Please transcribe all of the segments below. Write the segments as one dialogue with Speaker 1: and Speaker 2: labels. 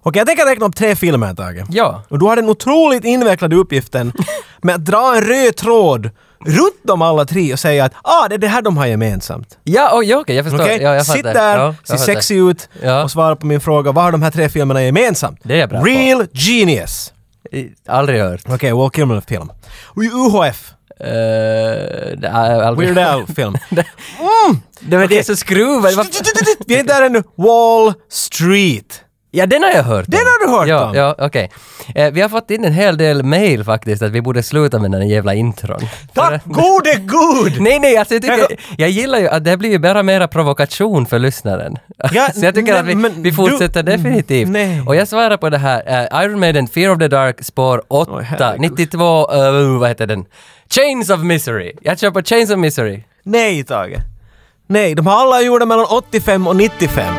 Speaker 1: Okej, jag tänker räkna upp tre filmer, Tage.
Speaker 2: Ja.
Speaker 1: Och du har den otroligt invecklade uppgiften med att dra en röd tråd runt dem alla tre och säga att ah, det är det här de har gemensamt.
Speaker 2: Ja, oj, ja, okej, jag förstår.
Speaker 1: Okej?
Speaker 2: Ja, jag
Speaker 1: Sitt
Speaker 2: fattar.
Speaker 1: där,
Speaker 2: ja,
Speaker 1: se
Speaker 2: jag fattar.
Speaker 1: sexig ut
Speaker 2: Ja.
Speaker 1: och svara på min fråga, vad har de här tre filmerna gemensamt?
Speaker 2: Det är jag bra på.
Speaker 1: Real Genius.
Speaker 2: I- Aldrig hört. Eh,
Speaker 1: Okej, Walt Kilmer-film. UHF,
Speaker 2: Uh, det har jag aldrig
Speaker 1: Weird Al-film.
Speaker 2: Det var det som skruvade. Vad-
Speaker 1: Vi är inte där ännu. Wall Street.
Speaker 2: Ja, den har jag hört
Speaker 1: Den har du hört
Speaker 2: ja,
Speaker 1: om.
Speaker 2: Ja, okej. Eh, vi har fått in en hel del mail faktiskt att vi borde sluta med den här jävla intron.
Speaker 1: Tack gode gud!
Speaker 2: Nej, nej, alltså jag, tycker, jag gillar ju att det blir ju bara mera provokation för lyssnaren.
Speaker 1: Ja,
Speaker 2: så jag tycker
Speaker 1: nej,
Speaker 2: att vi,
Speaker 1: men Mm,
Speaker 2: vi fortsätter definitivt.
Speaker 1: nej.
Speaker 2: Och jag svarar på det här, eh, Iron Maiden, Fear of the Dark, spår 8,
Speaker 1: Oj, herregud.
Speaker 2: 92, eh, vad heter den? Chains of Misery. Jag kör på Chains of Misery.
Speaker 1: Nej, Tage. Nej, de har alla gjorda mellan 85 och 95.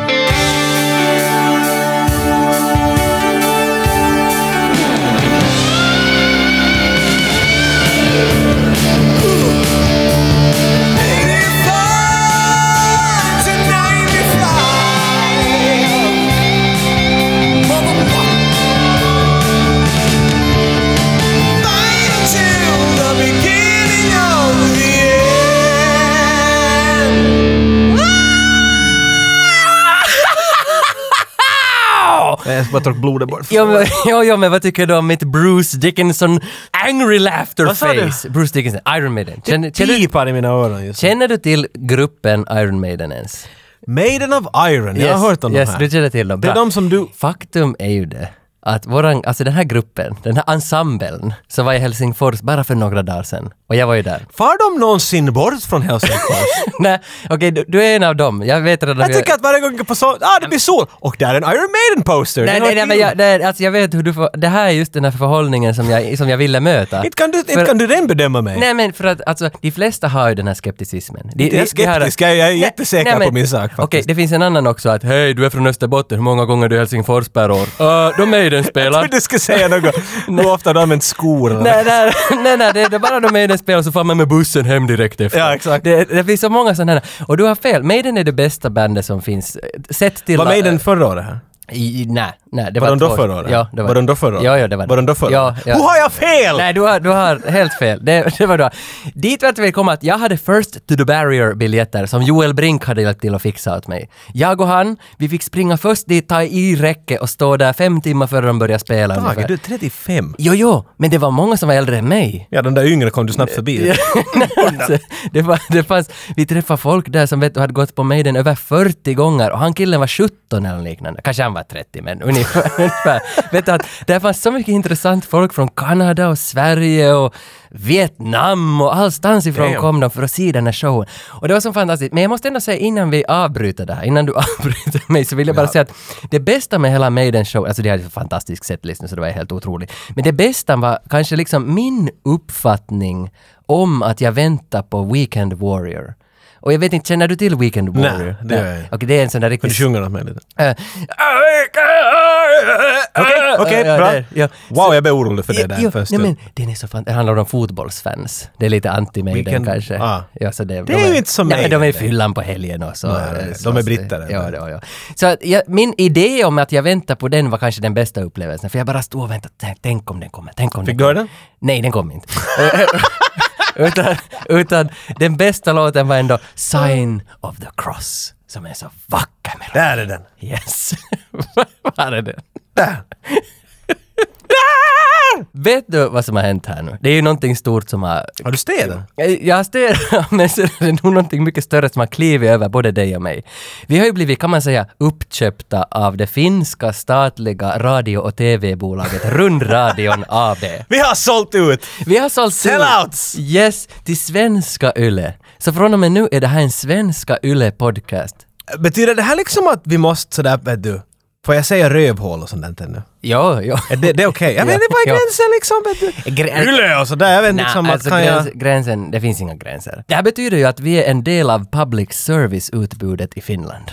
Speaker 1: Jag ska bara torka blodet bort.
Speaker 2: Ja men, ja, ja, men vad tycker du om mitt Bruce Dickinson angry laughter
Speaker 1: Vad sa du?
Speaker 2: face? Bruce Dickinson, Iron Maiden. Känner, känner, du,
Speaker 1: Pipar i mina öron just nu.
Speaker 2: känner du till gruppen Iron Maiden ens?
Speaker 1: Maiden of Iron. Jag har hört om
Speaker 2: yes,
Speaker 1: de
Speaker 2: du
Speaker 1: här.
Speaker 2: känner till dem.
Speaker 1: Det är
Speaker 2: Bra.
Speaker 1: de som du...
Speaker 2: Faktum är ju det att våran, alltså den här gruppen, den här ensemblen som var i Helsingfors bara för några dagar sedan och jag var ju där.
Speaker 1: Far de någonsin bort från Helsingfors?
Speaker 2: Nej, okej du, du är en av dem. Jag vet redan
Speaker 1: jag
Speaker 2: hur
Speaker 1: tycker att varje gång jag går på sol... Ah, det blir sol! Och där är en Iron Maiden-poster!
Speaker 2: Nej,
Speaker 1: Den
Speaker 2: nej,
Speaker 1: har
Speaker 2: nej, men
Speaker 1: till-
Speaker 2: jag, nej, alltså jag vet hur du får, det här är just den här förhållningen som jag, som jag ville möta.
Speaker 1: Inte kan du, inte
Speaker 2: För-
Speaker 1: kan du den bedöma mig?
Speaker 2: Nej men för att alltså, de flesta har ju den här skepticismen. De,
Speaker 1: Inte jag är
Speaker 2: de- de har-
Speaker 1: skeptisk, jag är- jag är
Speaker 2: Nej,
Speaker 1: jättesäker
Speaker 2: nej, men-
Speaker 1: på min sak
Speaker 2: Okej,
Speaker 1: faktiskt.
Speaker 2: det finns en annan också att hej du är från Österbotten, hur många gånger är du i Helsingfors per år? Uh, de Maiden spelar.
Speaker 1: För du ska säga något. Hur ofta har du använt skor? eller-
Speaker 2: Nej, nej, nej, nej, det är bara de Maiden spelar så far man med bussen hem direkt efter.
Speaker 1: Ja, exakt.
Speaker 2: Det, det finns så många sådana här. Och du har fel, Maiden är det bästa bandet som finns. eh, Sett till... eh,
Speaker 1: Var Maiden förra året här?
Speaker 2: I, i- nej, nej. Det
Speaker 1: Var de
Speaker 2: två
Speaker 1: då
Speaker 2: år-
Speaker 1: förra året?
Speaker 2: Ja, det var,
Speaker 1: Var de då förra året?
Speaker 2: Ja, ja, det var
Speaker 1: Var de då förra
Speaker 2: Ja, ja.
Speaker 1: Hur har jag fel?
Speaker 2: Nej, du har, du har helt fel. Det, det var då. Dit vart vi kom att jag hade First to the Barrier-biljetter som Joel Brink hade hjälpt till att fixa åt mig. Jag och han, vi fick springa först dit, ta i räcke och stå där fem timmar före de började spela. ungefär.
Speaker 1: Tage, du är 35.
Speaker 2: Jo, jo, men det var många som var äldre än mig.
Speaker 1: Ja, den där yngre kom du snabbt förbi.
Speaker 2: alltså, det, var, det fanns, vi träffade folk där som vet, du, hade gått på Maiden över 40 gånger och han killen var 17 eller liknande. Kanske han var 30 men ungefär. ungefär. vet du, att det fanns så mycket intressant folk från Kanada och Sverige och Vietnam och allstans ifrån
Speaker 1: Damn.
Speaker 2: kom de för att se den här showen. Och det var så fantastiskt. Men jag måste ändå säga innan vi avbryter det här, innan du avbryter mig så vill jag bara säga att det bästa med hela Maiden show, alltså det hade ju en fantastisk setlist så det var helt otroligt. Men det bästa var kanske liksom min uppfattning om att jag väntar på Weekend Warrior. Och jag vet inte, känner du till Weekend Warrior?
Speaker 1: det gör jag inte.
Speaker 2: Okej, det är en sån där
Speaker 1: Kan
Speaker 2: riktig...
Speaker 1: du sjunga något med lite?
Speaker 2: Eh,
Speaker 1: Okej, okej,
Speaker 2: Ja,
Speaker 1: bra.
Speaker 2: där, ja.
Speaker 1: Wow, jag blev orolig för det
Speaker 2: Jo,
Speaker 1: där för en
Speaker 2: nej,
Speaker 1: stund.
Speaker 2: men den är så fan... Det handlar om fotbollsfans. Det är lite anti-Maiden
Speaker 1: Vilken-
Speaker 2: kanske.
Speaker 1: ah.
Speaker 2: Ja, så det,
Speaker 1: är ju inte som
Speaker 2: nej, men
Speaker 1: Maiden,
Speaker 2: De är i
Speaker 1: det.
Speaker 2: fyllan på helgen och så.
Speaker 1: Nej,
Speaker 2: eh,
Speaker 1: de är
Speaker 2: så-
Speaker 1: brittare.
Speaker 2: Ja, ja, ja. Så att jag, min idé om att jag väntar på den var kanske den bästa upplevelsen. För jag bara stod och väntade. Tänk, tänk om den kommer. Tänk om
Speaker 1: Fick du
Speaker 2: den
Speaker 1: höra
Speaker 2: kommer.
Speaker 1: den?
Speaker 2: Nej, den kom inte. utan, utan den bästa låten var ändå Sign of the Cross. Som är så vacker melodi.
Speaker 1: Där är den.
Speaker 2: Yes. Var är det? Vet du vad som har hänt här nu? Det är ju någonting stort som har...
Speaker 1: Har du städat?
Speaker 2: Jag har stirrat, men så är det nog någonting mycket större som har klivit över både dig och mig. Vi har ju blivit, kan man säga, uppköpta av det finska statliga radio och tv-bolaget Rundradion AB.
Speaker 1: Vi har sålt ut!
Speaker 2: Vi har sålt
Speaker 1: Sellouts!
Speaker 2: ut- Yes, till svenska YLE. Så från och med nu är det här en svenska YLE-podcast.
Speaker 1: Betyder det här liksom att vi måste sådär, vet du, får jag säga rövhål och sånt där nu?
Speaker 2: Ja, ja.
Speaker 1: Är det, det är okej? Jag
Speaker 2: Ja,
Speaker 1: menar, det var
Speaker 2: ja.
Speaker 1: gränsen liksom, vet du.
Speaker 2: Grä-
Speaker 1: Yle och sådär, jag vet
Speaker 2: Nej,
Speaker 1: liksom att
Speaker 2: alltså
Speaker 1: kan
Speaker 2: gräns,
Speaker 1: jag...
Speaker 2: gränsen, det finns inga gränser. Det här betyder ju att vi är en del av public service-utbudet i Finland.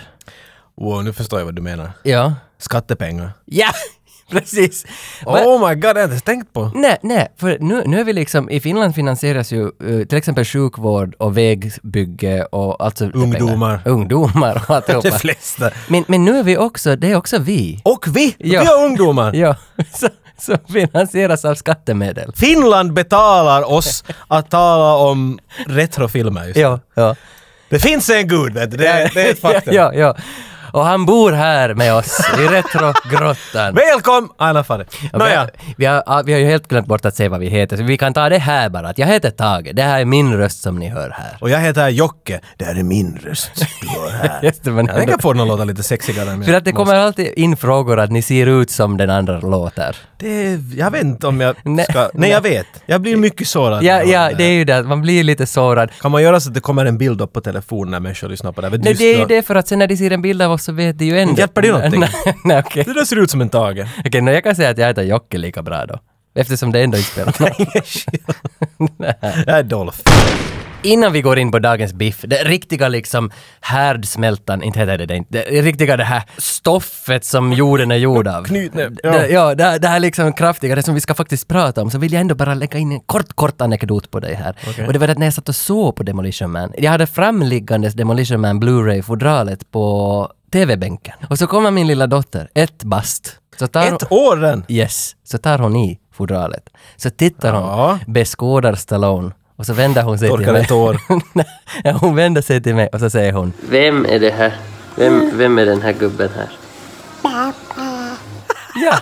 Speaker 1: Wow, nu förstår jag vad du menar.
Speaker 2: Ja.
Speaker 1: Skattepengar.
Speaker 2: Ja! Precis. Men-
Speaker 1: Oh my god, det har jag inte tänkt på.
Speaker 2: Nej, nej, för nu, nu är vi liksom, i Finland finansieras ju eh, till exempel sjukvård och vägbygge och alltså...
Speaker 1: Ungdomar.
Speaker 2: Ungdomar och
Speaker 1: De
Speaker 2: alltihopa.
Speaker 1: flesta.
Speaker 2: men, men nu är vi också, det är också vi.
Speaker 1: Och vi!
Speaker 2: Ja.
Speaker 1: Vi är ungdomar!
Speaker 2: Ja, som- som finansieras av skattemedel.
Speaker 1: Finland betalar oss att tala om retrofilmer just.
Speaker 2: Ja, ja.
Speaker 1: Det finns en gud, vet du. Det, är- det är ett faktum.
Speaker 2: ja, ja. Och han bor här med oss i Retrogrottan.
Speaker 1: Välkom! Aina Fari.
Speaker 2: Ja, vi
Speaker 1: Nåja.
Speaker 2: har- Vi har, ja, vi har ju helt glömt bort att säga vad vi heter, så vi kan ta det här bara. Att jag heter Tage, det här är min röst som ni hör här.
Speaker 1: Och jag heter Jocke. Det här är min röst du hör här.
Speaker 2: Just det, men
Speaker 1: jag tänker få den att låta lite sexigare. men
Speaker 2: För att det
Speaker 1: jag
Speaker 2: kommer alltid in frågor att ni ser ut som den andra låter.
Speaker 1: Det, jag vet inte om jag
Speaker 2: Nej.
Speaker 1: ska... Nej, jag vet. Jag blir mycket sårad. när
Speaker 2: Ja,
Speaker 1: jag hör
Speaker 2: ja,
Speaker 1: här.
Speaker 2: det är ju det, att man blir lite sårad.
Speaker 1: Kan man göra så att det kommer en bild upp på telefonen när människor lyssnar på det? här? Vet du,
Speaker 2: Nej,
Speaker 1: just
Speaker 2: det är
Speaker 1: då-
Speaker 2: ju det för att sen när de ser en bild av oss så vet de ju ändå.
Speaker 1: Hjälper det någonting?
Speaker 2: Nej, nej, okej.
Speaker 1: Det där ser ut som en Tage.
Speaker 2: Okej, nu jag kan säga att jag heter Jocke lika bra då. Eftersom det ändå inte spelar någon
Speaker 1: Det är Dolph.
Speaker 2: Innan vi går in på dagens biff, det riktiga liksom härdsmältan, inte heter det det inte, det riktiga det här stoffet som jorden är gjord av.
Speaker 1: Knytnäbb, ja.
Speaker 2: Det, ja, det, det här liksom kraftiga, det som vi ska faktiskt prata om, så vill jag ändå bara lägga in en kort, kort anekdot på dig här.
Speaker 1: Okej.
Speaker 2: Och det var att när jag satt och såg på Demolition Man, jag hade framliggandes Demolition Man Blu-ray-fodralet på TV-bänken. Och så kommer min lilla dotter, ett bast. Så tar hon-
Speaker 1: Ett år än!
Speaker 2: Yes, så tar hon i fodralet. Så tittar hon,
Speaker 1: Ja.
Speaker 2: beskådar Stallone och så vänder hon sig
Speaker 1: Torkar en
Speaker 2: till mig.
Speaker 1: tår.
Speaker 2: Ja, hon vänder sig till mig och så säger hon
Speaker 3: Vem är det här? Vem, vem är den här gubben här?
Speaker 2: Ja!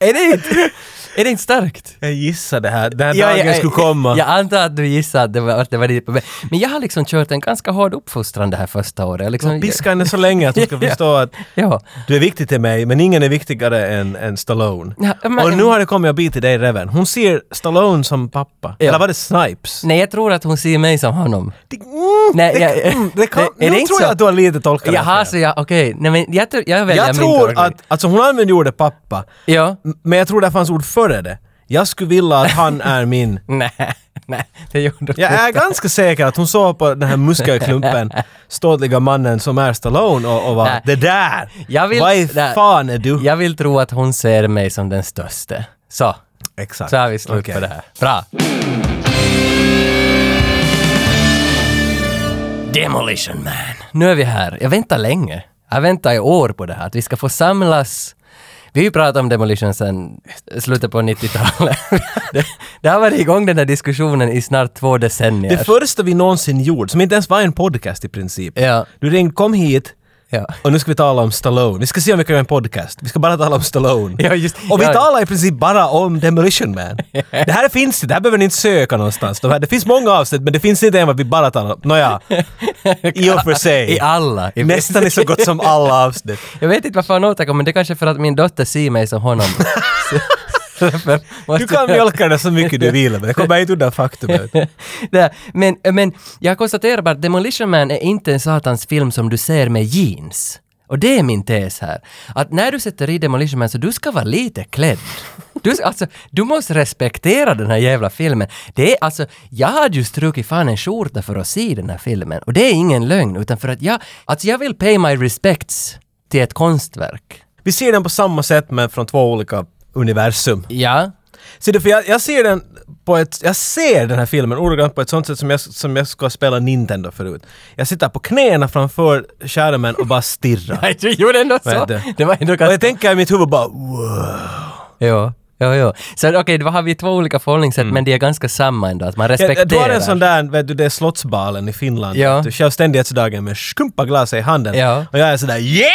Speaker 2: är, det inte, är det inte starkt?
Speaker 1: Jag gissar det här. Den här
Speaker 2: Ja,
Speaker 1: dagen
Speaker 2: ja,
Speaker 1: skulle komma.
Speaker 2: Jag, jag antar att du gissar att det var, att det var dit på väg. Men jag har liksom kört en ganska hård uppfostran det här första året. Jag Liksom,
Speaker 1: Piska henne så länge att hon ska
Speaker 2: Ja.
Speaker 1: förstå att
Speaker 2: ja.
Speaker 1: du är viktig till mig, men ingen är viktigare än, än Stallone.
Speaker 2: Ja, men-
Speaker 1: Och nu har det kommit en bit till dig, Reven. Hon ser Stallone som pappa.
Speaker 2: Ja.
Speaker 1: Eller var det Snipes?
Speaker 2: Nej, jag tror att hon ser mig som honom.
Speaker 1: Det, mm,
Speaker 2: Nej,
Speaker 1: det,
Speaker 2: jag-
Speaker 1: mm, det kan,
Speaker 2: det- är det
Speaker 1: nu
Speaker 2: inte
Speaker 1: tror
Speaker 2: så?
Speaker 1: jag att du har lite tolkat det
Speaker 2: Jaha,
Speaker 1: här.
Speaker 2: så jag, okej. Nej, men jag, tror- jag väljer
Speaker 1: Jag
Speaker 2: min
Speaker 1: tror
Speaker 2: teori.
Speaker 1: att, Mm. alltså hon använder ordet pappa,
Speaker 2: Ja.
Speaker 1: m- men jag tror det fanns ord före det. Jag skulle vilja att han är min.
Speaker 2: Nej, nej, det gjorde hon
Speaker 1: Jag är ganska säker att hon såg på den här muskelklumpen, ståtliga mannen som är Stallone och, och var
Speaker 2: Nej.
Speaker 1: det där!
Speaker 2: Jag vill-
Speaker 1: Vad
Speaker 2: nej.
Speaker 1: fan är du?
Speaker 2: Jag vill tro att hon ser mig som den störste. Så,
Speaker 1: Exakt.
Speaker 2: så har vi slut
Speaker 1: Okej.
Speaker 2: på det här. Bra! Demolition Man. Nu är vi här. Jag väntar länge. Jag väntar i år på det här, att vi ska få samlas. Vi har ju pratat om Demolition sedan slutet på 90-talet. det, det har varit igång den här diskussionen i snart två decennier.
Speaker 1: Det första vi någonsin gjorde, som inte ens var en podcast i princip.
Speaker 2: Ja.
Speaker 1: Du ringde, kom hit
Speaker 2: ja.
Speaker 1: och nu ska vi tala om Stallone. Vi ska se om vi kan göra en podcast. Vi ska bara tala om Stallone.
Speaker 2: Ja, just-
Speaker 1: och vi
Speaker 2: ja.
Speaker 1: talar i princip bara om Demolition Man. det här finns det, det här behöver ni inte söka någonstans. De här, det finns många avsnitt men det finns inte en vad vi bara talar om. Nåja, i och för sig.
Speaker 2: I alla. I
Speaker 1: Nästan i så gott som alla avsnitt.
Speaker 2: Jag vet inte varför han återkommer, men det är kanske för att min dotter ser mig som honom. Så- därför måste
Speaker 1: Du kan
Speaker 2: jag-
Speaker 1: mjölka det så mycket du vill men det kommer inte undan faktumet.
Speaker 2: Det- men, men jag konstaterar bara att Demolition Man är inte en satans film som du ser med jeans. Och det är min tes här. Att när du sätter i Demolition Man så du ska vara lite klädd. Du, ska- alltså, du måste respektera den här jävla filmen. Det är alltså, jag hade ju strukit fan en skjorta för att se den här filmen. Och det är ingen lögn, utan för att jag, alltså jag vill pay my respects till ett konstverk.
Speaker 1: Vi ser den på samma sätt men från två olika universum.
Speaker 2: Ja,
Speaker 1: Så det, för jag, jag ser den på ett, jag ser den här filmen ordagrant på ett sånt sätt som jag, som jag ska spela Nintendo förut. Jag sitter på knäna framför skärmen och bara stirrar.
Speaker 2: Nej, du gjorde ändå så.
Speaker 1: Vet du.
Speaker 2: Det var ändå
Speaker 1: och jag
Speaker 2: ganska...
Speaker 1: tänker i mitt huvud bara wow.
Speaker 2: Jo, jo, jo. Så okej, då har vi två olika förhållningssätt, men de är ganska samma ändå, att man respekterar.
Speaker 1: Du har en sån där, vet du, det är Slottsbalen i Finland.
Speaker 2: Ja.
Speaker 1: Du självständighetsdagen med skumpaglas i handen.
Speaker 2: Ja.
Speaker 1: Och jag är sådär yeah!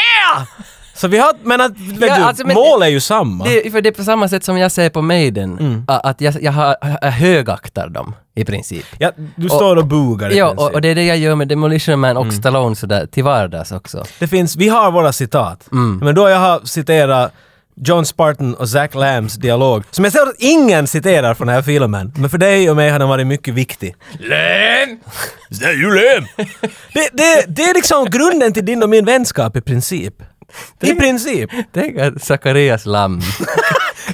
Speaker 1: Så vi har, men att, vet
Speaker 2: Ja,
Speaker 1: du,
Speaker 2: alltså, men-
Speaker 1: mål är ju samma.
Speaker 2: det, för det är på samma sätt som jag säger på Maiden, a- att jag, jag, har, jag högaktar dem i princip.
Speaker 1: ja, du står och bugar i
Speaker 2: Ja,
Speaker 1: princip.
Speaker 2: och, och det är det jag gör med Demolition Man och Stallone sådär till vardags också.
Speaker 1: Det finns, vi har våra citat. Men då jag har citerat John Spartan och Zach Lambs dialog, som jag ser att ingen citerar från den här filmen, men för dig och mig har den varit mycket viktig. Lam! Is that you Lam? det, det, det är liksom grunden till din och min vänskap i princip. I princip.
Speaker 2: Tänk att Zacharias Lamm.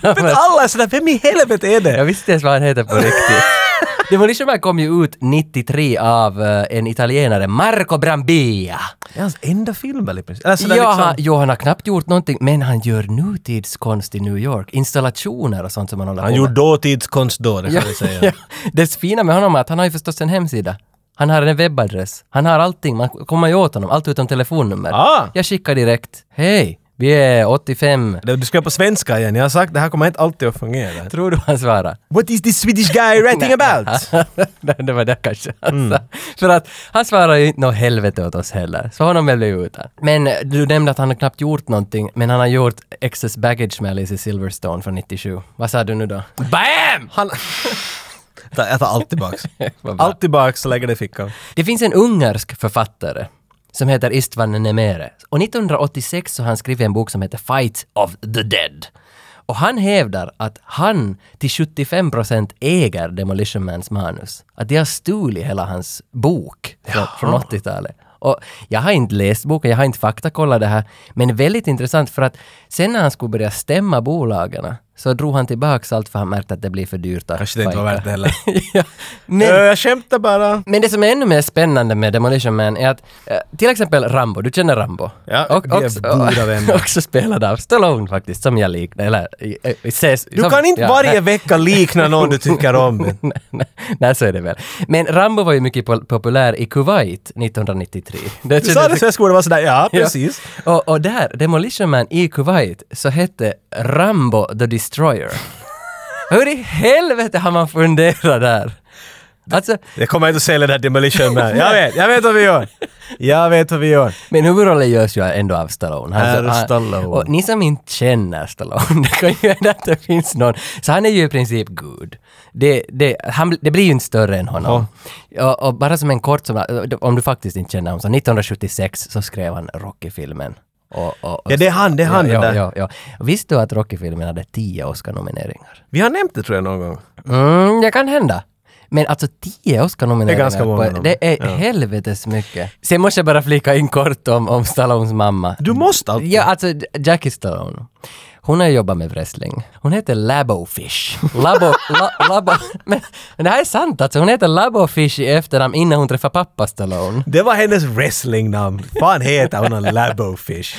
Speaker 1: Men alla är sådär, vem i helvete är
Speaker 2: jag
Speaker 1: det?
Speaker 2: visste inte ens vad han heter på riktigt. Demolition Man kom ju ut 93 av eh, en italienare, Marco Brambilla.
Speaker 1: Det är hans enda film väl i princip? Eller sådär
Speaker 2: ja,
Speaker 1: liksom...
Speaker 2: han, jo, han har knappt gjort någonting, men han gör nutidskonst i New York. Installationer och sånt som han håller
Speaker 1: Han
Speaker 2: på
Speaker 1: gjorde
Speaker 2: med.
Speaker 1: dåtidskonst då, det kan vi
Speaker 2: ja,
Speaker 1: säga.
Speaker 2: ja. Det fina med honom är att han har ju förstås en hemsida. Han har en webbadress. Han har allting. Man kommer ju åt honom. Allt utom telefonnummer.
Speaker 1: Ah.
Speaker 2: Jag skickar direkt. Hej, vi är 85.
Speaker 1: Det- Du ska på svenska igen. Jag har sagt det här kommer inte alltid att fungera.
Speaker 2: Tror du han svarar?
Speaker 1: What is this Swedish guy writing about? Mm.
Speaker 2: Nej, det var det kanske. Alltså. För att han svarar ju inte något helvete åt oss heller. Så honom väljer vi utan. Men eh, du nämnde att han har knappt gjort någonting, men han har gjort Excess Baggage med Alice i Silverstone från 97. Vad sa du nu då? BAM!
Speaker 1: Han... Ta- Jag tar allt tillbaks.
Speaker 2: Vad bra.
Speaker 1: Allt tillbaks och lägger det i fickan.
Speaker 2: Det finns en ungersk författare som heter Istvan Nemere. Och 1986 så har han skrivit en bok som heter Fight of the Dead. Och han hävdar att han till 75% äger Demolition Mans manus. Att de har stulit hela hans bok från, från 80-talet. Och jag har inte läst boken, jag har inte faktakollat det här. Men väldigt intressant för att sen när han skulle börja stämma bolagen så drog han tillbaks allt för han märkte att det blir för dyrt att
Speaker 1: Kanske det inte var
Speaker 2: fighta.
Speaker 1: värt det heller. Eh,
Speaker 2: ja.
Speaker 1: Ö,
Speaker 2: Men
Speaker 1: Jag skämtar bara.
Speaker 2: men det som är ännu mer spännande med Demolition Man är att eh, till exempel Rambo, du känner Rambo?
Speaker 1: Ja, vi är
Speaker 2: också-
Speaker 1: goda vänner.
Speaker 2: också spelad av Stallone faktiskt, som jag liknar, eller eh, eh, ses,
Speaker 1: Du
Speaker 2: som,
Speaker 1: kan inte
Speaker 2: ja,
Speaker 1: varje
Speaker 2: nej.
Speaker 1: vecka likna någon du tycker om.
Speaker 2: Nej, nej, nej, så är det väl. Men Rambo var ju mycket pol- populär i Kuwait 1993. Det
Speaker 1: Du sa det
Speaker 2: kändes-
Speaker 1: så jag skulle vara sådär, ja
Speaker 2: Ja.
Speaker 1: precis.
Speaker 2: Och, och där, Demolition Man i Kuwait, så hette Rambo the Destroyer. Hur i helvete har man funderat där? Alltså,
Speaker 1: Jag kommer inte att sälja det här Demolition Man. Jag vet, jag vet vad vi gör. Jag vet vad vi gör.
Speaker 2: Men huvudrollen görs ju ändå av Stallone.
Speaker 1: Är det Stallone?
Speaker 2: Och ni som inte känner Stallone, det kan ju hända att det finns någon. Så han är ju i princip Gud. Det, det, han, det blir ju inte större än honom. Och, och bara som en kort, som, om du faktiskt inte känner honom, så 1976 så skrev han Rocky-filmen. Och, och, och,
Speaker 1: Ja, det är han, det är han den
Speaker 2: ja,
Speaker 1: där.
Speaker 2: ja, ja. Visste du att Rocky-filmen hade tio Oscar-nomineringar?
Speaker 1: Vi har nämnt det tror jag någon gång.
Speaker 2: Mm, det kan hända. Men alltså tio Oscar-nomineringar,
Speaker 1: Det är ganska
Speaker 2: på-
Speaker 1: många.
Speaker 2: det är helvetes mycket. Sen måste jag bara flika in kort om, om Stallones mamma.
Speaker 1: Du måste alltid.
Speaker 2: Ja, alltså Jackie Stallone. Hon har jobbat med wrestling. Hon heter Labofish. Labo, la, labo. Men, men det här är sant alltså. Hon heter Labofish i efternamn innan hon träffar pappa Stallone.
Speaker 1: Det var hennes wrestlingnamn. Fan heter hon en Labofish?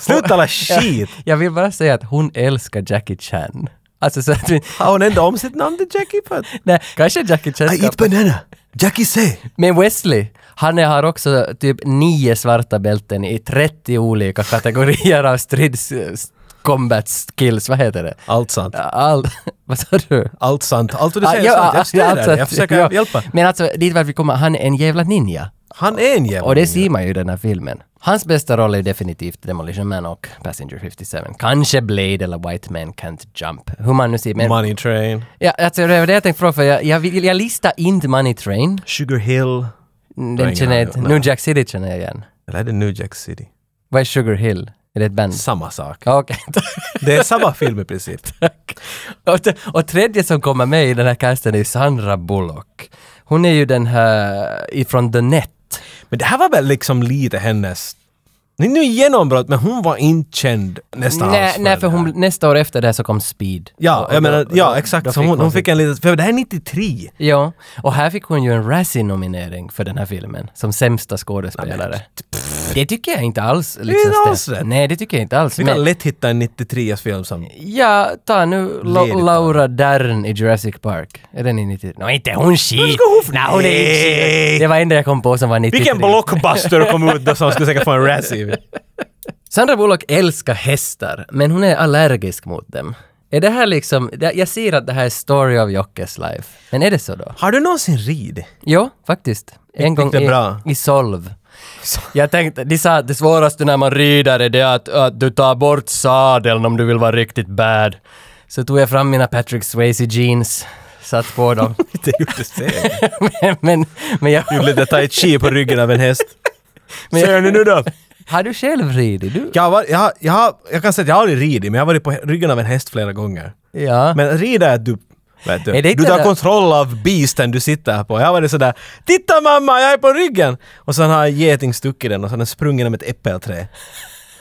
Speaker 1: Sluta alla shit!
Speaker 2: Jag vill bara säga att hon älskar Jackie Chan. Alltså så att vi...
Speaker 1: Har hon ändå om sitt namn till Jackie för att... Ah,
Speaker 2: Nej, kanske Jackie Chan ska...
Speaker 1: banana! Jackie say!
Speaker 2: Men Wesley, han är- har också typ nio svarta bälten i 30 olika kategorier av strids... combat skills, vad heter det?
Speaker 1: Allt sant.
Speaker 2: All... Vad sa du?
Speaker 1: Allt sant. Allt vad du
Speaker 2: Ah,
Speaker 1: säger
Speaker 2: ja,
Speaker 1: är sant.
Speaker 2: ah,
Speaker 1: Jag stöder
Speaker 2: alltså
Speaker 1: dig. Jag
Speaker 2: att-
Speaker 1: försöker
Speaker 2: ja.
Speaker 1: hjälpa.
Speaker 2: Men alltså, dit vart vi kommer, han är en jävla ninja.
Speaker 1: Han är en jävla
Speaker 2: Och det
Speaker 1: ninja.
Speaker 2: ser man ju i den här filmen. Hans bästa roll är definitivt Demolition Man och Passenger 57. Kanske Blade eller White Man Can't Jump. Hur man nu ser men...
Speaker 1: Money Train,
Speaker 2: Ja, alltså, det var det jag tänkte fråga, för jag, jag, vill- jag listar inte Money Train.
Speaker 1: Sugar Hill. har
Speaker 2: Den
Speaker 1: ingen
Speaker 2: känner jag inte.
Speaker 1: aning om.
Speaker 2: New Jack City känner jag igen.
Speaker 1: Eller är det New Jack City?
Speaker 2: Vad är Sugar Hill? Är det ett band?
Speaker 1: Samma sak.
Speaker 2: Ja, Okej,
Speaker 1: Det är samma film i princip.
Speaker 2: tack. Och, t- och tredje som kommer med i den här casten är ju Sandra Bullock. Hon är ju den här eh, ifrån The Net.
Speaker 1: Men det här var väl liksom lite hennes... Nu nu genombrott, men hon var inte känd nästan alls.
Speaker 2: Nej, nej, för
Speaker 1: den
Speaker 2: hon,
Speaker 1: här.
Speaker 2: nästa år efter det här så kom Speed.
Speaker 1: Ja,
Speaker 2: Och- och
Speaker 1: jag menar,
Speaker 2: då- då-
Speaker 1: ja exakt.
Speaker 2: då
Speaker 1: så hon, hon
Speaker 2: sin-
Speaker 1: fick en liten... För det här är 93.
Speaker 2: Ja, och här fick hon ju en Razzie-nominering för den här filmen, som sämsta skådespelare. det tycker jag inte alls. Liksom,
Speaker 1: inte
Speaker 2: stämmer.
Speaker 1: alls rätt.
Speaker 2: Nej, det tycker jag inte alls.
Speaker 1: Vi
Speaker 2: men-
Speaker 1: kan lätt hitta en 93-film som...
Speaker 2: Ja, ta nu La-
Speaker 1: Ledigt,
Speaker 2: Laura Dern i Jurassic Park. Är den i 90? Nej, inte hon
Speaker 1: Vad
Speaker 2: shit!
Speaker 1: ska hon för-
Speaker 2: Nej, hon är inte
Speaker 1: Nej.
Speaker 2: shit. Det var enda jag kom på som var 93.
Speaker 1: Vilken blockbuster kom ut då som skulle säkert få en Razzie?
Speaker 2: Sandra Bullock älskar hästar, men hon är allergisk mot dem. Är det här liksom... det- Jag ser att det här är story of Jockes life. Men är det så då?
Speaker 1: Har du någonsin ridit?
Speaker 2: Jo, faktiskt. En gång
Speaker 1: det
Speaker 2: i,
Speaker 1: bra.
Speaker 2: i Solv. Jag tänkte, de sa att det svåraste när man rider är det att, att du tar bort sadeln om du vill vara riktigt bad. Så tog jag fram mina Patrick Swayze jeans, satt på dem.
Speaker 1: Det gjorde du säkert.
Speaker 2: men, men, men jag...
Speaker 1: Gjorde lite tai chi på ryggen av en häst.
Speaker 2: Men jag-
Speaker 1: Ser ni nu då?
Speaker 2: Har du själv ridit? Du?
Speaker 1: Jag, var, jag, har- jag, har- jag kan säga att jag har aldrig ridit, men jag har varit på hä- ryggen av en häst flera gånger.
Speaker 2: Ja.
Speaker 1: Men rida är att du... Vet du,
Speaker 2: Är det inte
Speaker 1: du tar
Speaker 2: det-
Speaker 1: kontroll av beasten du sitter på. Jag har varit sådär ”Titta mamma, jag är på ryggen!” och sen har en geting stuckit den och sen har den sprungit genom ett äppelträd.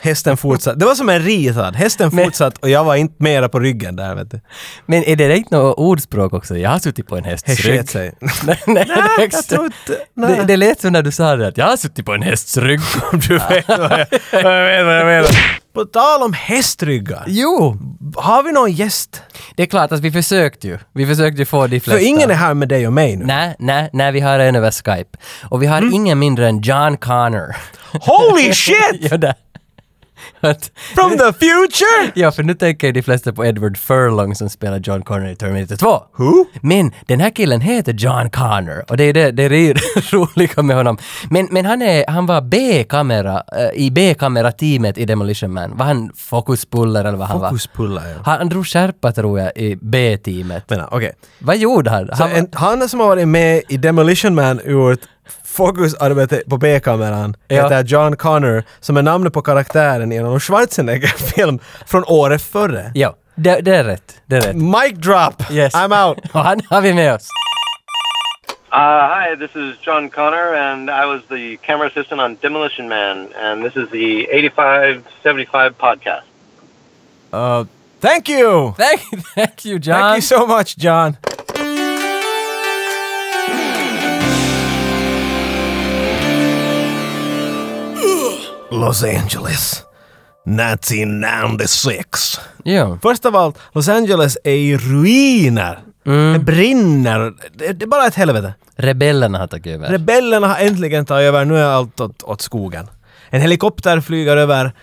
Speaker 1: Hästen fortsatt. Det var som en ritad. Hästen
Speaker 2: Men-
Speaker 1: fortsatt och jag var inte mera på ryggen där vet du.
Speaker 2: Men är det inte något ordspråk också? Jag har suttit på en hästs
Speaker 1: Häst
Speaker 2: rygg.
Speaker 1: sket sig.
Speaker 2: nej, nej, det är
Speaker 1: jag
Speaker 2: extra-
Speaker 1: tror inte- nej.
Speaker 2: det, det lät som när du sa det att jag har suttit på en hästs rygg.
Speaker 1: Du vet vad jag, jag vet vad jag menar. På tal om hästryggar.
Speaker 2: jo!
Speaker 1: Har vi någon gäst?
Speaker 2: Det är klart att vi försökte ju. Vi försökte ju få de
Speaker 1: För
Speaker 2: flesta.
Speaker 1: ingen är här med dig och mig nu.
Speaker 2: Nej, nej, nej, vi har en över Skype. Och vi har
Speaker 1: Mm.
Speaker 2: ingen mindre än John Connor.
Speaker 1: Holy shit!
Speaker 2: ja, där. Att-
Speaker 1: From the future!
Speaker 2: Ja, för nu tänker de flesta på Edward Furlong som spelar John Connor i Terminator 2.
Speaker 1: Who?
Speaker 2: Men den här killen heter John Connor och det är det, det, är det roliga med honom. Men, men han, är, han var B-kamera, eh, i B-kamerateamet i Demolition Man. Var han fokuspuller eller vad han var?
Speaker 1: Fokuspullar ja.
Speaker 2: Han, han drog skärpa tror jag i B-teamet.
Speaker 1: Men, okej.
Speaker 2: Vad gjorde han?
Speaker 1: Så
Speaker 2: han var-
Speaker 1: en, han som har varit med i Demolition Man gjort fokusarbete på B-kameran
Speaker 2: Ja.
Speaker 1: heter John Connor som är namnet på karaktären i en Arnold Schwarzenegger-film från året före.
Speaker 2: Ja, det, det är rätt. Det är rätt.
Speaker 1: Mic drop!
Speaker 2: Yes.
Speaker 1: I'm out!
Speaker 2: Och han har vi med oss.
Speaker 4: Uh, hi, this is John Connor, and I was the camera assistant on Demolition Man, and this is the 8575 podcast.
Speaker 1: Uh, thank you!
Speaker 2: Thank, thank you John.
Speaker 1: Thank you so much John! Los Angeles 1996
Speaker 2: Ja.
Speaker 1: Först av allt, Los Angeles är i ruiner.
Speaker 2: Mm.
Speaker 1: Det brinner. Det, det är bara ett helvete.
Speaker 2: Rebellerna har tagit över.
Speaker 1: Rebellerna har äntligen tagit över. Nu är allt åt, åt skogen. En helikopter flyger över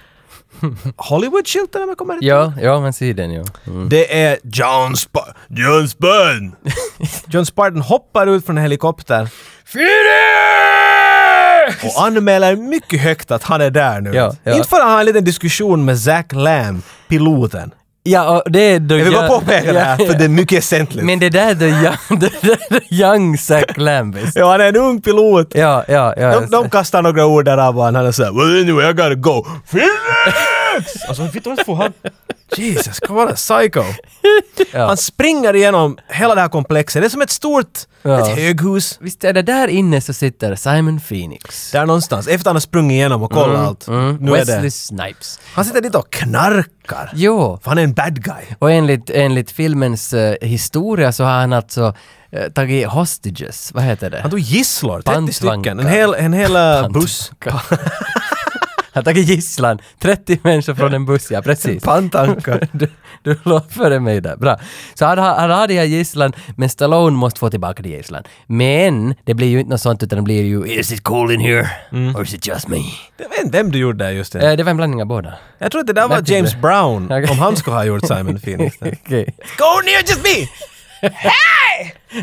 Speaker 1: Hollywood-skylten om jag kommer rätt.
Speaker 2: ja, ja, man ser den ju.
Speaker 1: Det är John Spartan. John Spartan! John Spartan hoppar ut från en helikopter och anmäler mycket högt att han är där nu.
Speaker 2: Ja, ja.
Speaker 1: Inte för att han har en liten diskussion med Zach Lamb, piloten.
Speaker 2: Ja, och det är då
Speaker 1: Jag vill bara
Speaker 2: jag-
Speaker 1: påpeka det här,
Speaker 2: Ja,
Speaker 1: för det är mycket väsentligt.
Speaker 2: Men det där är the young, det där är the young Zack Lambis.
Speaker 1: Ja, han är en ung pilot.
Speaker 2: Ja, ja, ja.
Speaker 1: De, de kastar några ord där av honom. Han är såhär “Well anyway, I gotta go”. Felix! Alltså vet du får han... Jesus, kom on, psycho.
Speaker 2: Ja.
Speaker 1: Han springer igenom hela det här komplexet. Det är som ett stort,
Speaker 2: Ja.
Speaker 1: ett höghus.
Speaker 2: Visst är det där inne så sitter Simon Phoenix.
Speaker 1: Där någonstans, efter han har sprungit igenom och kollat allt. Mm, Nu
Speaker 2: Wesley
Speaker 1: är det.
Speaker 2: Snipes.
Speaker 1: Han sitter dit och knarkar.
Speaker 2: Jo,
Speaker 1: För han är en bad guy.
Speaker 2: och enligt, enligt filmens eh, historia så har han alltså eh, tagit hostages, vad heter det?
Speaker 1: Han tog gisslor, 30
Speaker 2: Pantvankar.
Speaker 1: stycken. En hel, en hel eh, buss.
Speaker 2: Han har tagit gisslan, 30 människor från en buss, ja precis.
Speaker 1: Pantankar.
Speaker 2: Du, du låg före mig där, bra. Så han, har- han har de här gisslan, men Stallone måste få tillbaka de gisslan. Men det blir ju inte något sånt utan det blir ju “Is it cold in here? Or is it just me?”
Speaker 1: Jag vet inte vem du gjorde där just det.
Speaker 2: Eh, Det var en blandning av båda.
Speaker 1: Jag tror att det där var James Brown,
Speaker 2: Okej.
Speaker 1: om han skulle ha gjort Simon Phoenix.
Speaker 2: Okej.
Speaker 1: Go near just me!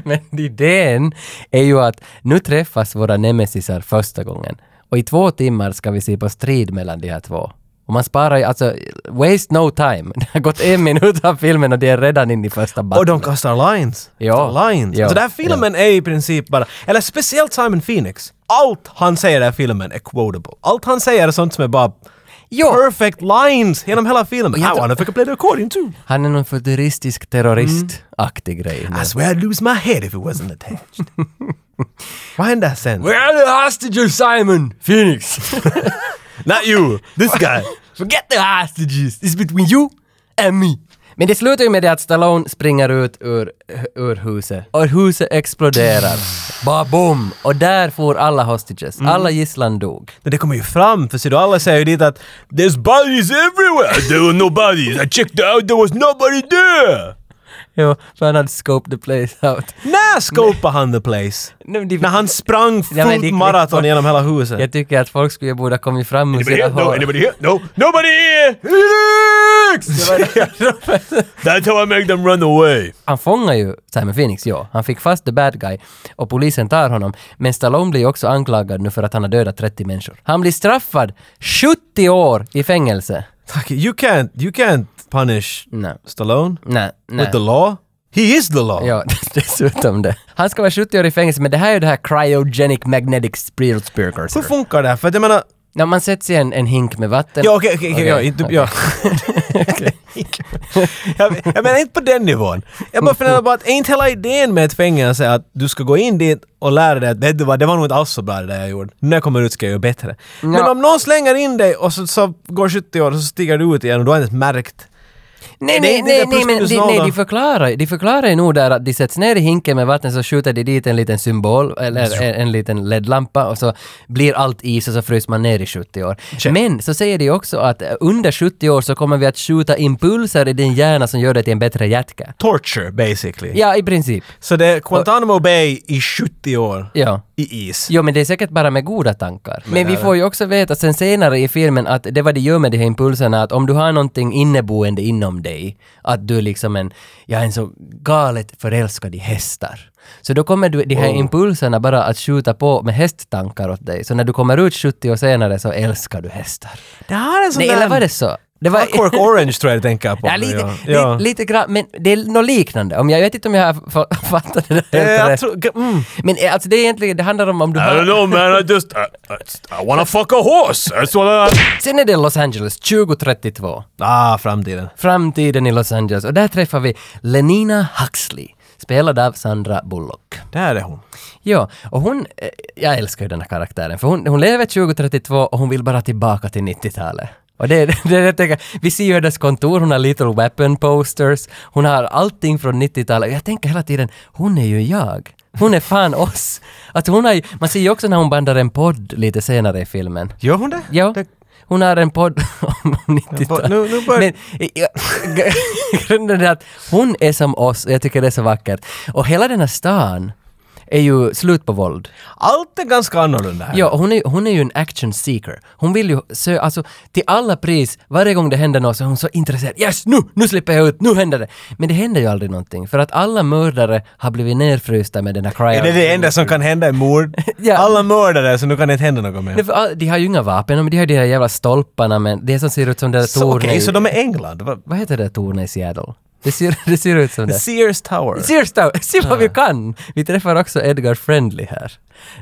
Speaker 2: Men idén är ju att nu träffas våra nemesisar första gången och i två timmar ska vi se på strid mellan de här två. Och man sparar ju, alltså, waste no time. Det har gått en minut av filmen och de är redan inne i första
Speaker 1: Och
Speaker 2: battlet.
Speaker 1: de kastar lines.
Speaker 2: Ja.
Speaker 1: Lines.
Speaker 2: Ja.
Speaker 1: Så den här filmen är i princip bara, eller speciellt Simon Phoenix. Allt han säger i den här filmen är quotable. Allt han säger är sånt som är bara
Speaker 2: Ja.
Speaker 1: perfect lines genom hela filmen. I wanna fucking play the accordion too.
Speaker 2: Han är någon futuristisk terrorist-aktig grej.
Speaker 1: I swear I'd lose my head if it wasn't attached. Vad händer sen?
Speaker 2: Where are the hostages Simon? Phoenix!
Speaker 1: Not you! This guy!
Speaker 2: Forget the hostages! It's between you and me! Men det slutar ju med det att Stallone springer ut ur, ur huset. Och huset exploderar. Bara bom! Och där får alla hostages. Alla gisslan dog.
Speaker 1: Men det kommer ju fram, för ser du, alla säger ju dit att “There's bodies everywhere! There were no bodies! I checked out, there was nobody there!”
Speaker 2: Jo, för han hade scoped the place out.
Speaker 1: När scopar han the place?
Speaker 2: Nej, men det-
Speaker 1: När han sprang
Speaker 2: Ja, men det-
Speaker 1: fullt maraton genom hela huset?
Speaker 2: Jag tycker att folk skulle borde ha kommit fram ur sina hår.
Speaker 1: here? No. Nobody here! That's how I make them run away.
Speaker 2: han fångar ju Simon Phoenix, ja. Han fick fast the bad guy och polisen tar honom. Men Stallone blir ju också anklagad nu för att han har dödat 30 människor. Han blir straffad 70 år i fängelse.
Speaker 1: Fuck, you can't, you can't punish
Speaker 2: Nej.
Speaker 1: Stallone
Speaker 2: Nej, nej.
Speaker 1: with the law. He is the law.
Speaker 2: Mm. Ja, dessutom det. Han ska vara 70 år i fängelse, men det här är ju det här cryogenic magnetic spirit
Speaker 1: Hur
Speaker 2: precursor.
Speaker 1: funkar det här? För att jag menar,
Speaker 2: När man sätts i en, en hink med vatten...
Speaker 1: Ja, okej, okej, okej, ja,
Speaker 2: Okej,
Speaker 1: inte-
Speaker 2: okej.
Speaker 1: ja. jag, jag menar inte på den nivån. Jag bara funderar på att är inte hela idén med ett fängelse att du ska gå in dit och lära dig att vet du vad, det var nog inte alls så bra det där jag gjorde. När jag kommer ut ska jag göra bättre. Men om någon slänger in dig och så, så går 70 år och så stiger du ut igen och du har inte ens märkt.
Speaker 2: Nej,
Speaker 1: Det är
Speaker 2: nej,
Speaker 1: inte
Speaker 2: nej,
Speaker 1: det
Speaker 2: nej,
Speaker 1: plus
Speaker 2: men
Speaker 1: minus
Speaker 2: de,
Speaker 1: noll
Speaker 2: nej,
Speaker 1: då.
Speaker 2: de förklarar ju de förklarar ju nog där att de sätts ner i hinken med vatten så skjuter de dit en liten symbol eller en, en liten LED-lampa och så blir allt is och så fryser man ner i 70 år. Men så säger de också att eh, under 70 år så kommer vi att skjuta impulser i din hjärna som gör dig till en bättre hjärtka.
Speaker 1: Torture basically.
Speaker 2: Ja, i princip.
Speaker 1: Så det är Guantanamo Bay i 70 år
Speaker 2: Ja.
Speaker 1: i is.
Speaker 2: Jo, men det är säkert bara med goda tankar. Men, vi får ju också veta sen senare i filmen att det vad de gör med de här impulserna, att om du har någonting inneboende inom dig, att du är liksom en, jag är en så galet förälskad i hästar. Så då kommer du, de
Speaker 1: Oh.
Speaker 2: här impulserna bara att skjuta på med hästtankar åt dig. Så när du kommer ut 70 år senare så älskar du hästar.
Speaker 1: Det här är en sån
Speaker 2: Nej,
Speaker 1: där...
Speaker 2: eller var det så? Det var,
Speaker 1: Clockwork Orange tror jag det tänker jag på.
Speaker 2: Ja,
Speaker 1: nu,
Speaker 2: lite,
Speaker 1: ja.
Speaker 2: li- lite grann, men det är något liknande. Om jag, jag vet inte om jag har fa- fattat det
Speaker 1: Eh,
Speaker 2: där helt
Speaker 1: jag
Speaker 2: rätt.
Speaker 1: tror... Mm.
Speaker 2: Men eh, alltså det är egentligen, det handlar om om du
Speaker 1: I don't
Speaker 2: har...
Speaker 1: know man, I just... I, I, I wanna fuck a horse! That's what I...
Speaker 2: Sen är det Los Angeles 2032.
Speaker 1: Ah, framtiden.
Speaker 2: Framtiden i Los Angeles. Och där träffar vi Lenina Huxley, spelad av Sandra Bullock.
Speaker 1: Där är hon.
Speaker 2: Ja, och hon... eh, Jag älskar ju den här karaktären, för hon, hon lever 2032 och hon vill bara tillbaka till 90-talet. Och det, är- det, är det jag tänker, vi ser ju hennes kontor, hon har Little Weapon-posters, hon har allting från 90-talet. Jag tänker hela tiden, hon är ju jag. Hon är fan oss. Att hon har, ju- man ser ju också när hon bandar en podd lite senare i filmen.
Speaker 1: Gör hon det?
Speaker 2: Ja.
Speaker 1: Det,
Speaker 2: Hon har en podd om
Speaker 1: Ja,
Speaker 2: 90-talet.
Speaker 1: nu- nu börjar-
Speaker 2: Men eh, ja, grunden är att hon är som oss och jag tycker det är så vackert. Och hela den här stan är ju slut på våld.
Speaker 1: allt är ganska annorlunda här.
Speaker 2: Ja, och hon är, hon är ju en action seeker. Hon vill ju sö, alltså till alla pris, varje gång det händer något så är hon så intresserad. Yes, nu, nu slipper jag ut, nu händer det. Men det händer ju aldrig någonting, för att alla mördare har blivit nerfrysta med den här cryo.
Speaker 1: Är det det enda som kan hända i mord?
Speaker 2: Ja.
Speaker 1: Alla mördare, så nu kan det inte hända något mer.
Speaker 2: Nej, för all- De har ju inga vapen, men de har ju de här jävla stolparna men det som ser ut som det där
Speaker 1: Så, Okej,
Speaker 2: tornet. i-
Speaker 1: så de är England. Vad-
Speaker 2: Vad heter det tornet i Seattle? Det ser, det ser ut som det.
Speaker 1: Sears Tower.
Speaker 2: Sears Tower! Se vad vi kan! Vi träffar också Edgar Friendly här.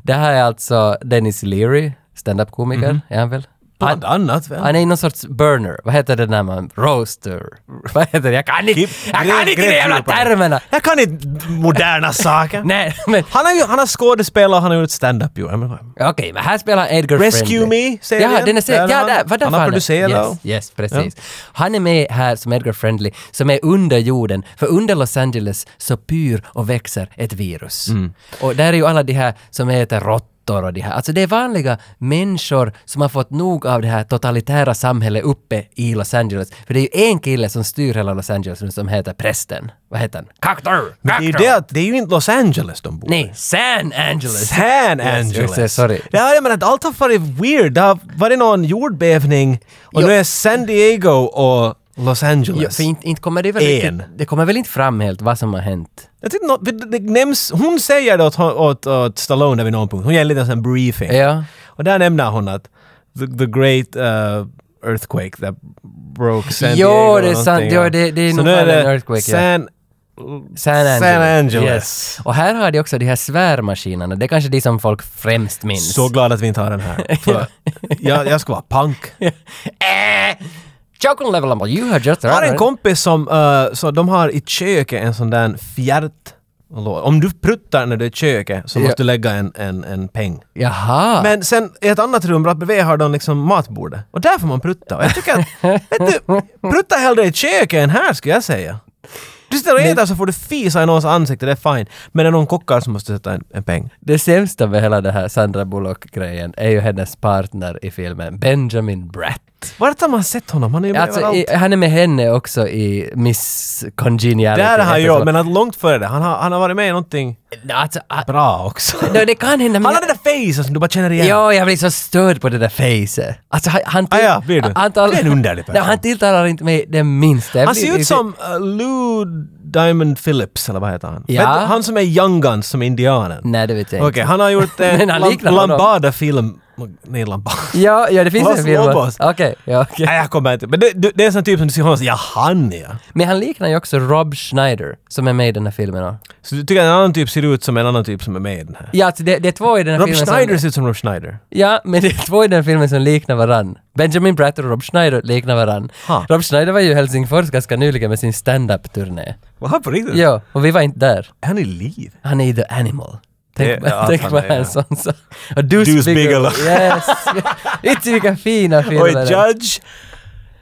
Speaker 2: Det här är alltså Dennis Leary, standup-komiker, är Mhm. han väl?
Speaker 1: Bland annat väl?
Speaker 2: Han är någon sorts burner. Vad heter det när man... Roaster? Vad heter det? Jag kan inte,
Speaker 1: Keep-
Speaker 2: jag kan
Speaker 1: gräv-
Speaker 2: inte
Speaker 1: gräv
Speaker 2: de jävla
Speaker 1: djupare.
Speaker 2: termerna!
Speaker 1: Jag kan inte moderna saker.
Speaker 2: Nej, men...
Speaker 1: Han har, ju- han har skådespelat och han har gjort stand-up ju. Jag menar,
Speaker 2: Okej, men här spelar Edgar
Speaker 1: Rescue
Speaker 2: Friendly.
Speaker 1: Me, säger
Speaker 2: ja,
Speaker 1: den.
Speaker 2: den är säkert,
Speaker 1: Där
Speaker 2: ja,
Speaker 1: han-
Speaker 2: där, vad där
Speaker 1: han har
Speaker 2: fan är-
Speaker 1: producerat
Speaker 2: Yes,
Speaker 1: och-
Speaker 2: yes, precis. Han är med här som Edgar Friendly, som är under jorden, för under Los Angeles så pyr och växer ett virus.
Speaker 1: Mm.
Speaker 2: Och där är ju alla de här som heter råttor och de här. Alltså det är vanliga människor som har fått nog av det här totalitära samhället uppe i Los Angeles. För det är ju en kille som styr hela Los Angeles nu som heter prästen. Vad heter han? Kaktor!
Speaker 1: Men det är ju det att det är ju inte Los Angeles de bor i.
Speaker 2: Nej, San Angeles!
Speaker 1: San
Speaker 2: just
Speaker 1: Angeles.
Speaker 2: det, sorry.
Speaker 1: Det här, jag menar, att allt har varit weird. Det har varit någon jordbävning och
Speaker 2: Jo.
Speaker 1: nu är San Diego och Los Angeles.
Speaker 2: Ja, för inte, inte kommer det, väl
Speaker 1: En.
Speaker 2: riktigt- det kommer väl inte fram helt vad som har hänt?
Speaker 1: Jag tyckte något, det nämns, hon säger det åt, hon- åt, åt Stallone där vid någon punkt. Hon ger en liten sån briefing.
Speaker 2: Ja.
Speaker 1: Och där nämner hon att the, the great uh, earthquake that broke San
Speaker 2: Jo,
Speaker 1: Diego.
Speaker 2: det är
Speaker 1: eller
Speaker 2: sant.
Speaker 1: någonting,
Speaker 2: Jo, det- det är
Speaker 1: Så
Speaker 2: nog
Speaker 1: nu
Speaker 2: fan en earthquake, ja.
Speaker 1: San,
Speaker 2: San
Speaker 1: San
Speaker 2: Angeles.
Speaker 1: Angeles.
Speaker 2: Yes. Och här har de också de här svärmaskinerna. Det är kanske de som folk främst minns.
Speaker 1: Så glad att vi inte har den här. För jag, jag ska vara punk.
Speaker 2: Äh! Chocolate level number, you have just
Speaker 1: Jag har en kompis som, eh, så de har i köket en sån där fjärt... Om du pruttar när du är i köket så
Speaker 2: Ja.
Speaker 1: måste du lägga en, en, en peng.
Speaker 2: Jaha.
Speaker 1: Men sen i ett annat rum rakt bredvid har de liksom matbordet. Och där får man prutta. Och jag tycker att, vet du, prutta hellre i köket än här skulle jag säga. Du sitter och äter så får du fisa i någons ansikte, det är fine. Men när någon kockar så måste du sätta en, en peng.
Speaker 2: Det sämsta med hela det här Sandra Bullock-grejen är ju hennes partner i filmen, Benjamin Bratt.
Speaker 1: Vart har man sett honom? Han är ju med
Speaker 2: Alltså,
Speaker 1: överallt.
Speaker 2: i, han är med henne också i Miss Congeniality.
Speaker 1: Där har han
Speaker 2: heter
Speaker 1: ju,
Speaker 2: så.
Speaker 1: men att långt före det. Han har, han har varit med i någonting
Speaker 2: Alltså, ah,
Speaker 1: bra också.
Speaker 2: no, det kan hända. men-
Speaker 1: Han har det där facet som du bara känner igen.
Speaker 2: Ja, jag blir så störd på det där fejset. Alltså han... han till-
Speaker 1: Ah, ja, blir du?
Speaker 2: Han tal-
Speaker 1: Du är en underlig
Speaker 2: Nej,
Speaker 1: person.
Speaker 2: han tilltalar inte mig det minsta. Jag
Speaker 1: Han
Speaker 2: blir-
Speaker 1: ser ut som eh, Lou Diamond Phillips, eller vad heter han?
Speaker 2: Ja.
Speaker 1: Vet du, Han som är Young Guns, som är indianen.
Speaker 2: Nej, det vet
Speaker 1: Okej,
Speaker 2: jag inte.
Speaker 1: Mm. han har gjort en
Speaker 2: Men han
Speaker 1: Lam-
Speaker 2: liknar honom.
Speaker 1: Lambada-film Magnetlampa.
Speaker 2: Ja, ja det finns
Speaker 1: Los
Speaker 2: en film.
Speaker 1: Lobos.
Speaker 2: Okej, ja okej.
Speaker 1: Nej, jag kommer inte. Men det, det det är en sån typ som du ser honom och säger, ja han ja.
Speaker 2: Men han liknar ju också Rob Schneider som är med i den här filmen. och-
Speaker 1: Så du tycker att en annan typ ser ut som en annan typ som är med i den här?
Speaker 2: Ja, alltså det, det är två i den här
Speaker 1: Rob
Speaker 2: filmen
Speaker 1: Schneider
Speaker 2: som...
Speaker 1: ser ut som Rob Schneider.
Speaker 2: Ja, men det är två i den filmen som liknar varann. Benjamin Bratt och Rob Schneider liknar varann.
Speaker 1: Ha.
Speaker 2: Rob Schneider var ju i Helsingfors ganska nyligen med sin stand-up-turné.
Speaker 1: Vad på riktigt?
Speaker 2: Ja, och vi var inte där.
Speaker 1: Är han i liv?
Speaker 2: Han är ju the animal. Tänk,
Speaker 1: Det- ja,
Speaker 2: tänk
Speaker 1: han
Speaker 2: vad
Speaker 1: är,
Speaker 2: han
Speaker 1: ja.
Speaker 2: sa. Och Deuce,
Speaker 1: Deuce Bigelow.
Speaker 2: Yes! Inte vilka fina filmer.
Speaker 1: Oj,
Speaker 2: det är.
Speaker 1: Judge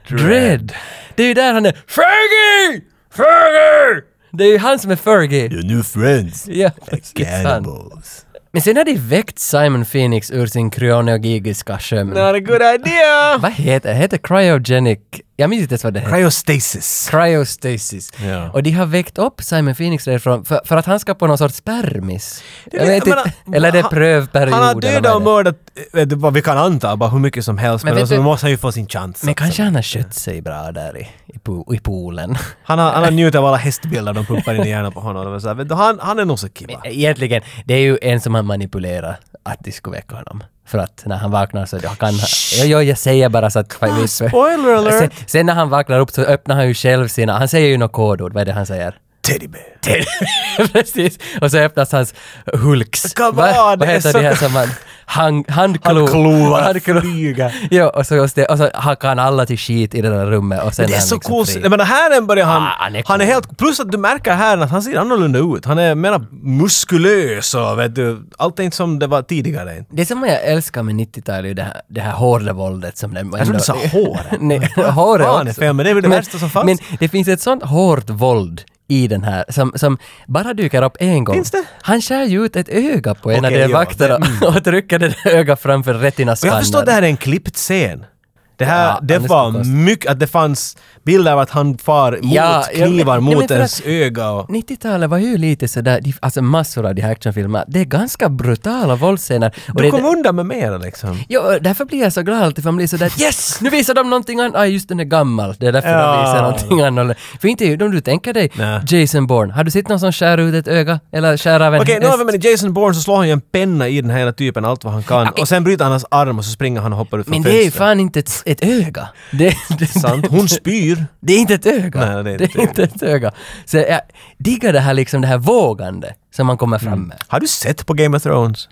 Speaker 2: Dredd! Det är ju där han är Fergie! Fergie! Det är ju han som är Fergie.
Speaker 1: Your new friends.
Speaker 2: Ja, det är sant. Men sen har de väckt Simon Phoenix ur sin kryoneogigiska sömn.
Speaker 1: Not a good idea!
Speaker 2: Vad heter det? Heter cryogenic? Jag minns inte ens vad det heter.
Speaker 1: Cryostasis.
Speaker 2: Cryostasis.
Speaker 1: Ja.
Speaker 2: Och de har väckt upp Simon Phoenix därifrån för, för att han ska på någon sorts spermis. Jag
Speaker 1: Jag
Speaker 2: vet
Speaker 1: menar,
Speaker 2: inte. Eller är det
Speaker 1: han-
Speaker 2: prövperiod.
Speaker 1: Han har
Speaker 2: eller vad
Speaker 1: dödat och
Speaker 2: är det?
Speaker 1: mördat, eh, vet du, vad vi kan anta, bara hur mycket som helst.
Speaker 2: Men
Speaker 1: Men,
Speaker 2: vet
Speaker 1: alltså,
Speaker 2: du-
Speaker 1: då måste han ju få sin chans.
Speaker 2: Men
Speaker 1: alltså.
Speaker 2: kanske han har skött sig bra där i, i, po- i poolen.
Speaker 1: Han har, han har njutit av alla hästbilder de pumpar in i hjärnan på honom. Det var så här, vet du, han, han är nog så kiva.
Speaker 2: Egentligen, det är ju en som har manipulerat att de skulle väcka honom. För att när han vaknar så kan han... Jo, jo, jag säger bara så att...
Speaker 1: spoiler alert!
Speaker 2: Sen, sen när han vaknar upp så öppnar han ju själv sina... Han säger ju något kodord, vad är det han säger?
Speaker 1: Teddybear.
Speaker 2: Precis. Och så öppnas hans hulks.
Speaker 1: Come
Speaker 2: Va-
Speaker 1: on,
Speaker 2: vad
Speaker 1: det är
Speaker 2: heter
Speaker 1: så-
Speaker 2: de här som man... Hand, handklo.
Speaker 1: Handklovar
Speaker 2: Handklo.
Speaker 1: flyga.
Speaker 2: Ja, och så, just det, och så hackar han alla till skit i det där rummet och sen
Speaker 1: Det är
Speaker 2: han
Speaker 1: så
Speaker 2: liksom
Speaker 1: coolt.
Speaker 2: fri.
Speaker 1: Jag menar, här börjar han...
Speaker 2: Ah,
Speaker 1: han,
Speaker 2: han
Speaker 1: är
Speaker 2: är cool.
Speaker 1: helt... Plus att du märker här att han ser annorlunda ut. Han är mera muskulös och vet du, allt är inte som det var tidigare.
Speaker 2: Det som jag älskar med 90-talet är ju det här, det här hårda våldet som den...
Speaker 1: Jag trodde du sa håret.
Speaker 2: Nej, håret
Speaker 1: fan är
Speaker 2: också.
Speaker 1: fel, men det är väl det värsta som fanns.
Speaker 2: Men det finns ett sånt hårt våld i den här som, som bara dyker upp en gång.
Speaker 1: Finns det?
Speaker 2: Han skär ju ut ett öga på en av
Speaker 1: Okej,
Speaker 2: de
Speaker 1: ja, mm.
Speaker 2: vakterna och trycker det där ögat framför
Speaker 1: Och jag förstår
Speaker 2: retinascannern.
Speaker 1: att det här är en klippt scen. Det här,
Speaker 2: Ja,
Speaker 1: det
Speaker 2: Anders
Speaker 1: var
Speaker 2: Kokost.
Speaker 1: mycket, att det fanns bilder av att han far mot
Speaker 2: Ja, ja,
Speaker 1: knivar
Speaker 2: men- nej, men
Speaker 1: mot
Speaker 2: för
Speaker 1: ens
Speaker 2: att-
Speaker 1: öga och...
Speaker 2: 90-talet var ju lite sådär, de- alltså massor av de här actionfilmerna, det är ganska brutala våldsscener. Och
Speaker 1: Du
Speaker 2: det-
Speaker 1: kom undan med mera liksom.
Speaker 2: Ja, därför blir jag så glad alltid, för man blir sådär yes! Nu visar de någonting annat. Ah, just den är gammal. Det är därför
Speaker 1: Ja.
Speaker 2: de visar någonting annat. För inte är ju de du tänker dig
Speaker 1: Nej.
Speaker 2: Jason Bourne. Har du sett någon som skär ut ett öga? Eller skär av en
Speaker 1: Okej, nu
Speaker 2: häst?
Speaker 1: har vi med Jason Bourne så slår han ju en penna i den här hela typen allt vad han kan
Speaker 2: Okej.
Speaker 1: och sen bryter han hans arm och så springer han och hoppar ut från
Speaker 2: Men det är ju
Speaker 1: fönstret.
Speaker 2: fan inte ett, ett öga. Det, det,
Speaker 1: Sant. Hon spyr.
Speaker 2: det är inte ett öga.
Speaker 1: Nej, det är inte
Speaker 2: inte ett öga. Så jag diggar det här liksom, det här vågande som man kommer fram med.
Speaker 1: Har du sett på Game of Thrones?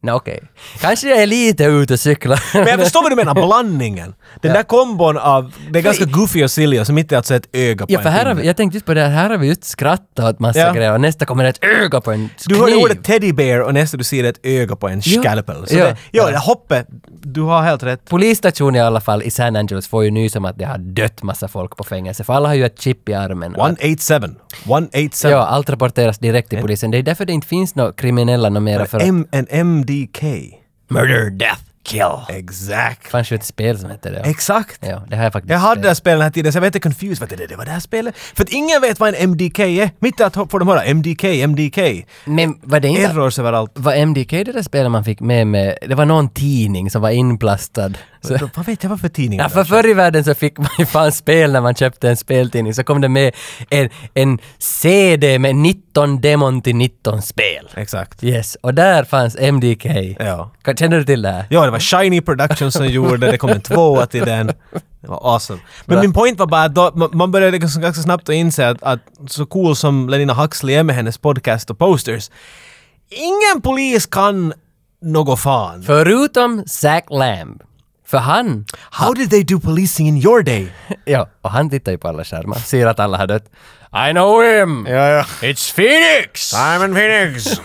Speaker 2: Nej, okej. Kanske jag är lite ute och cyklar.
Speaker 1: Men jag förstår vad du menar, blandningen. Den där kombon av, det är ganska goofy och silly och som inte är alltså ett öga på
Speaker 2: Ja, för
Speaker 1: en
Speaker 2: här har
Speaker 1: pinne.
Speaker 2: vi, jag tänkte just på det här, här har vi just skrattat åt massa
Speaker 1: Ja.
Speaker 2: grejer och nästa kommer ett öga på en
Speaker 1: Du hörde
Speaker 2: kniv.
Speaker 1: ordet teddy bear och nästa du ser ett öga på en
Speaker 2: Ja.
Speaker 1: scalpel. Så
Speaker 2: Ja.
Speaker 1: det, ja,
Speaker 2: Ja.
Speaker 1: det hoppet, du har helt rätt.
Speaker 2: Polisstationen i alla fall i San Angeles får ju nys om att det har dött massa folk på fängelse, för alla har ju ett chip i armen.
Speaker 1: 187. 187.
Speaker 2: Ja, allt rapporteras direkt till polisen. Det är därför det inte finns några kriminella några mera för att...
Speaker 1: M and MDK.
Speaker 2: Murder, death, kill.
Speaker 1: Exakt.
Speaker 2: fanns ju ett spel som hette det.
Speaker 1: Exakt.
Speaker 2: Ja, det här är faktiskt...
Speaker 1: Jag hade det här spelet den här tiden så jag var inte confused. Vad är det, det var det här spelet? För att ingen vet vad en MDK är. Mitt i allt får de höra MDK, MDK.
Speaker 2: Men var det inte...
Speaker 1: Errors överallt.
Speaker 2: Var MDK det där spelet man fick med med... Det var någon tidning som var inplastad. Så...
Speaker 1: Så, Vad vet jag vad för tidning
Speaker 2: Ja, för förr i världen så fick man ju fan spel när man köpte en speltidning. Så kom det med en, en CD med 19 demon till 19 spel.
Speaker 1: Exakt.
Speaker 2: Yes, och där fanns MDK.
Speaker 1: Ja.
Speaker 2: Kan- Känner du till det här?
Speaker 1: Ja, det var Shiny Productions som gjorde det. Det kom en tvåa till den. Det var awesome. Men
Speaker 2: Bra.
Speaker 1: min point var bara att då, man- man började liksom ganska, ganska snabbt att inse att, att så cool som Lenina Huxley är med hennes podcast och posters, ingen polis kan något fan.
Speaker 2: Förutom Zach Lamb. För han,
Speaker 1: How did they do policing in your day?
Speaker 2: ja, och han tittar ju på alla skärmar, ser att alla har dött. I know him! It's Phoenix!
Speaker 1: Simon Phoenix!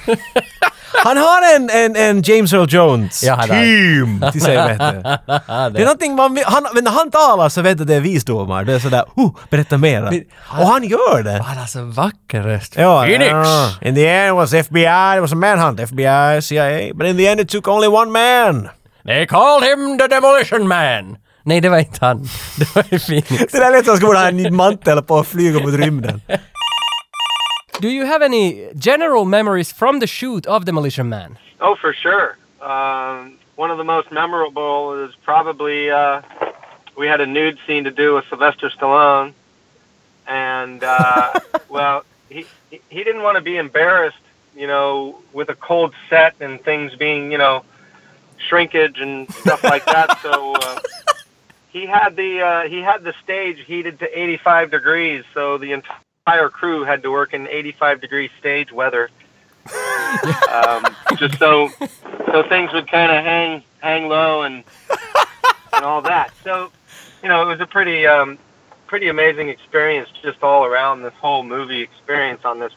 Speaker 1: han har en, en, en James Earl Jones
Speaker 2: Ja, han har.
Speaker 1: team till sig vet du. Det är någonting man vill- han, men när han talar så vet du det är visdomar. Det är sådär, oh, berätta mera. Och han gör det.
Speaker 2: Han har så vacker röst.
Speaker 1: Ja, ja. In the end it was FBI, it was a manhunt, FBI, CIA. But in the end it took only one man.
Speaker 2: They called him the demolition man! Nej, det var inte han. Det var ju Phoenix.
Speaker 1: Det där lät som att han skulle ha en mantel på och flyga mot rymden.
Speaker 2: Do you have any general memories from the shoot of Demolition Man?
Speaker 4: Oh, for sure. Um, one of the most memorable is probably uh, we had a nude scene to do with Sylvester Stallone, and uh, well, he he he didn't want to be embarrassed, you know, with a cold set and things being, you know, shrinkage and stuff like that. So uh, he had the uh, he had the stage heated to 85 degrees, so the entire crew had to work in 85 degree stage weather. um, just so so things would kind of hang hang low and and all that. So you know, it was a pretty um, pretty amazing experience just all around this whole movie experience on this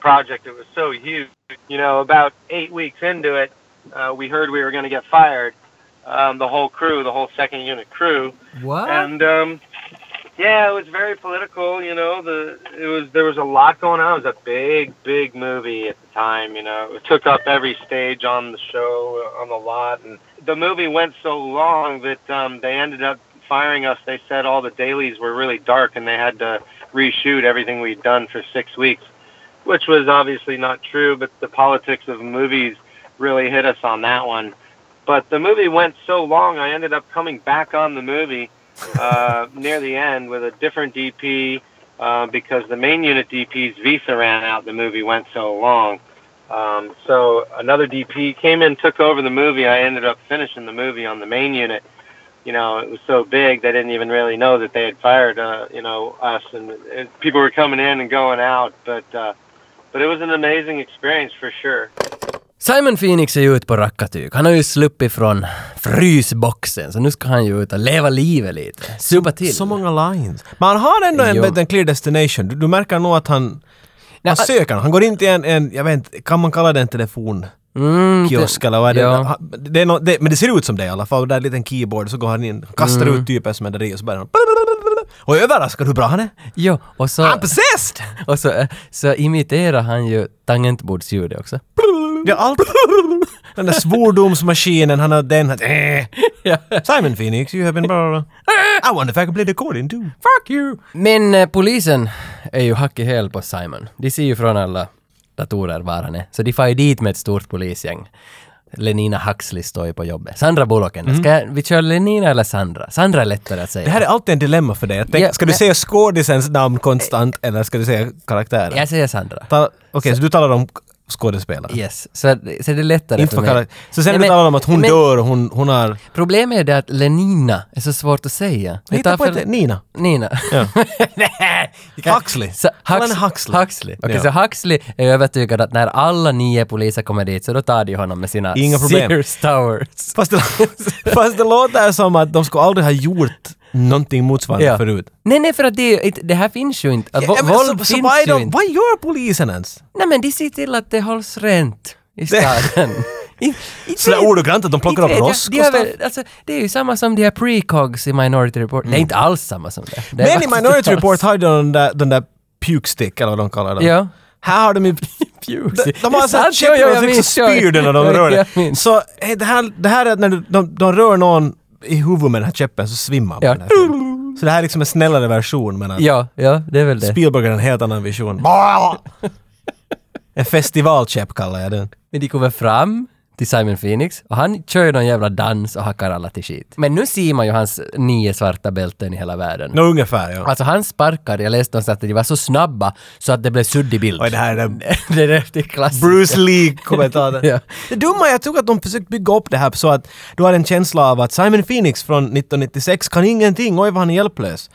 Speaker 4: project. It was so huge. You know, about eight weeks into it, uh, we heard we were going to get fired. Um, the whole crew, the whole second unit crew,
Speaker 2: What?
Speaker 4: and um, yeah, it was very political. You know, the it was there was a lot going on. It was a big, big movie at the time. You know, it took up every stage on the show, uh, on the lot, and the movie went so long that um, they ended up firing us. They said all the dailies were really dark, and they had to reshoot everything we'd done for six weeks, which was obviously not true. But the politics of movies really hit us on that one. But the movie went so long, I ended up coming back on the movie uh, near the end with a different DP uh, because the main unit DP's visa ran out. The movie went so long. Um, so another DP came in, took over the movie. I ended up finishing the movie on the main unit. You know, it was so big they didn't even really know that they had fired, uh, you know, us, and, and people were coming in and going out. But uh, but it was an amazing experience for sure.
Speaker 2: Simon Phoenix är ju ute på rackartyg. Han har ju sluppit från frysboxen, så nu ska han ju ut och leva livet lite. Supa till.
Speaker 1: Så många lines. Men han har ändå en,
Speaker 2: Jo.
Speaker 1: en clear destination. Du, du märker nog att han...
Speaker 2: Nej, ah,
Speaker 1: han
Speaker 2: a-
Speaker 1: söker. Han går in till en, en, jag vet inte, kan man kalla det en telefon? kiosk eller vad är det?
Speaker 2: Mm, ja.
Speaker 1: Ha- det, är nå- det? Men det ser ut som det i alla fall. Där är en liten keyboard så går han in, kastar
Speaker 2: Mm.
Speaker 1: ut typen som är där i och så börjar han... Och jag är överraskad hur bra han är.
Speaker 2: Jo, och så...
Speaker 1: I'm possessed!
Speaker 2: Och så, eh, så imiterar han ju tangentbordsljudet också.
Speaker 1: Det är allt... Den där svordomsmaskinen, han har den... Han, eh.
Speaker 2: Ja.
Speaker 1: Simon Phoenix, you have been... Blah, blah, blah. I wonder if I can play the accordion too.
Speaker 2: Fuck you! Men eh, polisen är ju hack i häl på Simon. De ser ju från alla datorer var han är. Så de far ju dit med ett stort polisgäng. Lenina Huxley står ju på jobbet. Sandra Bullock ändå. Ska jag, vi kör Lenina eller Sandra? Sandra är lättare att säga.
Speaker 1: Mm. Det här är alltid en dilemma för dig. Jag tänker,
Speaker 2: Ja,
Speaker 1: ska
Speaker 2: men-
Speaker 1: du säga skådisens namn konstant eller ska du säga karaktären?
Speaker 2: Jag säger Sandra.
Speaker 1: Ta- Okej, så du talar om skådespelare?
Speaker 2: Yes. Så, så det är lättare
Speaker 1: Inte för
Speaker 2: mig.
Speaker 1: karaktär. Så sen
Speaker 2: Nej,
Speaker 1: när du
Speaker 2: men-
Speaker 1: talar om att hon
Speaker 2: men
Speaker 1: dör och hon, hon har...
Speaker 2: Problemet är det att Lenina är så svårt att säga. Det
Speaker 1: Hitta
Speaker 2: tar
Speaker 1: på
Speaker 2: för-
Speaker 1: ett... Nina.
Speaker 2: Nina.
Speaker 1: Ja.
Speaker 2: Nej!
Speaker 1: Huxley.
Speaker 2: Så,
Speaker 1: Kalla
Speaker 2: Hux,
Speaker 1: henne
Speaker 2: Huxley.
Speaker 1: Huxley.
Speaker 2: Okej,
Speaker 1: Ja.
Speaker 2: så Huxley är övertygad att när alla nio poliser kommer dit så då tar de honom med sina
Speaker 1: Inga problem.
Speaker 2: Sears Towers.
Speaker 1: Fast det, fast det låter som att de skulle aldrig ha gjort någonting motsvarande
Speaker 2: Ja.
Speaker 1: förut.
Speaker 2: Nej, nej, för att det, är ju inte- det här finns ju inte. Att vo-
Speaker 1: Ja, men
Speaker 2: våld
Speaker 1: så, så
Speaker 2: finns
Speaker 1: vad, är
Speaker 2: ju
Speaker 1: de,
Speaker 2: inte.
Speaker 1: vad gör polisen ens?
Speaker 2: Nej, men de ser till att det hålls rent i staden. I- i-
Speaker 1: Sådär ordagrant att de plockar
Speaker 2: inte
Speaker 1: upp
Speaker 2: vet jag.
Speaker 1: rosk
Speaker 2: De
Speaker 1: och
Speaker 2: har väl-
Speaker 1: stuff?
Speaker 2: alltså, Det är ju samma som de här precogs i Minority Report. Det är inte alls samma som det. det
Speaker 1: Mm. Men
Speaker 2: är
Speaker 1: i
Speaker 2: faktiskt inte
Speaker 1: Minority
Speaker 2: alls.
Speaker 1: Report har ju de den där, den där puke stick eller vad de kallar den.
Speaker 2: Ja.
Speaker 1: Här har de ju...
Speaker 2: Pukes.
Speaker 1: De, de
Speaker 2: Det är
Speaker 1: har alltså sånt
Speaker 2: sant,
Speaker 1: chip
Speaker 2: jo, jo,
Speaker 1: och
Speaker 2: jag
Speaker 1: tryck så
Speaker 2: minns, jo,
Speaker 1: spyr den när de
Speaker 2: jo,
Speaker 1: rör
Speaker 2: jag
Speaker 1: det.
Speaker 2: minns.
Speaker 1: Så eh, det här, det här är att när du- de, de rör någon i huvudet med den här käppen så svimmar man.
Speaker 2: Ja.
Speaker 1: den här filmen. Så det här är liksom en snällare version men att
Speaker 2: Ja, ja, det är väl det.
Speaker 1: Spielberg har en helt annan vision. en festivalkäpp kallar jag den.
Speaker 2: Men de kommer fram till Simon Phoenix och han kör ju någon jävla dans och hackar alla till skit. Men nu ser man ju hans nio svarta bälten i hela världen.
Speaker 1: Nå ungefär ja.
Speaker 2: Alltså han sparkade, jag läste någonstans att de var så snabba så att det blev suddig bild.
Speaker 1: Oj, det här är den
Speaker 2: det är det är klassiskt.
Speaker 1: Bruce Lee-kommentaren.
Speaker 2: Ja.
Speaker 1: Det dumma jag tror att de försökt bygga upp det här så att du har en känsla av att Simon Phoenix från 1996 kan ingenting, oj vad han är hjälplös.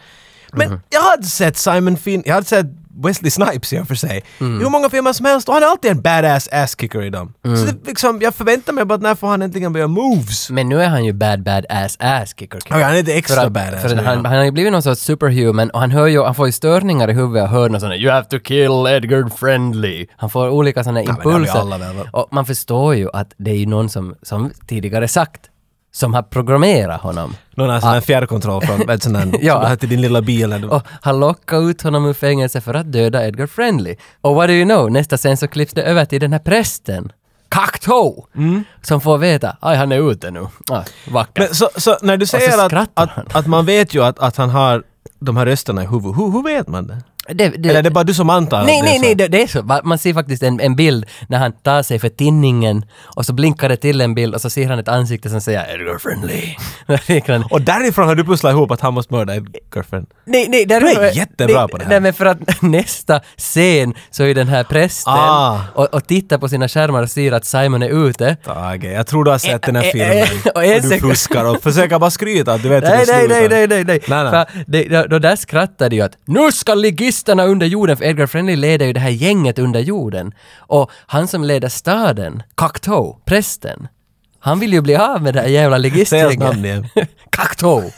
Speaker 1: Men
Speaker 2: Mhm.
Speaker 1: jag hade sett Simon Phoenix, jag hade sett Wesley Snipes i och för sig.
Speaker 2: Mm.
Speaker 1: I hur många filmer som helst och han är alltid en badass ass-kicker i dem.
Speaker 2: Mm.
Speaker 1: Så det, liksom, jag förväntar mig bara att när får han äntligen börja moves?
Speaker 2: Men nu är han ju bad bad ass ass kicker. kicker.
Speaker 1: Okej, han är inte
Speaker 2: Mm. För
Speaker 1: extra
Speaker 2: att,
Speaker 1: badass
Speaker 2: för att
Speaker 1: nu,
Speaker 2: han,
Speaker 1: ja.
Speaker 2: han har ju blivit någon sorts superhuman och han, hör ju, han får ju störningar i huvudet och hör något sånt här, “You have to kill Edgar Friendly”. Han får olika sådana
Speaker 1: men det har vi
Speaker 2: impulser.
Speaker 1: alla väl, va?
Speaker 2: och man förstår ju att det är ju någon som, som tidigare sagt, som har programmerat honom.
Speaker 1: Någon har sån här fjärrkontroll från, vet, sån här,
Speaker 2: Ja.
Speaker 1: som du har till din lilla bil. eller-
Speaker 2: Och han lockade ut honom ur fängelse för att döda Edgar Friendly. Och what do you know, nästa scen så klipps det över till den här prästen. Kakto! Som får veta, aj han är ute nu. Ah, vackert.
Speaker 1: Mm. Men så, så när du säger att,
Speaker 2: skrattar
Speaker 1: att,
Speaker 2: han.
Speaker 1: att man vet ju att, att han har de här rösterna i huvudet, hur, hur vet man det?
Speaker 2: Det, det,
Speaker 1: Eller är det bara du som antar
Speaker 2: Nej,
Speaker 1: att det
Speaker 2: nej,
Speaker 1: är
Speaker 2: nej,
Speaker 1: så?
Speaker 2: det, det är så. Va- Man ser faktiskt en, en bild när han tar sig för tinningen och så blinkar det till en bild och så ser han ett ansikte som säger “Edgar Friendly”. Liknande.
Speaker 1: Och därifrån har du pusslat ihop att han måste mörda girlfriend.
Speaker 2: Nej, nej, där
Speaker 1: Du är jättebra
Speaker 2: nej,
Speaker 1: på det här.
Speaker 2: Nej, men för att nästa scen så är den här prästen
Speaker 1: Ah.
Speaker 2: och, och tittar på sina skärmar och ser att Simon är ute.
Speaker 1: Tage, jag tror du har sett den här
Speaker 2: Eh, eh,
Speaker 1: filmen.
Speaker 2: eh, och
Speaker 1: och
Speaker 2: en
Speaker 1: du
Speaker 2: sekund-
Speaker 1: fuskar och försöker bara skryta att du vet hur
Speaker 2: Nej,
Speaker 1: det
Speaker 2: nej,
Speaker 1: slutar.
Speaker 2: nej, nej, nej, nej.
Speaker 1: Nej, nej.
Speaker 2: För det, då, då där skrattade ju att nu ska ligisterna under jorden, för Edgar Friendly leder ju det här gänget under jorden. Och han som leder staden, Cocteau, prästen, han vill ju bli av med det här jävla
Speaker 1: Säg hans namn
Speaker 2: ligistgänget.
Speaker 1: igen.
Speaker 2: Cocteau!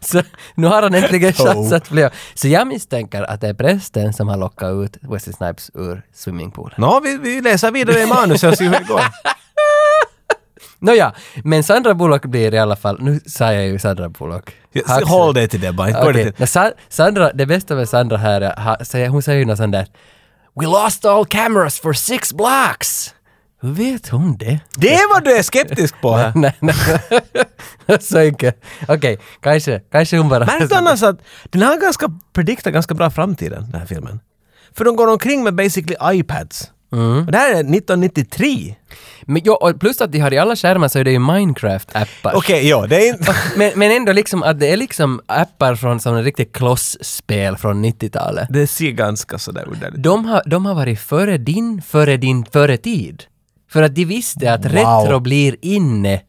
Speaker 2: Så nu har han äntligen
Speaker 1: Cocteau.
Speaker 2: chans att bli av. Så jag misstänker att det är prästen som har lockat ut Wesley Snipes ur swimmingpoolen.
Speaker 1: Nå, vi, vi läser vidare i manuset och ser hur det går.
Speaker 2: Nåja, men Sandra Bullock blir i alla fall, nu sa jag ju Sandra Bullock. Huxley.
Speaker 1: Håll dig till det bara. Gå
Speaker 2: Okej,
Speaker 1: till-
Speaker 2: men Sa- Sandra, det bästa med Sandra här är, ha, säger, hon säger ju något sånt där “We lost all cameras for six blocks”. Hur vet hon det?
Speaker 1: Det är vad du är skeptisk på här.
Speaker 2: Nej, nej. Så enkelt. Okej, kanske, kanske hon bara...
Speaker 1: Märkte annars att den här ganska prediktar ganska bra framtiden, den här filmen. För de går omkring med basically iPads. Och det här är 1993.
Speaker 2: Men, jo, och plus att de har i alla skärmar så är det ju Minecraft-appar.
Speaker 1: Okej, ja, det är inte...
Speaker 2: Men, men ändå liksom att det är liksom appar från som en riktigt kloss-spel från 90-talet.
Speaker 1: Det ser ganska sådär udda ut.
Speaker 2: De har, de har varit före din, före din, före tid. För att de visste att retro blir inne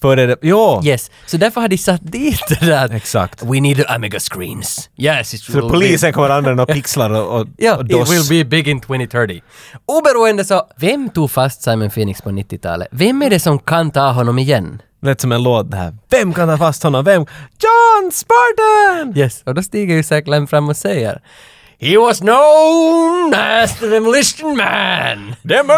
Speaker 1: Före det... Ja!
Speaker 2: Yes, så därför har de satt dit det där.
Speaker 1: Exakt.
Speaker 2: We need Amiga screens. Yes, it
Speaker 1: Så polisen kommer använda och pixlar och, och,
Speaker 2: Ja,
Speaker 1: och
Speaker 2: it
Speaker 1: DOS.
Speaker 2: will be big in 2030. Oberoende så, vem tog fast Simon Phoenix på 90-talet? Vem är det som kan ta honom igen?
Speaker 1: Lät som en låt det här. Vem kan ta fast honom? Vem? John Spartan!
Speaker 2: Yes. Och då stiger ju Zack Lamb fram och säger He was known as the demolition man!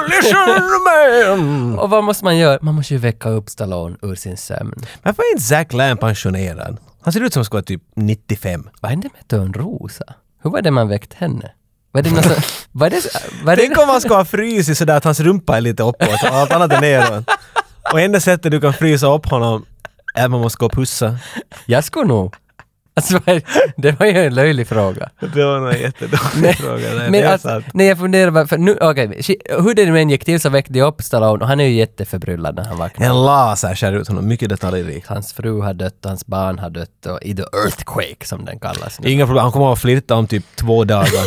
Speaker 1: Demolition Man!
Speaker 2: Och vad måste man göra? Man måste ju väcka upp Stallone ur sin sömn.
Speaker 1: Varför är inte Zack Lamb pensionerad? Han ser ut som han skulle vara typ 95.
Speaker 2: Vad hände med Törnrosa? Hur var det man väckte henne? Var det något som... Var det... Var det
Speaker 1: Tänk om han ska ha frysit sådär att hans rumpa är lite uppåt och allt annat är neråt. Och enda sättet du kan frysa upp honom är att man måste gå och pussa.
Speaker 2: Jag skulle nog... Alltså, vad- det var ju en löjlig fråga.
Speaker 1: Det var nog en jättedålig fråga. Nej, det
Speaker 2: Men
Speaker 1: är
Speaker 2: alltså,
Speaker 1: sant.
Speaker 2: nej, jag funderar bara, för nu, okej, shi- hur det nu än gick till så väckte jag upp Stallone och han är ju jätteförbryllad när han vaknar.
Speaker 1: En laser skär ut honom, mycket detaljrikt.
Speaker 2: Hans fru har dött och hans barn har dött och i the earthquake som den kallas nu.
Speaker 1: Inga problem, han kommer att flirta om typ två dagar.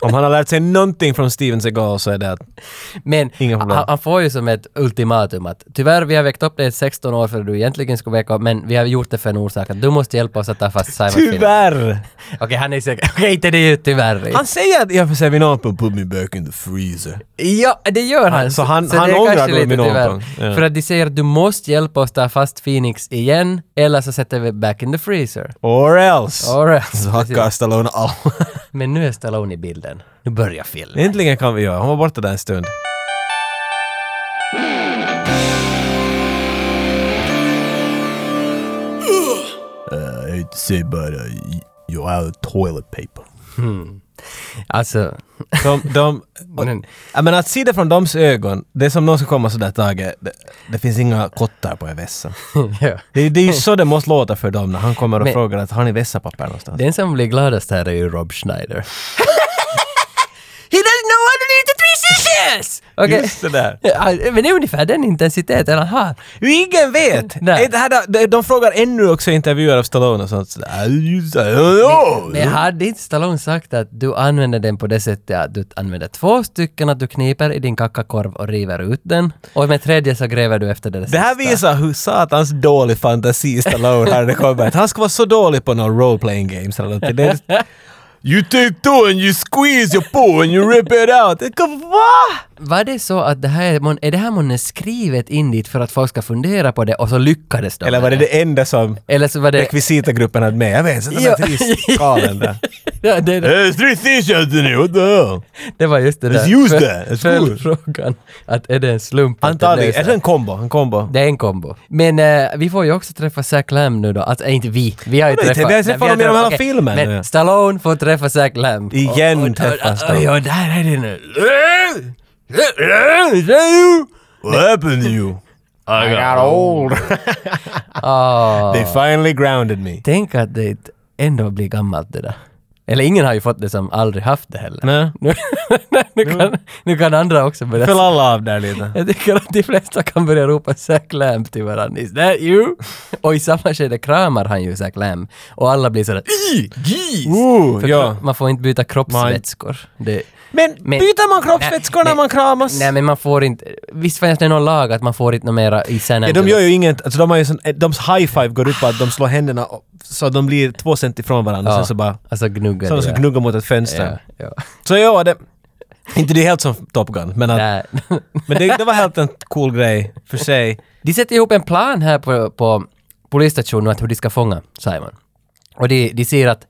Speaker 1: om han har lärt sig någonting från Steven Seagal så är det att
Speaker 2: Men
Speaker 1: Inga problem.
Speaker 2: han, han får ju som ett ultimatum att tyvärr vi har väckt upp dig 16 år för du egentligen skulle väcka upp men vi har gjort det för en orsak att du måste hjälpa oss att ta fast Simon Phoenix.
Speaker 1: tyvärr!
Speaker 2: Okej, han är säker. Okej, inte det är ju tyvärr.
Speaker 1: Han säger att jag får säga vid någon punkt “put me back in the freezer”.
Speaker 2: Ja, det gör han.
Speaker 1: Så han-
Speaker 2: det
Speaker 1: han
Speaker 2: är
Speaker 1: ångrar
Speaker 2: kanske
Speaker 1: dem i
Speaker 2: lite
Speaker 1: någon
Speaker 2: tyvärr.
Speaker 1: punkt. Ja.
Speaker 2: För att de säger att du måste hjälpa oss ta fast Phoenix igen, eller så sätter vi back in the freezer.
Speaker 1: Or else!
Speaker 2: All right.
Speaker 1: Så hackar Stallone alla.
Speaker 2: Men nu är Stallone i bilden. Nu börjar filmen.
Speaker 1: Äntligen kan vi göra, han var borta där en stund.
Speaker 5: I hate to say, but uh, y- you're out of toilet paper.
Speaker 2: Alltså,
Speaker 1: De, de,
Speaker 2: men,
Speaker 1: Ja, men att se det från dems ögon, det är som någon ska komma sådär Tage, det, det finns inga kottar på er vässa.
Speaker 2: ja.
Speaker 1: Det, det är ju så det måste låta för dem när han kommer och
Speaker 2: Men-
Speaker 1: frågar att har ni vässapapper någonstans?
Speaker 2: den som blir gladast här är ju Rob Schneider.
Speaker 6: He doesn't know how to leave the three sisters!
Speaker 2: Okej.
Speaker 1: Just det där.
Speaker 2: Ja, Men det är ungefär den intensiteten han har.
Speaker 1: Ingen vet!
Speaker 2: Nej.
Speaker 1: Är det här, då- de, de frågar ännu också i intervjuer av Stallone och sånt sådär. "I just- I don't know."
Speaker 2: Men hade inte Stallone sagt att du använder den på det sättet att du använder två stycken, att du kniper i din kackakorv och river ut den och med tredje så gräver du efter det,
Speaker 1: Det här
Speaker 2: sista.
Speaker 1: visar hur satans dålig fantasi Stallone har när det kommer. Att Han ska vara så dålig på någon role-playing games eller någonting. Det är- You take two and you squeeze your paw and you rip it out. Det kan- Va?
Speaker 2: Var det så att det här, är mon- är det här månne skrivet in dit för att folk ska fundera på det och så lyckades de?
Speaker 1: Eller var det
Speaker 2: med
Speaker 1: det enda som
Speaker 2: Eller så var det...
Speaker 1: rekvisitagruppen hade med. Jag vet, sätta
Speaker 2: Ja.
Speaker 1: med tristgalen där. Eh,
Speaker 2: Ja, det,
Speaker 5: There's three seashells in here. What the hell?
Speaker 2: det var just det där.
Speaker 5: Let's use
Speaker 2: Föl-
Speaker 5: that. It's
Speaker 2: Följdfrågan, att är det en slump? att det blev
Speaker 1: Antagligen.
Speaker 2: så
Speaker 1: Är
Speaker 2: här?
Speaker 1: det en kombo? En kombo?
Speaker 2: Det är en kombo. Men eh, vi får ju också träffa Zack Lamb nu då. Alltså eh, inte vi. Vi har ju
Speaker 1: Vadå inte?
Speaker 2: träffat...
Speaker 1: Vi har ju träffat
Speaker 2: Nej,
Speaker 1: honom genom hela
Speaker 2: okej.
Speaker 1: filmen.
Speaker 2: Men
Speaker 1: Ja.
Speaker 2: Stallone får träffa Zack Lamb.
Speaker 1: Igen
Speaker 2: och, och,
Speaker 1: träffas
Speaker 2: och, och,
Speaker 1: de.
Speaker 2: och, där är det nu.
Speaker 5: What happened to you?
Speaker 1: I got old.
Speaker 2: Ah,
Speaker 1: They finally grounded me.
Speaker 2: Tänk att det ändå blir gammalt det där. Eller ingen har ju fått det som aldrig haft det heller.
Speaker 1: Nej. Mm.
Speaker 2: Nu, nu, kan, nu kan andra också börja...
Speaker 1: Föll alla av där lite.
Speaker 2: Jag tycker att de flesta kan börja ropa Zack Lamb till varandra. Is that you? Och i samma skede kramar han ju Zack Lamb. Och alla blir sådär "Ih, Jeez!
Speaker 1: Ooh,
Speaker 2: För
Speaker 1: ja.
Speaker 2: Man får inte byta kroppsvätskor. Det,
Speaker 1: Men,
Speaker 2: Men-
Speaker 1: byter man kroppsvätskor
Speaker 2: Nej,
Speaker 1: när
Speaker 2: nej.
Speaker 1: man kramas?
Speaker 2: nej men man får inte... Visst fanns det någon lag att man får inte något mera i San
Speaker 1: Ja,
Speaker 2: Angeles?
Speaker 1: de gör ju inget, alltså de har ju sån, de high five går ut på att de slår händerna upp, så de blir två cent ifrån varandra
Speaker 2: Ja,
Speaker 1: sen så bara,
Speaker 2: Alltså gnuggar
Speaker 1: så de
Speaker 2: det,
Speaker 1: ska
Speaker 2: ja.
Speaker 1: gnugga mot ett fönster.
Speaker 2: Ja, ja.
Speaker 1: Så ja, det, inte det är helt som Top Gun, men, att,
Speaker 2: Nej.
Speaker 1: men det, det var helt en cool grej för sig.
Speaker 2: De sätter ihop en plan här på, på polisstationen att hur de ska fånga Simon. Och de, de ser att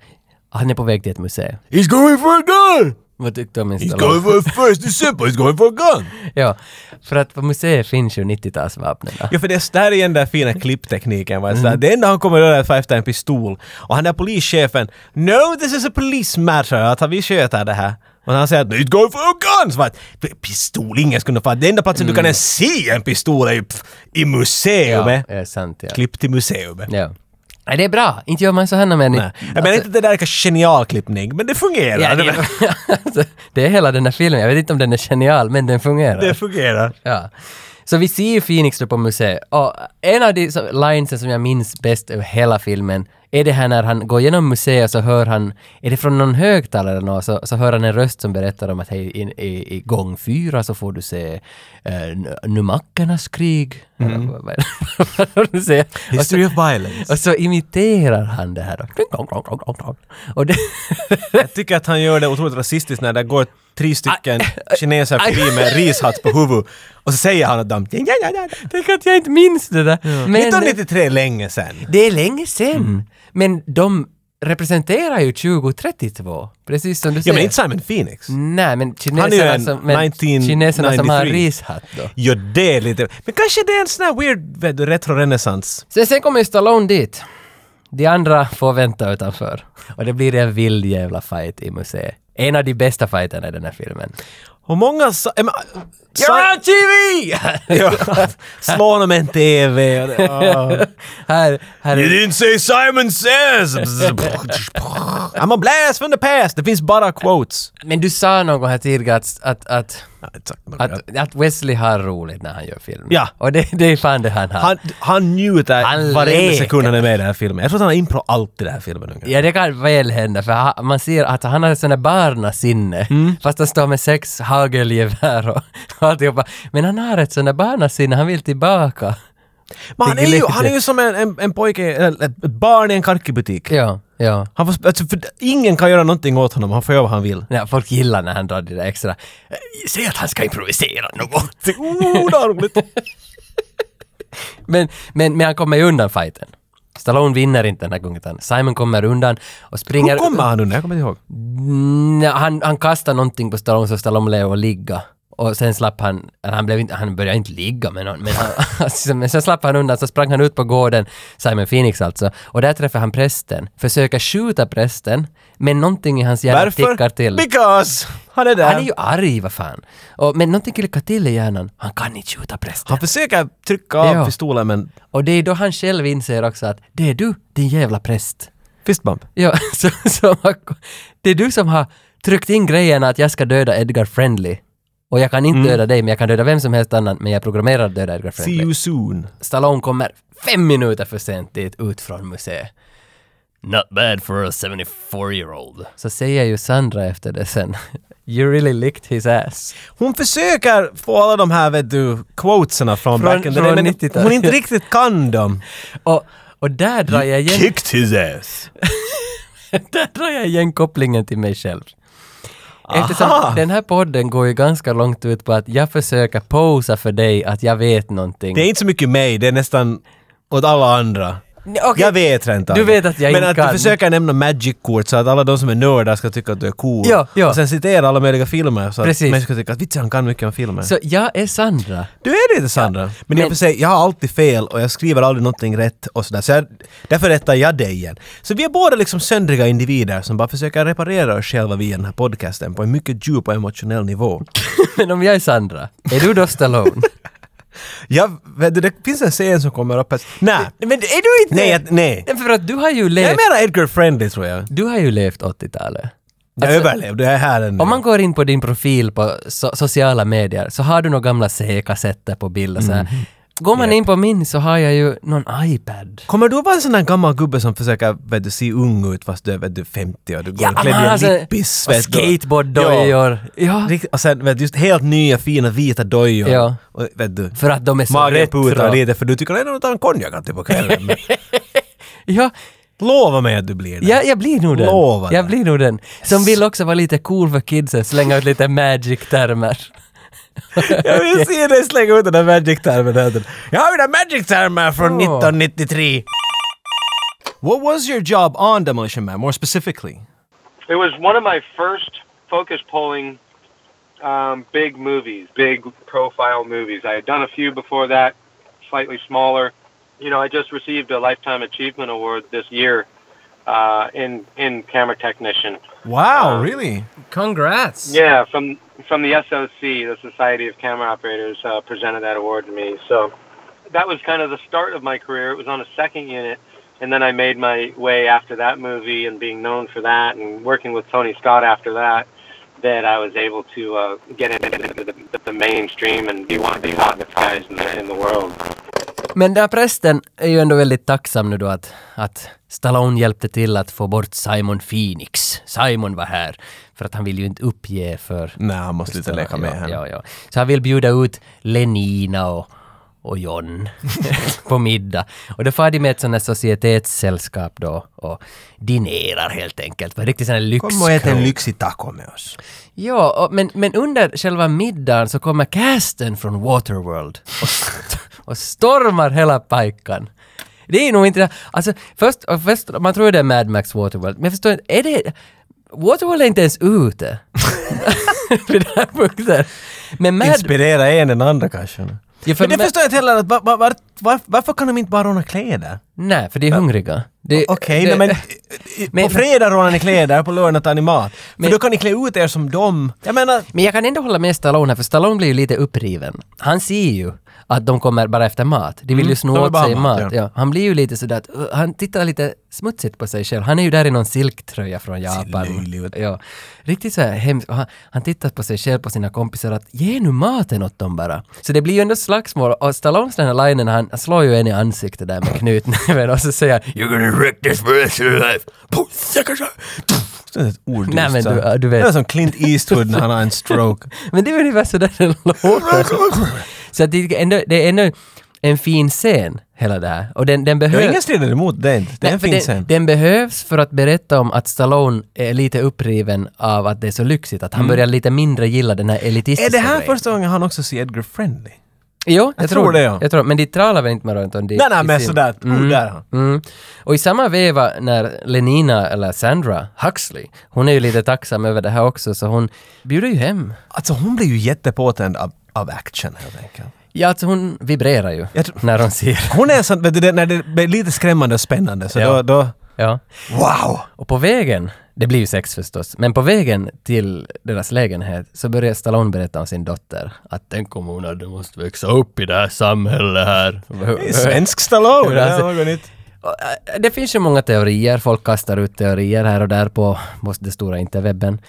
Speaker 2: han är på väg till ett museum.
Speaker 5: He's going for a gun!
Speaker 2: Vad tyckte du om
Speaker 5: He's going
Speaker 2: installationen?
Speaker 5: for a first December, he's going for a gun!
Speaker 2: Ja, för att på museet finns ju 90-talsvapnen.
Speaker 1: Ja, för det, det här är igen den där fina klipptekniken. Va? Mm. Det enda han kommer att göra är att fäkta en pistol. Och han där polischefen, “No, this is a police matter”, att han, vi sköter det här. Och han säger att “It's going for a gun”. Så bara, pistol, ingen skulle få. Det enda platsen du kan ens se en pistol är ju pff, i
Speaker 2: Ja,
Speaker 1: museet.
Speaker 2: det är sant ja.
Speaker 1: Klipp till museet.
Speaker 2: ja. Nej, det är bra. Inte gör man så här när man...
Speaker 1: Nej. Jag menar inte att det där är kanske genial klippning, men det fungerar.
Speaker 2: Ja,
Speaker 1: Alltså- det,
Speaker 2: det, alltså, det är hela den här filmen. Jag vet inte om den är genial, men den fungerar.
Speaker 1: det fungerar.
Speaker 2: Ja. Så vi ser Phoenix då på museet och en av de som- linesen som jag minns bäst över hela filmen är det här när han går genom museet så hör han, är det från någon högtalare eller något, så, så hör han en röst som berättar om att hej, i, i, i gång fyra så får du se eh, n- numackernas krig. Eller vad- vad- vad har du säger? Och så-
Speaker 1: Mm. History of violence.
Speaker 2: Och så imiterar han det här då. Kling, klong, klong, klong, klong, klong. Och det,
Speaker 1: Jag tycker att han gör det otroligt rasistiskt när det går tre stycken kineser
Speaker 2: aj.
Speaker 1: förbi med rishatt på huvudet och så säger han att de...
Speaker 2: tänk att jag inte minns det där. Men-
Speaker 1: 1993 länge sen.
Speaker 2: Det är länge sen.
Speaker 1: Mm.
Speaker 2: Men de representerar ju 2032, precis som du
Speaker 1: Ja
Speaker 2: säger.
Speaker 1: men inte Simon Phoenix.
Speaker 2: Nej, men
Speaker 1: Han är ju
Speaker 2: kineserna,
Speaker 1: en
Speaker 2: som, men kineserna som har
Speaker 1: 1993.
Speaker 2: rishatt då.
Speaker 1: Jo det är lite... Men kanske det är en sån här weird vet du, retro-renässans.
Speaker 2: Sen, sen kommer ju Stallone dit. De andra får vänta utanför. Och det blir en vild jävla fight i museet. En av de bästa fighterna i den här filmen.
Speaker 1: Och många sa... Äh, men,
Speaker 2: You're
Speaker 1: sa
Speaker 2: on TV!
Speaker 1: ja, slå honom en TV. och det- ah.
Speaker 2: här, här
Speaker 5: You
Speaker 2: är...
Speaker 5: didn't say Simon says!
Speaker 1: I'm a blast from the past. Det finns bara quotes.
Speaker 2: Men du sa någon gång här tidigare att, att, att,
Speaker 1: Att,
Speaker 2: att, att Wesley har roligt när han gör film.
Speaker 1: Ja.
Speaker 2: Och det, det är fan det han har.
Speaker 1: han, han njuter
Speaker 2: Han
Speaker 1: varenda
Speaker 2: leker.
Speaker 1: sekund han är med i den här filmen. Jag tror att han har impro allt i den här filmen. ungefär.
Speaker 2: Ja, det kan väl hända, för ha- man ser att han har sådana barnasinne.
Speaker 1: Mm.
Speaker 2: Fast han står med sex hagelgevär och, och alltihopa. Men han har ett sådant barnasinne, han vill tillbaka.
Speaker 1: Men han
Speaker 2: Det
Speaker 1: är
Speaker 2: är
Speaker 1: ju,
Speaker 2: lite-
Speaker 1: han är ju som en, en, en pojke, eller ett barn i en karkibutik.
Speaker 2: Ja, ja.
Speaker 1: Han får, alltså, för ingen kan göra någonting åt honom, han får göra vad han vill.
Speaker 2: Nej, folk gillar när han drar det där extra. "Eh, Säg att han ska improvisera något.
Speaker 1: Oh, det var roligt!
Speaker 2: Men, men, men han kommer ju undan fighten. Stallone vinner inte den här gången. utan Simon kommer undan och springer...
Speaker 1: Hur kommer han undan? Jag kommer inte ihåg.
Speaker 2: Mm, han, han kastade någonting på Stallone så Stallone blev att ligga. Och sen slapp han, eller han, blev inte, han började inte ligga med någon, men, han, alltså, men sen slapp han undan, så sprang han ut på gården, Simon Phoenix alltså, och där träffar han prästen, försöker skjuta prästen, men någonting i hans hjärna tickar till.
Speaker 1: Because! Han är där.
Speaker 2: Han är ju arg, vad fan. Och, men någonting klickar till i hjärnan, han kan inte skjuta prästen.
Speaker 1: han försöker trycka av
Speaker 2: Ja.
Speaker 1: pistolen men...
Speaker 2: Och det är då han själv inser också att det är du, din jävla präst.
Speaker 1: Fistbump.
Speaker 2: Ja, så, så, det är du som har tryckt in grejen att jag ska döda Edgar Friendly. Och jag kan inte döda dig, men jag kan döda vem som helst annan, men jag programmerar att döda Edgar
Speaker 1: See
Speaker 2: Friendly.
Speaker 1: you soon.
Speaker 2: Stallone kommer fem minuter för sent dit ut från museet. Not bad for a 74-year-old. Så säger ju Sandra efter det sen. You really licked his ass.
Speaker 1: Hon försöker få alla de här vet du, quotesarna från,
Speaker 2: Från-
Speaker 1: back in the day,
Speaker 2: från
Speaker 1: men
Speaker 2: 90-talet.
Speaker 1: hon inte riktigt kan dem.
Speaker 2: Och, och där drar jag igen...
Speaker 5: Kicked his ass.
Speaker 2: Där drar jag igen kopplingen till mig själv. Eftersom
Speaker 1: Aha.
Speaker 2: den här podden går ju ganska långt ut på att jag försöker posa för dig att jag vet någonting.
Speaker 1: Det är inte så mycket mig, det är nästan åt alla andra.
Speaker 2: Nej, okej.
Speaker 1: Jag vet rent
Speaker 2: Du vet att jag
Speaker 1: Men
Speaker 2: inte
Speaker 1: att
Speaker 2: kan.
Speaker 1: du försöker nämna Magic-kort så att alla de som är nördar ska tycka att du är cool.
Speaker 2: Ja, ja.
Speaker 1: Och sen citera alla möjliga filmer så att
Speaker 2: Precis.
Speaker 1: människor ska tycka att vitsen han kan mycket om filmer.
Speaker 2: Så jag är Sandra.
Speaker 1: Du är lite Sandra. Men, jag
Speaker 2: men-
Speaker 1: får säga, jag har alltid fel och jag skriver aldrig någonting rätt och sådär. Så jag, därför rättar jag dig igen. Så vi är båda liksom söndriga individer som bara försöker reparera oss själva via den här podcasten på en mycket djup och emotionell nivå.
Speaker 2: Men om jag är Sandra, är du då Stallone?
Speaker 1: Jag, vet du, det finns en scen som kommer upp att... Nej!
Speaker 2: Men är du inte...
Speaker 1: Nej, jag, nej.
Speaker 2: För att du har ju
Speaker 1: Jag
Speaker 2: levt...
Speaker 1: är mera Edgar Friendly tror jag.
Speaker 2: Du har ju levt 80-talet.
Speaker 1: Jag
Speaker 2: Alltså,
Speaker 1: överlevde, jag är här ännu.
Speaker 2: Om man går in på din profil på so- sociala medier så har du några gamla C-kassetter på bild och så
Speaker 1: Mm.
Speaker 2: här. Går man in på min så har jag ju någon iPad.
Speaker 1: Kommer du att vara en sån där gammal gubbe som försöker vet du, se ung ut fast du är vet du, 50 och du går klädd i en
Speaker 2: alltså,
Speaker 1: lippis?
Speaker 2: och
Speaker 1: vet du. Ja.
Speaker 2: skateboarddojor. Ja.
Speaker 1: Rikt- Och sen vet du, just helt nya fina vita dojor.
Speaker 2: Ja.
Speaker 1: Och, vet du,
Speaker 2: För att de är så
Speaker 1: magen putar
Speaker 2: retro.
Speaker 1: lite för du tycker ändå att du tar en konjak alltid på kvällen. Men
Speaker 2: Ja,
Speaker 1: Lova mig att du blir det.
Speaker 2: ja, jag blir nog den.
Speaker 1: Lova
Speaker 2: Jag
Speaker 1: det.
Speaker 2: blir nog den. Som vill också vara lite cool för kidsen, slänga ut lite magic-termer.
Speaker 1: Jag vill se dig slänga ut den där magic-termen. här. Jag har ju den magic-termen från 1993. What was your job on Demolition Man, more specifically?
Speaker 4: It was one of my first focus polling um, big movies, big profile movies. I had done a few before that, slightly smaller. You know, I just received a Lifetime Achievement Award this year uh, in in camera technician.
Speaker 1: Wow, really?
Speaker 2: Congrats!
Speaker 4: Yeah, from from the SOC, the Society of Camera Operators, uh, presented that award to me. So that was kind of the start of my career. It was on a second unit, and then I made my way after that movie and being known for that, and working with Tony Scott after that. That I was able to uh, get into the, the, the mainstream and be one of the advertised in the, in the world.
Speaker 2: Men den här prästen är ju ändå väldigt tacksam nu då att, att Stallone hjälpte till att få bort Simon Phoenix. Simon var här. För att han vill ju inte uppge för...
Speaker 1: Nej, han måste lite leka med
Speaker 2: ja,
Speaker 1: henne.
Speaker 2: Ja, ja. Så han vill bjuda ut Lenina och, och John på middag. Och då far de med ett sånt här societetssällskap då och dinerar helt enkelt. På en riktig sån här lyxkrog.
Speaker 1: Kom och ät en lyxig taco med oss.
Speaker 2: Ja, och, men, men under själva middagen så kommer casten från Waterworld och, st- och stormar hela pajkan. Det är nog inte... Alltså, först, och först, man tror ju det är Mad Max Waterworld, men jag förstår inte, är det... Waterworld är inte ens ute. Vid den här punkten. Men Mad...
Speaker 1: Inspirera en den andra kanske.
Speaker 2: Ja, för
Speaker 1: Men det
Speaker 2: Ma-
Speaker 1: förstår jag inte heller, att va- va- var, var, varför kan de inte bara råna kläder?
Speaker 2: Nej, för de är hungriga. Det-
Speaker 1: Okej,
Speaker 2: det-
Speaker 1: nej, men, eh,
Speaker 2: men-
Speaker 1: på fredag rånar ni kläder, på lördag tar ni mat. För
Speaker 2: Men-
Speaker 1: då kan ni klä ut er som dem. Jag menar,
Speaker 2: Men jag kan ändå hålla med Stallone här, för Stallone blir ju lite uppriven. Han ser ju att de kommer bara efter mat. De vill ju
Speaker 1: Mm. de
Speaker 2: sno
Speaker 1: vill
Speaker 2: åt
Speaker 1: bara ha
Speaker 2: sig
Speaker 1: mat,
Speaker 2: mat.
Speaker 1: ja.
Speaker 2: ja. Han blir ju lite sådär att, uh, han tittar lite smutsigt på sig själv. Han är ju där i någon silktröja från Japan.
Speaker 1: löjlig ut.
Speaker 2: Ja. Riktigt så här hemskt. Och Han, han tittar på sig själv, på sina kompisar att ge nu maten åt dem bara. Så det blir ju ändå slagsmål och Stallones den här linen, han slår ju en i ansiktet där med knutnäven och så säger han “You're gonna wreck this for the rest of your life”. Puh, säkert så.
Speaker 1: det är ett ord
Speaker 2: Nej, men
Speaker 1: sa.
Speaker 2: du- ja, du vet.
Speaker 1: Det är som Clint Eastwood när han har en stroke.
Speaker 2: Men det är ungefär sådär det låter. Så att det, är ändå, det är ändå en fin scen, hela det här. Och den, den
Speaker 1: Jag har
Speaker 2: behövs...
Speaker 1: ingen strider emot det inte. Det är en fin
Speaker 2: den,
Speaker 1: scen.
Speaker 2: den behövs för att berätta om att Stallone är lite uppriven av att det är så lyxigt, att han börjar lite mindre gilla den här
Speaker 1: Mm.
Speaker 2: elitistiska
Speaker 1: Är det här
Speaker 2: grejen.
Speaker 1: första gången han också ser Edgar Friendly?
Speaker 2: Jo, jag,
Speaker 1: tror det, ja.
Speaker 2: Jag tror, men de tralar väl inte med runt om det
Speaker 1: Nej, nej,
Speaker 2: i
Speaker 1: men
Speaker 2: sin-
Speaker 1: sådär. Oh, där är han.
Speaker 2: Mm. Och i samma veva när Lenina, eller Sandra Huxley, hon är ju lite tacksam över det här också, så hon bjuder ju hem.
Speaker 1: Alltså hon blir ju jättepåtänd av, av action helt enkelt.
Speaker 2: Ja, alltså hon vibrerar ju
Speaker 1: Jag tror-
Speaker 2: när hon ser.
Speaker 1: Hon är en sån, vet du, det- när det blir lite skrämmande och spännande så då,
Speaker 2: Ja.
Speaker 1: då...
Speaker 2: Ja.
Speaker 1: Wow!
Speaker 2: Och på vägen, det blir ju sex förstås, men på vägen till deras lägenhet så börjar Stallone berätta om sin dotter. Att tänk om hon hade måste växa upp i det här samhället här.
Speaker 1: Det är svensk Stallone!
Speaker 2: Hur
Speaker 1: Det
Speaker 2: han
Speaker 1: är
Speaker 2: ser-
Speaker 1: något nytt.
Speaker 2: Och, äh, Det finns ju många teorier, folk kastar ut teorier här och där på på det stora interwebben.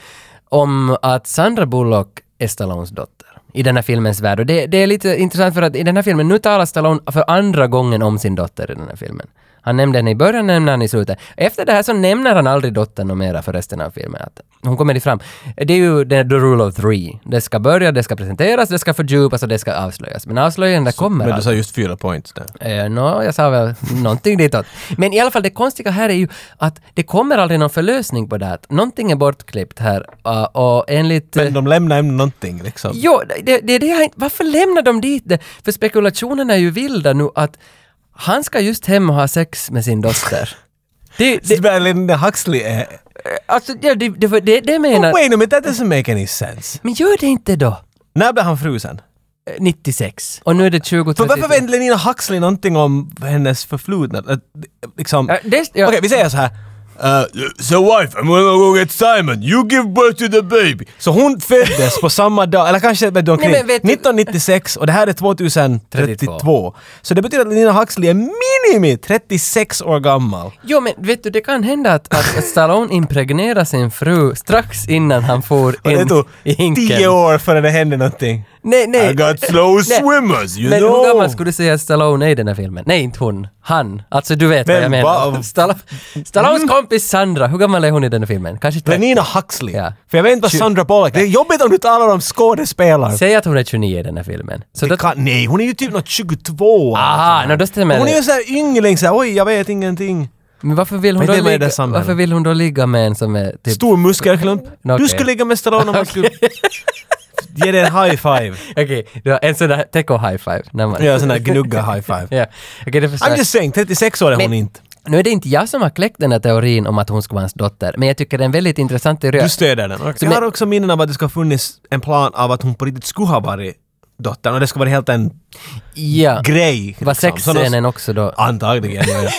Speaker 2: Om att Sandra Bullock är Stallones dotter i den här filmens värld. Och det, det är lite intressant för att i den här filmen, nu talar Stallone för andra gången om sin dotter i den här filmen. Han nämnde henne i början, nämnde han i slutet. Efter det här så nämner han aldrig dottern och mera för resten av filmen. Att hon kommer fram. Det är ju the, the rule of three. Det ska börja, det ska presenteras, det ska fördjupas och det ska avslöjas. Men avslöjanden kommer
Speaker 1: Men
Speaker 2: aldrig.
Speaker 1: du sa just fyra points där.
Speaker 2: Eh, Nå, jag sa väl någonting ditåt. Men i alla fall det konstiga här är ju att det kommer aldrig någon förlösning på det här. Någonting är bortklippt här eh, och enligt... eh,
Speaker 1: Men de lämnar ändå någonting liksom.
Speaker 2: Jo, det, det, det, jag inte- varför lämnar de dit det? För spekulationerna är ju vilda nu att han ska just hem och ha sex med sin dotter. Det, det,
Speaker 1: Det, Linda Huxley är...
Speaker 2: alltså, det, det, det, det, det menar...
Speaker 1: Wait a minute, that doesn't make any sense.
Speaker 2: Men gör det inte då!
Speaker 1: När blev han frusen?
Speaker 2: Eh, 96. Och nu är det 20...
Speaker 1: För varför vet Lenina Huxley någonting om hennes förflutna? Att, Liksom...
Speaker 2: Ja, det- ja.
Speaker 1: Okej, vi säger så här.
Speaker 5: Uh, so wife, I'm gonna go get Simon. You give birth to the baby.
Speaker 1: Så hon föddes på samma dag, eller kanske vet du, omkring,
Speaker 2: Nej, men vet du-
Speaker 1: 1996 och det här är 2032. Så det betyder att Lina Huxley är minimi 36 år gammal.
Speaker 2: Jo men vet du, det kan hända att, att Stallone impregnerar sin fru strax innan han får
Speaker 1: Och det
Speaker 2: in
Speaker 1: tog
Speaker 2: i hinken.
Speaker 1: 10 år före det hände någonting.
Speaker 2: Nej, nej.
Speaker 5: I got slow
Speaker 2: Nej.
Speaker 5: swimmers, you
Speaker 2: Men
Speaker 5: know.
Speaker 2: hur gammal skulle du säga att Stallone är i den här filmen? Nej, inte hon. Han. Alltså du vet vad
Speaker 1: Men
Speaker 2: jag menar.
Speaker 1: vad-
Speaker 2: Stall- Stallones
Speaker 1: Mm.
Speaker 2: kompis Sandra, hur gammal är hon i den här filmen? Kanske 30?
Speaker 1: Lenina Huxley.
Speaker 2: Ja.
Speaker 1: För jag vet inte vad Sandra Bullock är. Det är jobbigt om du talar om skådespelare.
Speaker 2: Säg att hon är 29 i den här filmen. Så
Speaker 1: Det
Speaker 2: då...
Speaker 1: kan, nej, hon är ju typ något 22.
Speaker 2: Aha, no, då stämmer
Speaker 1: hon är ju
Speaker 2: det.
Speaker 1: såhär yngling såhär, oj jag vet ingenting.
Speaker 2: Men varför vill hon,
Speaker 1: Men
Speaker 2: då
Speaker 1: det var i
Speaker 2: ligga,
Speaker 1: det samhället.
Speaker 2: varför vill hon då ligga med en som är typ...
Speaker 1: Stor muskelklump.
Speaker 2: Okej.
Speaker 1: Du skulle ligga med Stallone om han skulle ge dig en high five.
Speaker 2: Okej, du har en sån där teko high five. När man...
Speaker 1: Ja, en sån där gnugga high five.
Speaker 2: Ja. Okej, det förstår
Speaker 1: I'm
Speaker 2: jag.
Speaker 1: just saying, 36 år är hon
Speaker 2: Men-
Speaker 1: inte.
Speaker 2: Nu är det inte jag som har kläckt den här teorin om att hon skulle vara hans dotter, men jag tycker det är en väldigt intressant teori.
Speaker 1: Du stöder den.
Speaker 2: Så
Speaker 1: Jag
Speaker 2: men-
Speaker 1: har också minnen av att det ska ha funnits en plan av att hon på riktigt skulle ha varit dottern och det ska vara helt en
Speaker 2: ja.
Speaker 1: grej.
Speaker 2: Var
Speaker 1: liksom. Sådana-
Speaker 2: sexscenen också då?
Speaker 1: Antagligen, ja. ja.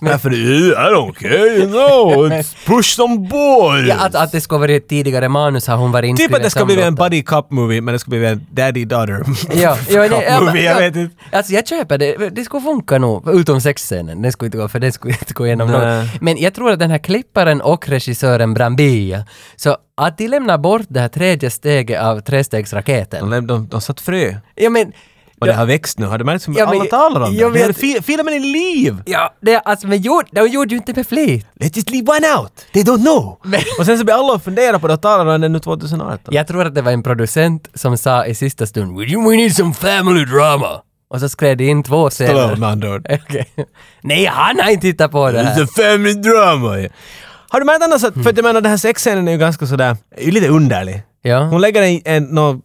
Speaker 5: Därför, I don't care, you know. It's push some boys.
Speaker 2: Ja, att, att det skulle varit ett tidigare manus har hon varit
Speaker 1: Typ
Speaker 2: inskriven
Speaker 1: att det ska
Speaker 2: som
Speaker 1: bli en
Speaker 2: dotter.
Speaker 1: buddy cop movie men det ska bli en daddy daughter
Speaker 2: Ja, ja, nej, ja,
Speaker 1: cop movie. Jag
Speaker 2: ja.
Speaker 1: vet inte.
Speaker 2: Alltså jag köper det, det skulle funka nog, utom sexscenen, den skulle inte gå, för den skulle inte gå igenom
Speaker 1: Nej.
Speaker 2: någon. Men jag tror att den här klipparen och regissören Brambilla, så att de lämnar bort det här tredje steget av trestegsraketen.
Speaker 1: De, de, de satt frö.
Speaker 2: Ja men...
Speaker 1: Mm. Och det har växt nu. Har du märkt hur
Speaker 2: Ja, men-
Speaker 1: alla talar om
Speaker 2: jag
Speaker 1: det?
Speaker 2: vet-
Speaker 1: det? Fi- filmen är liv!
Speaker 2: Ja, det, alltså men gjorde, de gjorde ju inte med flit.
Speaker 1: Let it leave one out! They don't know! Och sen så blir alla och funderar på det och talar om det nu 2018.
Speaker 2: Jag tror att det var en producent som sa i sista stund "We- “We need some family drama” och så skrev det in två
Speaker 1: Stallone
Speaker 2: scener.
Speaker 1: med andra ord.
Speaker 2: Okej. Nej, han har inte tittat på det
Speaker 5: It's
Speaker 2: här.
Speaker 5: a family drama. yeah.
Speaker 1: Har du märkt annars att, för att jag menar den här sexscenen är ju ganska sådär, är ju lite underlig.
Speaker 2: Ja.
Speaker 1: Hon lägger en, en no,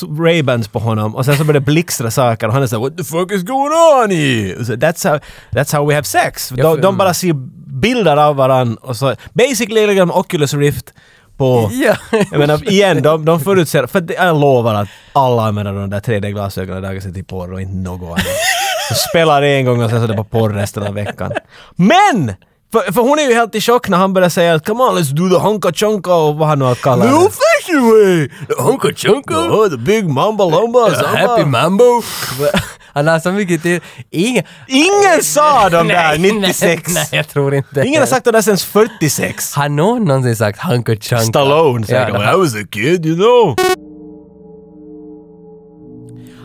Speaker 1: Ray-Bans på honom och sen så börjar det blixtra saker och han är såhär “What the fuck is going on here?” Och så, that's, how, “That's how we have sex”.
Speaker 2: Ja,
Speaker 1: De,
Speaker 2: för-
Speaker 1: de bara ser bilder av varandra och så... Basically lägger de Oculus Rift på...
Speaker 2: Ja.
Speaker 1: Jag menar igen, de, de förutser... För det- jag lovar att alla använder de där 3D-glasögonen dagar sig till porr och inte något annat. De spelar en gång och sen så är det på porr resten av veckan. Men! För, för hon är ju helt i chock när han börjar säga “Come on, let's do the honka-chonka” och vad han nu har kallat
Speaker 5: The
Speaker 1: det.
Speaker 5: old fashioned
Speaker 2: eh!
Speaker 5: way.
Speaker 2: Honka chunka!
Speaker 5: Oh, the big mamba lumba.
Speaker 2: Happy mambo! Han har så mycket till... Ingen...
Speaker 1: Ingen sa de där
Speaker 2: Nej,
Speaker 1: 96!
Speaker 2: Nej, nej, jag tror inte
Speaker 1: Ingen har sagt det där sen 46.
Speaker 2: Har någon någonsin sagt Hunka Chunka?
Speaker 1: Stallone säger
Speaker 2: ja,
Speaker 1: de.
Speaker 5: When I was a kid, you know.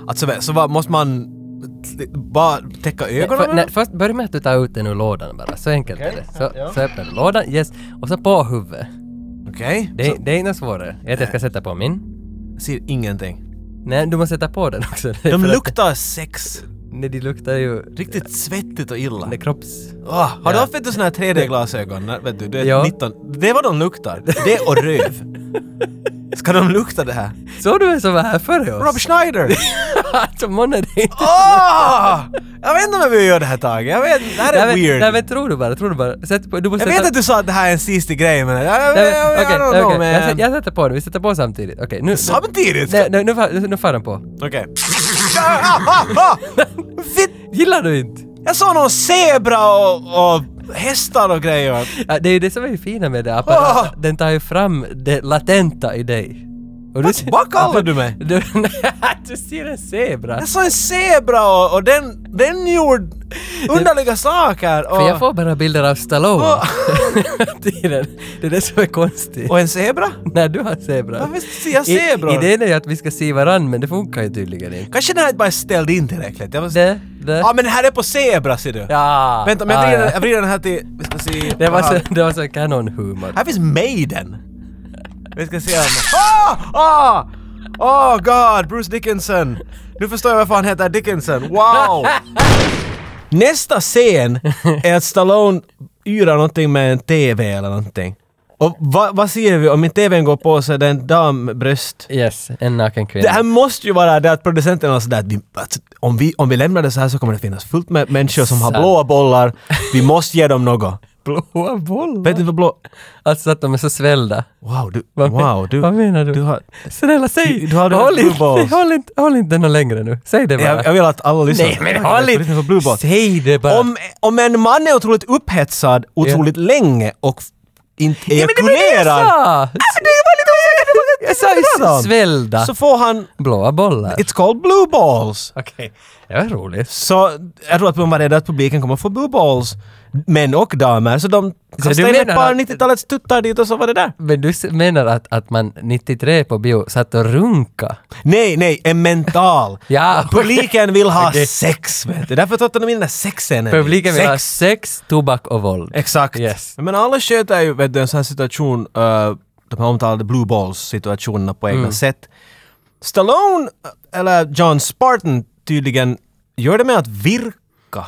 Speaker 1: Alltså så vad, måste man t- bara täcka ögonen?
Speaker 2: För,
Speaker 1: med
Speaker 2: nej,
Speaker 1: dem?
Speaker 2: först börja med att du tar ut den ur lådan bara, så enkelt är det. Så, så öppnar du lådan, yes, och så på huvudet.
Speaker 1: Okej.
Speaker 2: Det, det är inte svårare. Jag vet, jag ska sätta på min.
Speaker 1: Jag Ser ingenting.
Speaker 2: Nej, du måste sätta på den också.
Speaker 1: De
Speaker 2: För att-
Speaker 1: luktar sex.
Speaker 2: Nej, de luktar ju...
Speaker 1: Riktigt svettigt och illa.
Speaker 2: Det är kropps...
Speaker 1: Ah, har du
Speaker 2: Ja.
Speaker 1: haft vet du, såna här 3D-glasögon? när- Vet du, du är
Speaker 2: Ja.
Speaker 1: 19. Det är vad de luktar. Det och röv. Ska de lukta det här?
Speaker 2: Såg du vem som var här före oss?
Speaker 1: Rob Schneider!
Speaker 2: alltså, månne, det är inte...
Speaker 1: Ah! Jag vet inte om jag vill göra det här taget. Jag vet, det här är
Speaker 2: Nej, men-
Speaker 1: weird.
Speaker 2: Nej men tror du bara, tror du bara. Sätt på, du måste
Speaker 1: Jag vet
Speaker 2: sätta...
Speaker 1: att du sa att det här är en sista grej men... Jag,
Speaker 2: Nej,
Speaker 1: jag,
Speaker 2: men-
Speaker 1: jag,
Speaker 2: okej,
Speaker 1: I don't
Speaker 2: okej.
Speaker 1: know
Speaker 2: Jag
Speaker 1: man.
Speaker 2: sä- Jag sätter på den, vi sätter på samtidigt. Okej, nu...
Speaker 1: Samtidigt?
Speaker 2: Nej, nej, nu, far- nu, nu far den på.
Speaker 1: Okej. Ah, ah, ah! Fitt!
Speaker 2: Gillar du inte?
Speaker 1: Jag såg någon zebra och, och hästar och grejer.
Speaker 2: Ja, det är ju det som är det fina med det här apparaten. Den tar ju fram det latenta i dig. Och du...
Speaker 1: Vad kallar du mig?
Speaker 2: Du, du ser en zebra.
Speaker 1: Jag såg en zebra och, och den, den gjorde underliga saker.
Speaker 2: För jag
Speaker 1: Och,
Speaker 2: får bara bilder av Stallone.
Speaker 1: Åh.
Speaker 2: Tiden. det är det som är konstigt.
Speaker 1: och en zebra?
Speaker 2: När du har zebra.
Speaker 1: Varför ser jag
Speaker 2: I-
Speaker 1: zebror?
Speaker 2: Idén är ju att vi ska se varandra men det funkar ju tydligen inte.
Speaker 1: Kanske den här bara ställde in tillräckligt. Jag var så-
Speaker 2: Det, det.
Speaker 1: Ja ah, men det här är på zebra ser du.
Speaker 2: Ja.
Speaker 1: Vänta men jag
Speaker 2: Ah,
Speaker 1: vrider,
Speaker 2: ja.
Speaker 1: jag vrider den här till... Vi ska se.
Speaker 2: Det var
Speaker 1: Aha.
Speaker 2: så, det var så kanonhumor.
Speaker 1: Här finns Maiden. Vi ska se om... Ah! Ah! Oh god, Bruce Dickinson! Nu förstår jag varför han heter Dickinson. Wow! Nästa scen är att Stallone yrar någonting med en TV eller någonting. Och vad vad ser vi? Om inte TVn går på så är det en dambröst.
Speaker 2: Yes, en naken kvinna.
Speaker 1: Det här måste ju vara det att producenten har sådär att vi- att om vi, om vi lämnar det så här så kommer det finnas fullt med människor som har
Speaker 2: Sant.
Speaker 1: blåa bollar. Vi måste ge dem något.
Speaker 2: Blåa bollar?
Speaker 1: Vet du vad blå...
Speaker 2: Alltså att de är så svällda.
Speaker 1: Wow, du...
Speaker 2: Vad men-
Speaker 1: wow, du...
Speaker 2: vad menar du?
Speaker 1: du har,
Speaker 2: Snälla säg!
Speaker 1: Du- du har- du har
Speaker 2: håll,
Speaker 1: blue
Speaker 2: inte,
Speaker 1: balls.
Speaker 2: håll, inte, håll inte den något längre nu. Säg det bara.
Speaker 1: jag, jag vill att alla lyssnar.
Speaker 2: Nej men
Speaker 1: Oj,
Speaker 2: håll
Speaker 1: vad är det för blue
Speaker 2: inte!
Speaker 1: balls?
Speaker 2: Säg det bara!
Speaker 1: Om, om en man är otroligt upphetsad otroligt länge och f- inte
Speaker 2: Ja, men det var det jag
Speaker 1: ejakulerar
Speaker 2: sa! Jag sa
Speaker 1: pratar
Speaker 2: ju
Speaker 1: om.
Speaker 2: svällda.
Speaker 1: så får han...
Speaker 2: Blåa bollar.
Speaker 1: It's called blue balls.
Speaker 2: Okej. Det var roligt.
Speaker 1: Så jag tror att man var rädd att publiken kommer få blue balls. Män och damer. Så de kastade in ett
Speaker 2: menar
Speaker 1: par
Speaker 2: att-
Speaker 1: 90-talets tuttar dit och så var det där.
Speaker 2: Men du s- menar att, att man 93 på bio satt och runka?
Speaker 1: Nej, nej, en mental.
Speaker 2: Ja, okej.
Speaker 1: Publiken vill ha
Speaker 2: Okej.
Speaker 1: sex, vet du. Därför tog de in den där sexscenen.
Speaker 2: Publiken vill
Speaker 1: sex.
Speaker 2: ha Eh, sex, tobak och våld.
Speaker 1: Exakt.
Speaker 2: Yes.
Speaker 1: Men alla sköter ju, vet du, en sån här situation, eh, de här omtalade blue balls-situationerna på
Speaker 2: Mm.
Speaker 1: egna sätt. Stallone, eh, eller John Spartan, tydligen gör det med att virka.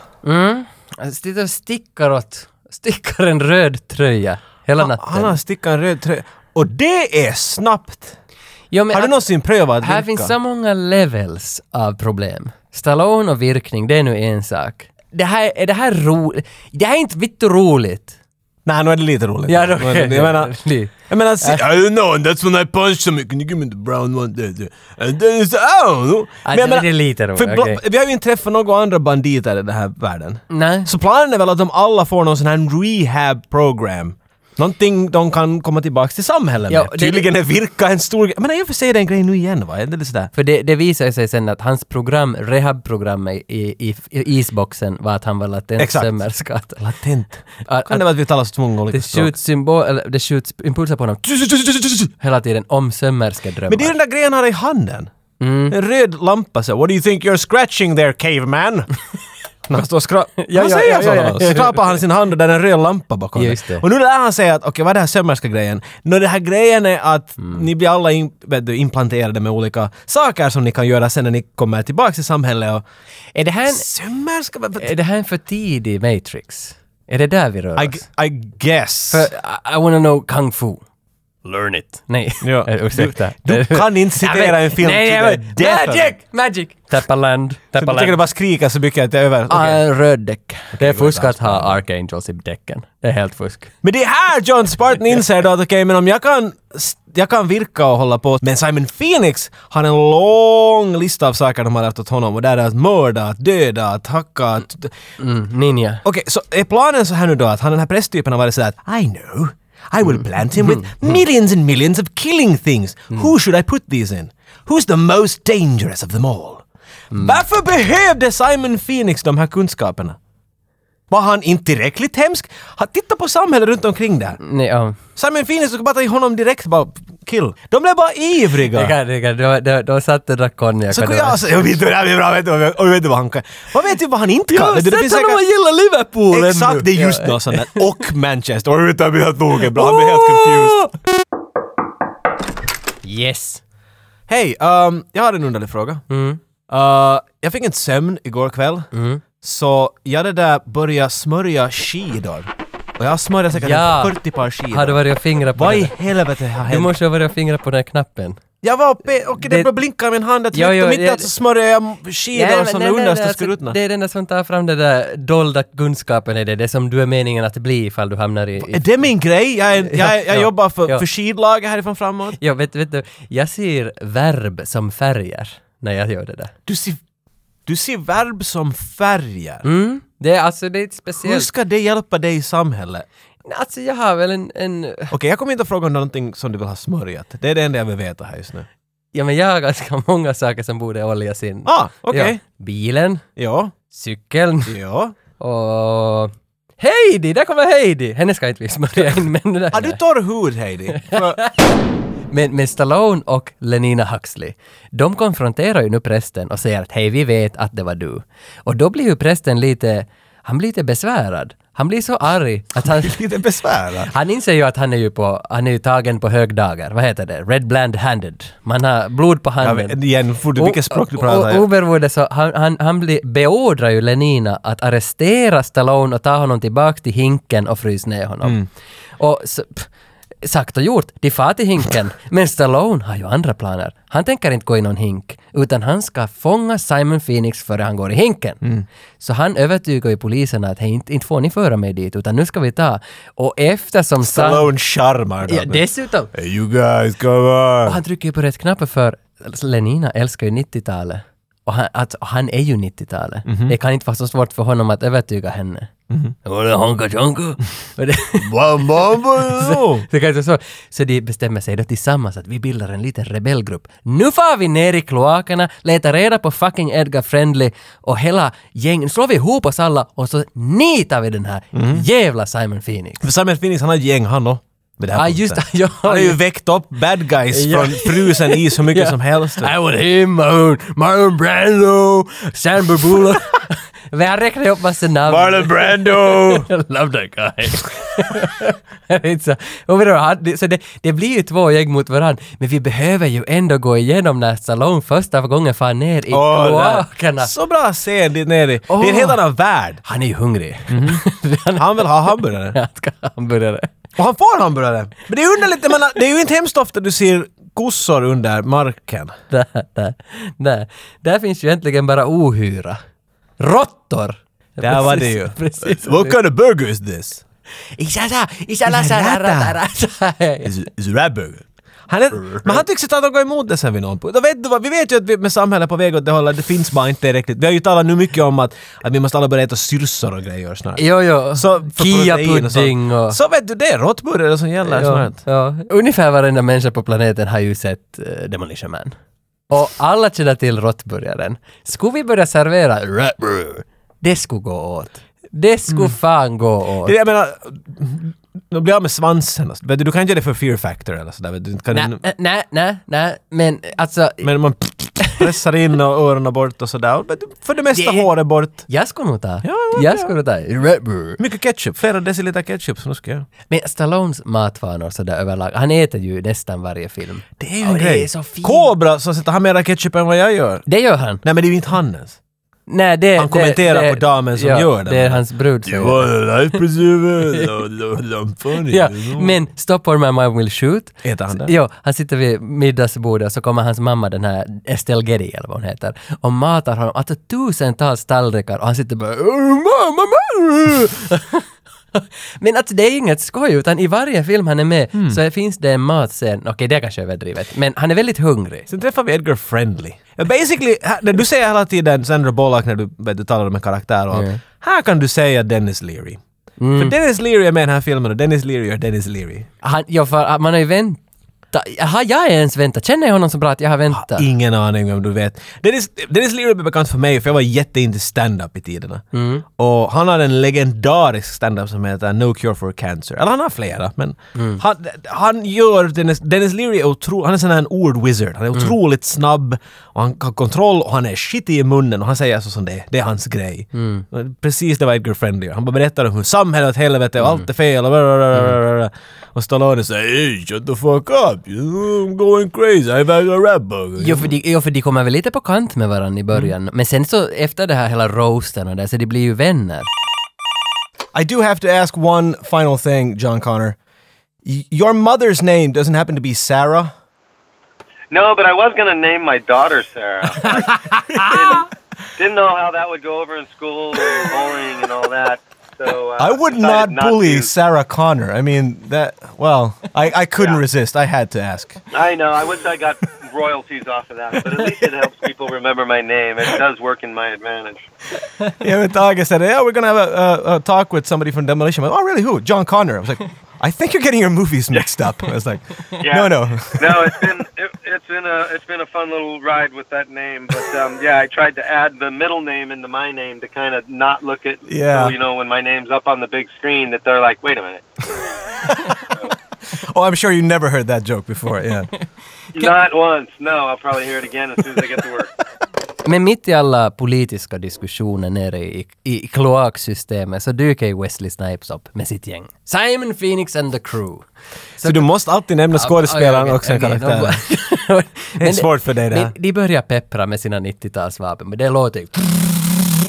Speaker 2: Han sitter och stickar åt, stickar en röd tröja hela
Speaker 1: Han
Speaker 2: natten.
Speaker 1: har stickat en röd tröja. Och det är snabbt!
Speaker 2: Jo, men
Speaker 1: har du
Speaker 2: att-
Speaker 1: någonsin prövat att
Speaker 2: Här
Speaker 1: virka?
Speaker 2: finns så många levels av problem. Stallone och virkning, det är nu en sak. Det här, är det här roligt? Det här är inte vitt roligt.
Speaker 1: Nej, nu är det lite roligt.
Speaker 2: Ja,
Speaker 1: Nu
Speaker 2: okej.
Speaker 1: är det- Jag menar...
Speaker 2: Li-
Speaker 1: Jag menar, se, I don't know, and that's when I punch them. Can you give me the brown one? There, there. And then it's, I don't know.
Speaker 2: Ja,
Speaker 1: Men
Speaker 2: det-
Speaker 1: jag menar,
Speaker 2: det är lite roligt,
Speaker 1: för bla-
Speaker 2: okej. Mm.
Speaker 1: Vi har ju inte träffat några andra banditer i den här världen.
Speaker 2: Nej.
Speaker 1: Så planen är väl att de alla får någon sån här rehab program. Någonting de kan komma tillbaks till samhället med.
Speaker 2: Ja, det-
Speaker 1: Tydligen är virka en stor grej. Men i och för sig är det en grej nu igen va? Är det lite sådär?
Speaker 2: För det, det visar sig sen att hans program, rehabprogram i, i, i isboxen var att han var latent
Speaker 1: Exakt.
Speaker 2: sömmerska. Att-
Speaker 1: Latent.
Speaker 2: Att,
Speaker 1: Kan det
Speaker 2: att
Speaker 1: vara att vi talar så två gånger olika
Speaker 2: det
Speaker 1: språk?
Speaker 2: skjuts symbol, eller det skjuts impulser på honom hela tiden om sömmerskedrömmar.
Speaker 1: Men det är ju den där grejen han har i handen.
Speaker 2: Mm.
Speaker 1: En röd lampa så. What do you think you're scratching there caveman? När han står och skra-
Speaker 2: ja,
Speaker 1: Han säger
Speaker 2: ja,
Speaker 1: så.
Speaker 2: ja, ja.
Speaker 1: då. Så skrapar han sin hand och där är en röd lampa bakom
Speaker 2: Just det.
Speaker 1: det. Och nu lär han säga att okej, vad är det här sömmerska grejen? Nå, den här grejen är att
Speaker 2: Mm.
Speaker 1: ni blir alla in, vet du, implanterade med olika saker som ni kan göra sen när ni kommer tillbaka till samhället och...
Speaker 2: är, det här en,
Speaker 1: Sömmerska? vad- vad-
Speaker 2: är det här en för tidig Matrix? Är det där vi rör
Speaker 1: I,
Speaker 2: oss?
Speaker 1: I guess.
Speaker 2: För I, I wanna know kung fu. Learn it. Nej,
Speaker 1: Ja.
Speaker 2: Eh, ursäkta.
Speaker 1: Du kan inte
Speaker 2: Nej,
Speaker 1: citera
Speaker 2: men-
Speaker 1: en film
Speaker 2: nej,
Speaker 1: till
Speaker 2: nej,
Speaker 1: det.
Speaker 2: nej,
Speaker 1: Därför.
Speaker 2: Magic! Magic! Tappaland.
Speaker 1: Så Jag tänker
Speaker 2: Tappaland.
Speaker 1: bara skrika så mycket att jag är över. Okej.
Speaker 2: Ah, röd däck. Det är fusk att ha Archangels i däcken. Det är helt fusk.
Speaker 1: Men det är här John Spartan inser då att okej, men om jag kan, jag kan virka och hålla på. Men Simon Phoenix har en lång lista av saker de har lärt åt honom och där är att mörda, att döda, att hacka, att...
Speaker 2: Mm, Ninja.
Speaker 1: Okej, så är planen så här nu då att han den här prästtypen har varit sådär att I know, I will plant him with millions and millions of killing things. Who should I put these in? Who's the most dangerous of them all? Varför behövde Simon Phoenix de här kunskaperna? Var han inte tillräckligt hemsk? Ha- Titta på samhället runt omkring där.
Speaker 2: Nej, ja.
Speaker 1: Simon Phoenix skulle bara ta i honom direkt bara kill. De blev bara
Speaker 2: Det
Speaker 1: ivriga.
Speaker 2: kan, det kan. De, de, de satt och drack konjak.
Speaker 1: Så
Speaker 2: och
Speaker 1: kunde
Speaker 2: det var-
Speaker 1: jag säga, jag vet inte vad det här blir bra, vet du, jag vet- jag vet inte vad han kan. Vad vet du vad han inte kan?
Speaker 2: Jo,
Speaker 1: Vet du, det
Speaker 2: sätt
Speaker 1: finns
Speaker 2: honom
Speaker 1: säkert-
Speaker 2: att gilla Liverpool
Speaker 1: Exakt, det är just något sånt där. Och Manchester. Och utan blir helt logen bra, han blir helt confused.
Speaker 2: Yes.
Speaker 1: Hej, ehm, jag har en underlig fråga.
Speaker 2: Mm.
Speaker 1: Eh, jag fick en sömn igår kväll. Så jag det där började smörja skidor. Och jag smörjade säkert
Speaker 2: Ja.
Speaker 1: en 40 par skidor.
Speaker 2: Har du varit och fingrat på
Speaker 1: Vad
Speaker 2: den?
Speaker 1: i helvete har
Speaker 2: Du
Speaker 1: hänt?
Speaker 2: måste ha varit och fingrat på den här knappen.
Speaker 1: Jag var uppe och det
Speaker 2: Det-
Speaker 1: började blinka i min hand. Jag
Speaker 2: Jo,
Speaker 1: tryckte
Speaker 2: jo,
Speaker 1: mitt i
Speaker 2: jag-
Speaker 1: allt så smörjade jag skidor
Speaker 2: Nej, men-
Speaker 1: som
Speaker 2: nej,
Speaker 1: det
Speaker 2: nej, nej,
Speaker 1: understa
Speaker 2: alltså,
Speaker 1: skulle ruttna.
Speaker 2: Det är den där som tar fram den där dolda kunskapen i det, det som du är meningen att bli ifall du hamnar i...
Speaker 1: Är
Speaker 2: i
Speaker 1: det min grej? Jag, är, jag, jag
Speaker 2: ja,
Speaker 1: jobbar för,
Speaker 2: ja.
Speaker 1: för skidlaget härifrån framåt.
Speaker 2: ja, vet, vet du, jag ser verb som färger när jag gör det där.
Speaker 1: Du ser, du ser verb som färger.
Speaker 2: Mm. Det är alltså, det är ett
Speaker 1: Hur
Speaker 2: speciellt...
Speaker 1: ska det hjälpa dig i samhället?
Speaker 2: Alltså jag har väl en, en...
Speaker 1: Okej, jag kommer inte att fråga om någonting som du vill ha smörjat. Det är det enda jag vill veta här just nu.
Speaker 2: Ja men jag har ganska många saker som borde oljas in.
Speaker 1: Ah, okej.
Speaker 2: Ja, bilen,
Speaker 1: Ja.
Speaker 2: cykeln
Speaker 1: ja. ja.
Speaker 2: och... Heidi! Där kommer Heidi! Henne ska inte vi smörja in men... det där-
Speaker 1: Har du torr hud, Heidi? För,
Speaker 2: Men, men Stallone och Lenina Huxley, de konfronterar ju nu prästen och säger att hej, vi vet att det var du. Och då blir ju prästen lite, han blir lite besvärad. Han blir så arg att han...
Speaker 1: lite besvärad.
Speaker 2: Han inser ju att han är ju på, han är ju tagen på högdagar. Vad heter det? Red blind handed. Man har blod på
Speaker 1: Ja,
Speaker 2: handen.
Speaker 1: men igen, får du, vilket språk du pratar?
Speaker 2: O- o- Oberoende så, han, han, han blir, beordrar ju Lenina att
Speaker 1: Mm.
Speaker 2: arrestera Stallone och ta honom tillbaka till hinken och frysa ner honom. Och så, pff, sagt och gjort, de far till hinken. Men Stallone har ju andra planer. Han tänker inte gå i någon hink, utan han ska fånga Simon Phoenix före han går i hinken.
Speaker 1: Mm.
Speaker 2: Så han övertygar ju polisen att hej, inte, inte får ni föra mig dit, utan nu ska vi ta. Och eftersom... Sa-
Speaker 1: Stallone charmar dem.
Speaker 2: Ja, dessutom.
Speaker 5: Hey, you guys, come
Speaker 2: Och
Speaker 5: on!
Speaker 2: han trycker ju på rätt knappar för Lenina älskar ju 90-talet. Och han, att, och han är ju 90-talet.
Speaker 1: Mhm.
Speaker 2: Det kan inte vara så svårt för honom att övertyga henne. Mm-hmm. Honka chonka. Och det-
Speaker 5: Mamma,
Speaker 2: det kan inte vara så. så de bestämmer sig då tillsammans att vi bildar en liten rebellgrupp. Nu far vi ner i kloakerna, letar reda på fucking Edgar Friendly och hela gängen slår vi ihop oss alla och så nitar vi den här
Speaker 1: Mhm.
Speaker 2: jävla Simon Phoenix.
Speaker 1: För Simon Phoenix, han har ett gäng han då. Vid det här
Speaker 2: Ah,
Speaker 1: punkten.
Speaker 2: just ja,
Speaker 1: Han har ju väckt upp bad guys
Speaker 2: Ja.
Speaker 1: från frusen is hur mycket som helst.
Speaker 2: I want him, Marlon, Marlon Brando, Sam Bulo. Men han räknade upp massa namn.
Speaker 5: Marlon Brando!
Speaker 2: I love that guy. It's a, och vadå, han- det- så det, det blir ju två gäng mot varandra, men vi behöver ju ändå gå igenom när Stallone första gången far ner i
Speaker 1: Åh, det här-
Speaker 2: kloakerna.
Speaker 1: Så bra scen dit nere. Det är en
Speaker 2: Åh.
Speaker 1: helt annan värld.
Speaker 2: Han är ju hungrig.
Speaker 1: Mhm.
Speaker 2: han,
Speaker 1: Han vill ha hamburgare.
Speaker 2: han ska ha hamburgare.
Speaker 1: Och han får hamburgare. Men det är underligt, jag menar, det är ju inte hemskt ofta du ser kossor under marken.
Speaker 2: Där, där, där. där finns ju egentligen bara ohyra. Råttor!
Speaker 1: Där var det ju.
Speaker 2: Precis.
Speaker 5: What kind of burger is this?
Speaker 2: Isasa, isala,
Speaker 1: Isala.
Speaker 5: Is it, is it rat burger?
Speaker 1: Han är, men han tycks inte ha gått emot det sen vid någon punkt. Och Vet du vad, vi vet ju att vi med samhället på väg åt det hållet, det finns bara inte riktigt. Vi har ju talat nu mycket om att, att vi måste alla börja äta syrsor och grejer snart.
Speaker 2: Jo, jo.
Speaker 1: Så, för protein och sånt.
Speaker 2: Kia-pudding och...
Speaker 1: Så vet du, det är råttburgare som gäller
Speaker 2: ja,
Speaker 1: snart.
Speaker 2: ja. Ungefär varenda människa på planeten har ju sett eh, Demolition Man. Och alla känner till råttburgaren. Skulle vi börja servera råttburgare? Det skulle gå åt. Det skulle fan gå åt.
Speaker 1: Mm. Det är det Jag menar, de blir av med svansen. och så. Vet du, du kan inte göra det för fear factor eller sådär. vet du. Kan
Speaker 2: Nej,
Speaker 1: du,
Speaker 2: eh, nej, nej, nej, men alltså...
Speaker 1: men man pressar in och öronen bort och sådär. Vet du, För det mesta
Speaker 2: Det-
Speaker 1: håret bort.
Speaker 2: Jag skulle nog ta.
Speaker 1: Ja, ja, ja.
Speaker 2: jag skulle nog ta. råttburgare.
Speaker 1: Mycket ketchup, flera deciliter ketchup som nu ska jag.
Speaker 2: Men Stallones matvanor sådär överlag, han äter ju nästan varje film.
Speaker 1: Det är ju
Speaker 2: Och
Speaker 1: en
Speaker 2: det
Speaker 1: grej.
Speaker 2: är så fint.
Speaker 1: Kobra så sätter han mera ketchup än vad jag gör.
Speaker 2: Det gör han.
Speaker 1: Nej men det är ju inte han ens.
Speaker 2: Nej, det,
Speaker 1: Han
Speaker 2: det-
Speaker 1: kommenterar
Speaker 2: det,
Speaker 1: på damen som
Speaker 2: ja,
Speaker 1: gör det.
Speaker 2: Det är hans brud som
Speaker 5: You
Speaker 2: gör det.
Speaker 5: want a life preserver? No, no, no, I'm funny.
Speaker 2: Ja,
Speaker 5: you know?
Speaker 2: men Stop or my mom will shoot.
Speaker 1: Äter han det?
Speaker 2: Jo, han sitter vid middagsbordet och så kommer hans mamma, den här Estelle Getty eller vad hon heter, och matar honom, alltså tusentals tallrikar och han sitter bara "Åh, mamma, mamma. Men alltså det är inget skoj utan i varje film han är med
Speaker 1: Mm.
Speaker 2: så finns det en matscen, okej det är kanske är överdrivet, men han är väldigt hungrig.
Speaker 1: Sen träffar vi Edgar Friendly. Ja, Basically, här- när du säger hela tiden Sandra Bullock när du, vet, du talar om en karaktär och allt. Här kan du säga Dennis Leary.
Speaker 2: Mm.
Speaker 1: För Dennis Leary är med i den här filmen och Dennis Leary gör Dennis Leary.
Speaker 2: Han, ja, för man har ju väntat, har jag ens väntat? Känner jag honom så bra att jag har väntat?
Speaker 1: Ingen aning om du vet. Dennis, Dennis Leary är bekant för mig för jag var jättein till stand-up i tiderna. Och han har en legendarisk stand-up som heter No Cure for Cancer. Eller han har flera men han, han gör Dennis, Dennis Leary är otro, han är sån här en ord-wizard. Han är otroligt snabb och han har kontroll och han är shitty i munnen och han säger så som det är. Det är hans grej. Precis det var Edgar Friendly gör. Han bara berättar om hur samhället är helvete och allt är fel och mm. Och Stallone säger
Speaker 5: Hey, shut the fuck up! You know, I'm going crazy. I've had a rat burger.
Speaker 2: Jo för, de, jo, för de kommer väl lite på kant med varandra i början.
Speaker 1: Mm.
Speaker 2: Men sen så efter det här hela roasten och det, så de blir ju vänner.
Speaker 7: I do have to ask one final thing, John Connor. Y- Your mother's name doesn't happen to be Sarah.
Speaker 4: No, but I was going to name my daughter Sarah. didn't, didn't know how that would go over in school and bullying and all that. So uh,
Speaker 7: I would not
Speaker 4: decided
Speaker 7: bully
Speaker 4: to.
Speaker 7: Sarah Connor. I mean, that, well, I, I couldn't resist. I had to ask.
Speaker 4: I know. I wish I got royalties off of that, but at least it helps people remember my name. It does work in my advantage.
Speaker 7: Yeah, but Doug said, yeah, we're going to have a, a, a talk with somebody from Demolition. Man. oh, really? Who? John Connor. I was like, I think you're getting your movies mixed up. I was like, no, no.
Speaker 4: no, it's been it, it's been a it's been a fun little ride with that name, but um, yeah, I tried to add the middle name into my name to kind of not look at
Speaker 7: Yeah.
Speaker 4: so, you know when my name's up on the big screen that they're like, wait a minute,
Speaker 7: Oh, I'm sure you never heard that joke before. Yeah.
Speaker 4: not once. No, I'll probably hear it again as soon as I get to work.
Speaker 2: Men mitt i alla politiska diskussioner nere i, i kloaksystemet så dyker ju Wesley Snipes upp med sitt gäng. Simon Phoenix and the crew.
Speaker 1: Så du måste alltid nämna skådespelaren och sen karaktären.
Speaker 2: karaktären.
Speaker 1: Det är svårt för dig det här.
Speaker 2: De börjar peppra med sina 90-talsvapen, men det låter ju...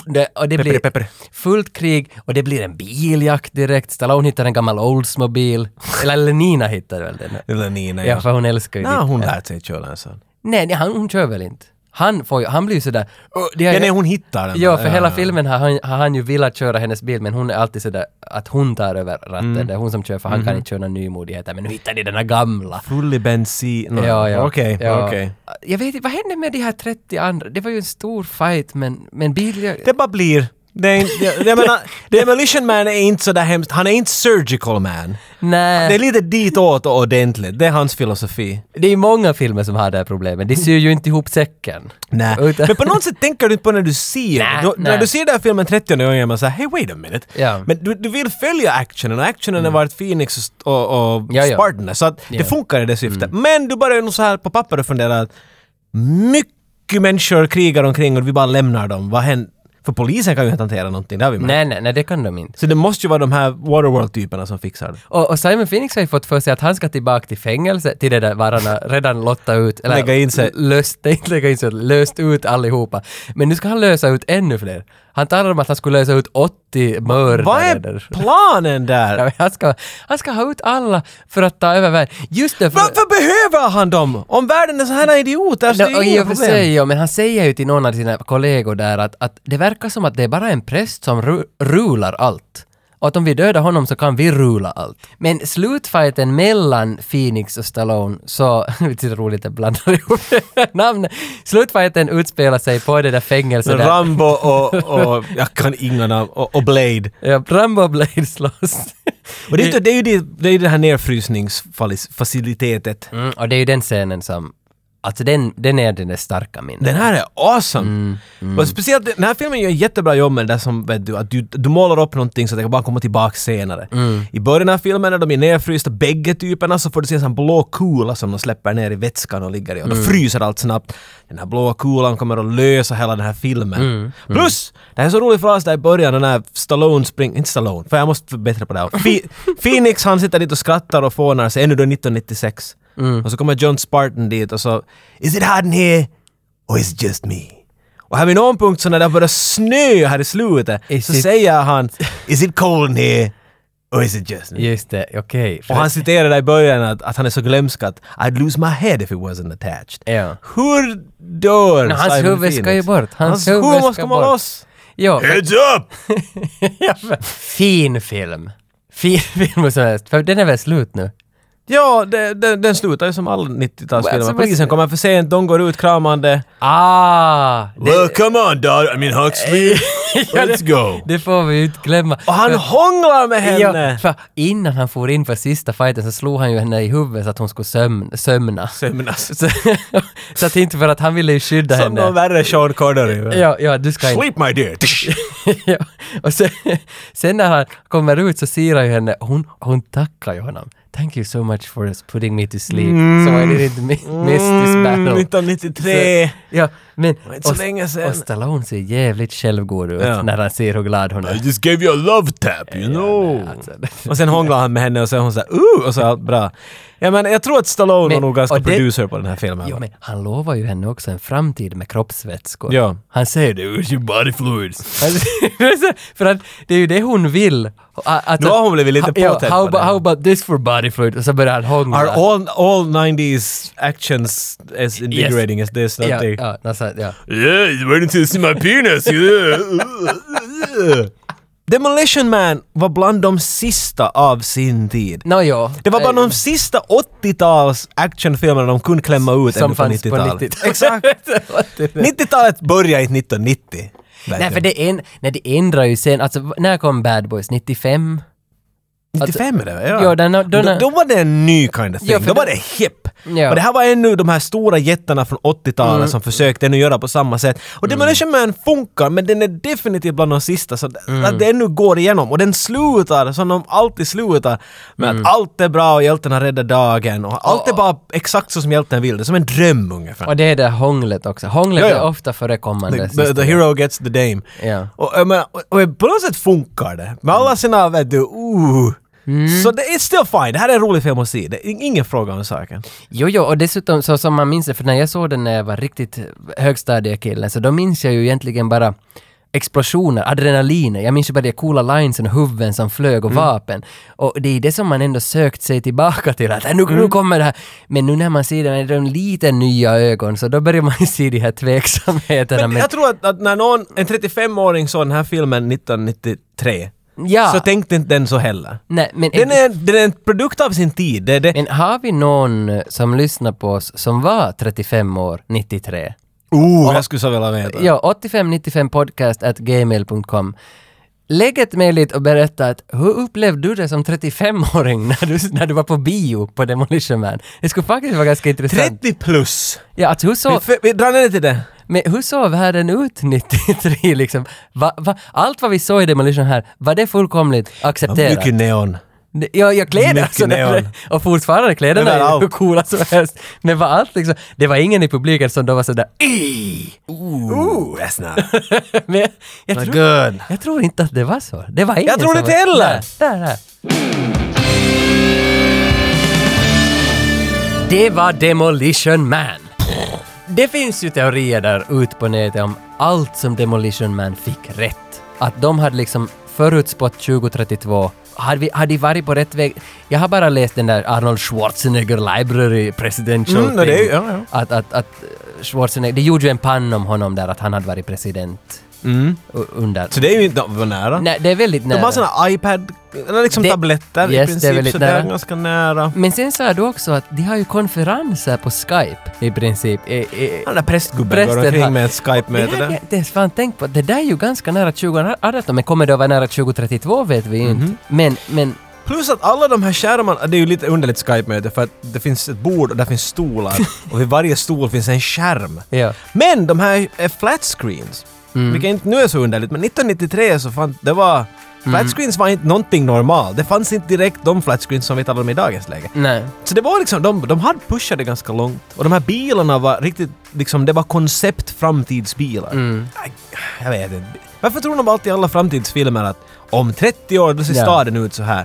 Speaker 2: Det, och det blir
Speaker 1: pepper.
Speaker 2: fullt krig och det blir en biljakt direkt. Stallone hittar en gammal Oldsmobile. Eller Lenina hittar väl den?
Speaker 1: Eller Nina,
Speaker 2: Ja,
Speaker 1: ja.
Speaker 2: för hon älskar ju
Speaker 1: Nå,
Speaker 2: ditt-
Speaker 1: hon
Speaker 2: ja.
Speaker 1: lät sig köra en sån.
Speaker 2: Nej, nej han, hon kör väl inte. Han, får ju, han blir ju sådär... "Åh, det har
Speaker 1: Ja,
Speaker 2: jag-
Speaker 1: nej, hon hittar den.
Speaker 2: Ja, för
Speaker 1: Ja,
Speaker 2: hela
Speaker 1: ja.
Speaker 2: filmen har han, har han ju velat köra hennes bil, men hon är alltid sådär att hon tar över ratten.
Speaker 1: Mm.
Speaker 2: Det är hon som kör, för
Speaker 1: Mm-hmm.
Speaker 2: han kan inte köra några nymodigheter. Men nu hittar de den här gamla.
Speaker 1: Full i bensin. Nå,
Speaker 2: Ja, ja.
Speaker 1: Okej,
Speaker 2: ja.
Speaker 1: okej.
Speaker 2: Jag vet inte, vad hände med de här 30 andra? Det var ju en stor fight, men, men bil...
Speaker 1: Det bara blir. Det är, inte- jag, jag menar, Demolition Man är inte så där hemskt. Han är inte surgical man.
Speaker 2: nej.
Speaker 1: Det är lite ditåt och ordentligt. Det är hans filosofi.
Speaker 2: Det är många filmer som har det här problemet. De syr ju inte ihop säcken.
Speaker 1: Nej.
Speaker 2: Utan-
Speaker 1: Men på något sätt tänker du inte på när du ser
Speaker 2: Nej,
Speaker 1: den. Då- När
Speaker 2: nej.
Speaker 1: du ser den här filmen 30 gånger är man såhär hey wait a minute.
Speaker 2: Ja. Mm.
Speaker 1: Men du, du vill följa actionen och actionen har varit Phoenix och, st- och, och
Speaker 2: Ja, ja.
Speaker 1: Spartan. Så att
Speaker 2: Ja. Mm.
Speaker 1: det funkar i det syftet. Men du börjar nog så här på papper och funderar att mycket människor krigar omkring och vi bara lämnar dem. Vad händer? För polisen kan ju inte hantera någonting, det har vi märkt.
Speaker 2: Nej, nej, nej, det kan de inte.
Speaker 1: Så det måste ju vara de här Waterworld-typerna som fixar det.
Speaker 2: Och, och Simon Phoenix har ju fått för sig att han ska tillbaka till fängelse, till det där vararna redan lotta ut, eller
Speaker 1: Lägga in sig.
Speaker 2: löst, nej, inte lägga in sig, löst ut allihopa. Men nu ska han lösa ut ännu fler. Han talar om att han skulle lösa ut 80 mördare.
Speaker 1: Vad är
Speaker 2: där.
Speaker 1: planen
Speaker 2: Ja,
Speaker 1: där?
Speaker 2: men Han ska, han ska ha ut alla för att ta över världen. Just det, för...
Speaker 1: Varför behöver han dem? Om världen är så här idioter så
Speaker 2: No,
Speaker 1: är
Speaker 2: och
Speaker 1: det
Speaker 2: i
Speaker 1: inga
Speaker 2: och för
Speaker 1: problem.
Speaker 2: sig, ja, men han säger ju till någon av sina kollegor där att, att det verkar som att det är bara en präst som ru- rular allt. Och att om vi dödar honom så kan vi rula allt. Men slutfighten mellan Phoenix och Stallone så... Det är roligt att jag blandar ihop namnen. Slutfighten utspelar sig på det där fängelset där.
Speaker 1: Rambo och, och... Jag kan inga namn. Och, och Blade.
Speaker 2: ja, Rambo och Blade slåss.
Speaker 1: Och det, är ju- det är ju det, det, är ju det här nedfrysningsfacilitetet.
Speaker 2: Mm, och det är ju den scenen som... Alltså den, den är den där starka minnet.
Speaker 1: Den här är awesome! Och speciellt, den här filmen gör ett jättebra jobb med det där som, vet du, att du, du målar upp någonting så att det kan bara komma tillbaka senare. I början av filmen när de är nedfrysta, bägge typerna, så får du se en sån blå kula som de släpper ner i vätskan och ligger i och då fryser allt snabbt. Den här blåa kulan kommer att lösa hela den här filmen. Plus! Det här är så rolig fras där i början, den här Stallone springer, inte Stallone, för jag måste förbättra på det här. Fe- Phoenix han sitter dit och skrattar och fånar sig, ännu då 1996. Och så kommer John Spartan dit och så “Is it hot in here?” or is it just me? Och här vid någon punkt så när det börjar snö här i slutet
Speaker 2: Is
Speaker 1: så
Speaker 2: it-
Speaker 1: säger han “Is it cold in here? Or is it just me?”
Speaker 2: Just det, okej.
Speaker 1: Och han citerar där i början att, att han är så glömsk att “I'd lose my head if it wasn't attached”.
Speaker 2: Ja.
Speaker 1: Hur dör
Speaker 2: No, hans
Speaker 1: Simon
Speaker 2: huvud
Speaker 1: Phoenix?
Speaker 2: ska ju bort. Hans
Speaker 1: Hans
Speaker 2: huvud
Speaker 1: huvud
Speaker 2: ska
Speaker 1: ska komma
Speaker 2: bort.
Speaker 1: loss!
Speaker 2: Ja, för-
Speaker 5: Heads up!
Speaker 2: Ja, men- fin film. Fin film och så helst. För den är väl slut nu?
Speaker 1: Ja, det, det, den slutar ju som alla
Speaker 2: Well,
Speaker 1: 90-talsfilmer.
Speaker 2: så-
Speaker 1: Polisen kommer för sent, de går ut kramande.
Speaker 2: Ah! Det,
Speaker 5: Well, come on, daughter. I mean, Huxley. Let's go.
Speaker 2: det får vi ju inte glömma.
Speaker 1: Och han hånglar med henne!
Speaker 2: Ja, för innan han for in för sista fighten så slog han ju henne i huvudet så att hon skulle sömn, sömna.
Speaker 1: Sömnas.
Speaker 2: Så, så att inte för att han ville ju skydda
Speaker 1: Som
Speaker 2: henne.
Speaker 1: någon värre Sean Connery. va?
Speaker 2: Ja, ja, du ska inte...
Speaker 5: Sleep, my dear.
Speaker 2: ja. Och sen, sen när han kommer ut så ser han ju henne, hon, hon tackar ju honom. Thank you so much for putting me to sleep. So I didn't mi- miss this
Speaker 1: Mm,
Speaker 2: battle.
Speaker 1: 1993.
Speaker 2: Ja, men...
Speaker 1: inte så
Speaker 2: och-
Speaker 1: länge sedan.
Speaker 2: Och Stallone ser jävligt självgod ut
Speaker 1: Ja.
Speaker 2: när han ser hur glad hon
Speaker 5: I
Speaker 2: är.
Speaker 5: just gave you a love tap, you know.
Speaker 2: Alltså,
Speaker 1: Och sen hånglar han med henne och så är hon såhär uh! Och så är allt bra. Ja men jag tror att Stallone
Speaker 2: Men-
Speaker 1: var nog ganska
Speaker 2: och det-
Speaker 1: producer på den här filmen.
Speaker 2: jo, men han lovar ju henne också en framtid med kroppsvätskor.
Speaker 1: Ja.
Speaker 2: Han säger det, use your body fluids. Han- För att det är ju det hon vill. A- Alltså,
Speaker 1: Nu har hon blivit lite
Speaker 2: ja,
Speaker 1: påtänd
Speaker 2: how,
Speaker 1: på
Speaker 2: about,
Speaker 1: det.
Speaker 2: how about this for body fluid? Och så börjar han hångla.
Speaker 1: Are all, all 90s actions as invigorating as this? don't
Speaker 2: ja,
Speaker 1: they?
Speaker 2: ja, alltså, ja.
Speaker 5: Yeah, he's waiting to see my penis. Yeah.
Speaker 1: Demolition Man var bland de sista av sin tid.
Speaker 2: Nå, ja.
Speaker 1: Det var bara
Speaker 2: Eh,
Speaker 1: de sista 80-tals actionfilmerna de kunde klämma ut
Speaker 2: Som
Speaker 1: ännu på
Speaker 2: fanns på
Speaker 1: 90-talet.
Speaker 2: 90-talet.
Speaker 1: Exakt! 90-talet började inte 1990. vet
Speaker 2: Nej,
Speaker 1: du.
Speaker 2: för det, en, nej, det ändrar ju sen. Alltså, v- när kom Bad Boys? 95?
Speaker 1: 95 är det ja.
Speaker 2: Ja, den- den-
Speaker 1: då, då var det en ny kind of thing.
Speaker 2: Ja, för
Speaker 1: då var
Speaker 2: den-
Speaker 1: det hip.
Speaker 2: Ja. Mm.
Speaker 1: Och det här var ännu de här stora jättarna från 80-talet som försökte ännu göra på samma sätt. Och Demolition Man funkar, men den är definitivt bland de sista så att-
Speaker 2: Mm.
Speaker 1: att det ännu går igenom. Och den slutar som de alltid slutar med
Speaker 2: Mm.
Speaker 1: att allt är bra och hjälten har räddat dagen och allt är bara exakt så som hjälten vill. Det är som en dröm ungefär.
Speaker 2: Och det är det hånglet också. Hånglet
Speaker 1: Ja, ja.
Speaker 2: är ofta förekommande.
Speaker 1: The,
Speaker 2: sista
Speaker 1: the, the
Speaker 2: gången.
Speaker 1: hero gets the dame.
Speaker 2: Ja.
Speaker 1: Och, jag menar, och, och på något sätt funkar det. Med alla sina, vet du, uh.
Speaker 2: Mm.
Speaker 1: Så det är still fine. Det här är en rolig film att se. Det är ingen fråga om saken.
Speaker 2: Jo, jo, och dessutom så som man minns det, för när jag såg den när jag var riktigt högstadiekille, så då minns jag ju egentligen bara explosioner, adrenaliner. Jag minns ju bara de coola linesen, huvuden som flög
Speaker 1: Mm.
Speaker 2: och vapen. Och det är det som man ändå sökt sig tillbaka till. Att, "Äh, nu,
Speaker 1: Mm.
Speaker 2: nu kommer det här. Men nu när man ser det med de lite nya ögon så då börjar man ju se de här tveksamheterna.
Speaker 1: Men jag tror att, att när någon, en 35-åring såg den här filmen 1993
Speaker 2: ja,
Speaker 1: så tänkte inte den så heller.
Speaker 2: nej, men,
Speaker 1: Den är, den är en produkt av sin tid. Det, det,
Speaker 2: men har vi någon som lyssnar på oss som var 35 år 93?
Speaker 1: oh, jag skulle så vilja veta.
Speaker 2: Ja, 8595 podcast at gmail.com. Lägg ett mejl dit och berätta att hur upplevde du det som 35-åring när du, när du var på bio på Demolition Man? Det skulle faktiskt vara ganska intressant.
Speaker 1: 30 plus!
Speaker 2: Ja, alltså hur
Speaker 1: Vi,
Speaker 2: sov,
Speaker 1: för, vi drar ner det till det.
Speaker 2: men hur sov världen ut 93 liksom? Va, va, allt vad vi såg i Demolition här, var det fullkomligt accepterat?
Speaker 1: Mycket neon.
Speaker 2: Det- Ja, jag kläder
Speaker 1: Mycket
Speaker 2: alltså.
Speaker 1: neon.
Speaker 2: Och fortfarande kläderna är ju
Speaker 1: Överallt.
Speaker 2: hur coola som helst. Men var allt liksom, det var ingen i publiken som då var sådär "Ih!"
Speaker 1: Ooh, that's not,
Speaker 2: Men jag, jag
Speaker 1: not
Speaker 2: tror-
Speaker 1: good.
Speaker 2: Jag tror inte att det var så. Det var ingen
Speaker 1: Jag tror
Speaker 2: som
Speaker 1: inte
Speaker 2: var-
Speaker 1: heller.
Speaker 2: Där, där, där. Det var Demolition Man. Det finns ju teorier där ute på nätet om allt som Demolition Man fick rätt. Att de hade liksom förutspått 2032. Hade, vi, hade de varit på rätt väg? Jag har bara läst den där Arnold Schwarzenegger Library Presidential
Speaker 1: Mm, det är
Speaker 2: thing.
Speaker 1: ju- ja, ja.
Speaker 2: Att, att, att eh, Schwarzenegger, det gjorde ju en pann om honom där att han hade varit president. U- Under.
Speaker 1: Mm. Så det är ju inte vad nära.
Speaker 2: Nej, det är väldigt nära.
Speaker 1: Ah. De har såna iPad, eller liksom
Speaker 2: Det-
Speaker 1: tabletter
Speaker 2: Yes,
Speaker 1: i
Speaker 2: det är
Speaker 1: princip,
Speaker 2: väldigt
Speaker 1: så det är
Speaker 2: nära.
Speaker 1: ganska nära.
Speaker 2: Men sen sa du också att de har ju konferenser på Skype i princip. E, e,
Speaker 1: Den där prästgubben
Speaker 2: Prästen
Speaker 1: går
Speaker 2: har-
Speaker 1: omkring med ett
Speaker 2: det hade
Speaker 1: Skype-möte
Speaker 2: jag
Speaker 1: där.
Speaker 2: inte ens fan tänkt på. Det där är ju ganska nära 2018, men kommer det att vara nära 2032 vet vi inte.
Speaker 1: Mhm.
Speaker 2: Men, men
Speaker 1: Plus att alla de här skärmarna, det är ju lite underligt Skype-möte för att det finns ett bord och där finns stolar och vid varje stol finns en skärm.
Speaker 2: ja. Mm.
Speaker 1: Men de här är flat screens, vilket inte nu är så underligt, men 1993 så fanns det var
Speaker 2: Mm.
Speaker 1: Flat screens var inte någonting normalt. Det fanns inte direkt de flat screens som vi talar om i dagens läge.
Speaker 2: Nej.
Speaker 1: Så det var liksom, de, de hade pushat det ganska långt. Och de här bilarna var riktigt, liksom, det var koncept framtidsbilar.
Speaker 2: Mm.
Speaker 1: Aj, Jag vet inte. Varför tror de alltid i alla framtidsfilmer att om 30 år, då ser
Speaker 2: Ja.
Speaker 1: staden ut så här.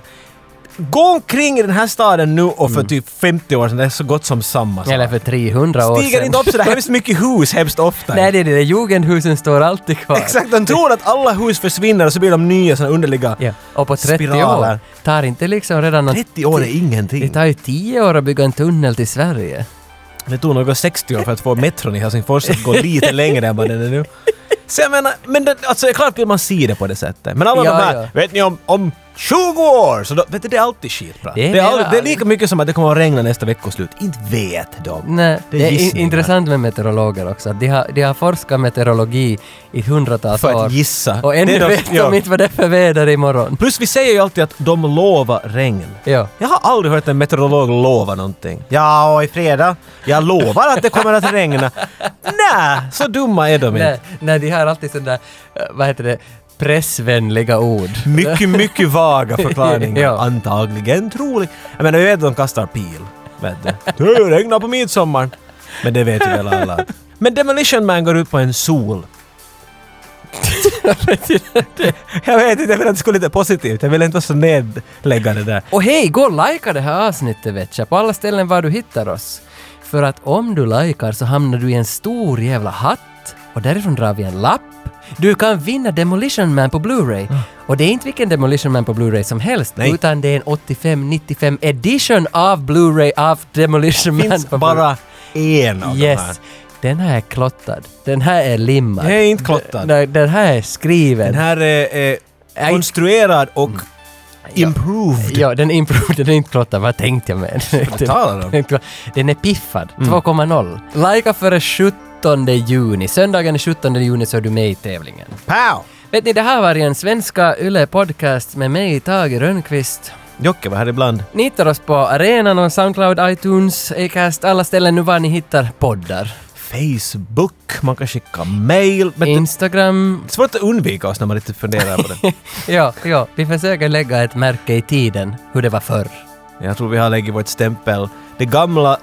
Speaker 1: Gå omkring i den här staden nu och för typ 50 år sedan, det är så gott som samma sak.
Speaker 2: Mm. Eller för 300 år
Speaker 1: Stiger
Speaker 2: sedan.
Speaker 1: inte upp sådär hemskt mycket hus hemskt ofta.
Speaker 2: Nej, det är det. Jugendhusen står alltid kvar.
Speaker 1: Exakt, de tror att alla hus försvinner och så blir de nya sådana underliga...
Speaker 2: Ja. Och på 30 år
Speaker 1: Spiraler.
Speaker 2: tar inte liksom redan något...
Speaker 1: 30 år är
Speaker 2: Det
Speaker 1: ingenting.
Speaker 2: tar ju 10 år att bygga en tunnel till Sverige.
Speaker 1: Det tog några 60 år för att få metron i Helsingfors att gå lite längre än vad den är nu. Så jag menar, men det, alltså det är klart vill man se det på det sättet. Men alla
Speaker 2: Ja,
Speaker 1: de här,
Speaker 2: ja.
Speaker 1: vet ni om, om 20 år! Så då, vet du, det är alltid skitprat.
Speaker 2: Det är
Speaker 1: Det, är all-
Speaker 2: mera-
Speaker 1: det är lika mycket som att det kommer att regna nästa veckoslut. Inte vet de.
Speaker 2: Nej,
Speaker 1: Det
Speaker 2: det
Speaker 1: är
Speaker 2: är, in,
Speaker 1: gissningar.
Speaker 2: intressant med meteorologer också. De har, de har forskat meteorologi i hundratals
Speaker 1: För
Speaker 2: år.
Speaker 1: att gissa.
Speaker 2: Och
Speaker 1: Det
Speaker 2: ännu
Speaker 1: är de-
Speaker 2: vet
Speaker 1: ja.
Speaker 2: de inte vad det är för väder imorgon.
Speaker 1: Plus vi säger ju alltid att de lovar regn.
Speaker 2: Ja.
Speaker 1: Jag har aldrig hört en meteorolog lova någonting. Ja, och i fredag. Jag lovar att det kommer att regna. Nej, så dumma är de
Speaker 2: Nej,
Speaker 1: inte.
Speaker 2: nej, de har alltid sådana, vad heter det, pressvänliga ord.
Speaker 1: Mycket, mycket vaga förklaringar.
Speaker 2: Ja.
Speaker 1: Antagligen, troligt. Jag menar, vi vet att de kastar pil. Vet du. Det regnar på midsommar. Men det vet ju väl alla. Men Demolition Man går ut på en sol. jag vet inte, jag vill att det skulle lite positivt. Jag vill inte vara så nedläggande där.
Speaker 2: Och hej, gå och likea det här avsnittet vet jag, på alla ställen var du hittar oss. För att om du likar så hamnar du i en stor jävla hatt och därifrån drar vi en lapp. Du kan vinna Demolition Man på Blu-ray. Och det är inte vilken Demolition Man på Blu-ray som helst,
Speaker 1: Ah. Nej.
Speaker 2: utan det är en 85-95 edition av Blu-ray av Demolition Man.
Speaker 1: finns
Speaker 2: på Blu-ray.
Speaker 1: bara en av de här.
Speaker 2: Yes. Den här är klottad. Den här är limmad.
Speaker 1: Den här är inte klottad.
Speaker 2: Den, den här är skriven.
Speaker 1: Den här är, är konstruerad och improved.
Speaker 2: Ja, den är improved, den är inte klottad. Vad tänkte jag med?
Speaker 1: Vad talar du om?
Speaker 2: Den- Den är piffad. 2,0. Lika före 17 juni. Söndagen den 17 juni så är du med i tävlingen.
Speaker 1: Pow!
Speaker 2: Vet ni, det här var en svenska Yle Podcast med mig, Tage Rönnqvist.
Speaker 1: Jocke var här ibland.
Speaker 2: Ni hittar oss på arenan och Soundcloud, iTunes, Acast, alla ställen nu var ni hittar poddar.
Speaker 1: Facebook, man kan skicka mail. Men det
Speaker 2: Instagram,
Speaker 1: är svårt att undvika oss när man riktigt funderar på det.
Speaker 2: Ja, ja, vi försöker lägga ett märke i tiden hur det var förr.
Speaker 1: Jag tror vi har lagt vårt stämpel. Det gamla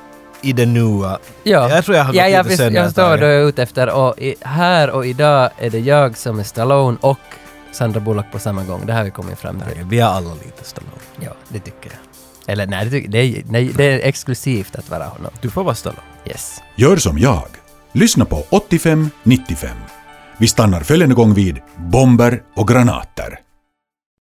Speaker 1: i det nya.
Speaker 2: Ja,
Speaker 1: Jag tror jag har gått
Speaker 2: ja, jag,
Speaker 1: lite
Speaker 2: vis-
Speaker 1: sönder
Speaker 2: jag
Speaker 1: ett
Speaker 2: förstår
Speaker 1: tag.
Speaker 2: vad du är ute efter och i, här och idag är det jag som är Stallone och Sandra Bullock på samma gång. Det här har vi kommit fram till.
Speaker 1: Vi har alla lite Stallone.
Speaker 2: Ja, det tycker jag. Eller nej, det, tycker- det, är, nej, det är exklusivt att vara honom.
Speaker 1: Du får vara Stallone.
Speaker 2: Yes.
Speaker 8: Gör som jag. Lyssna på 85 95. Vi stannar följande gång vid bomber och granater.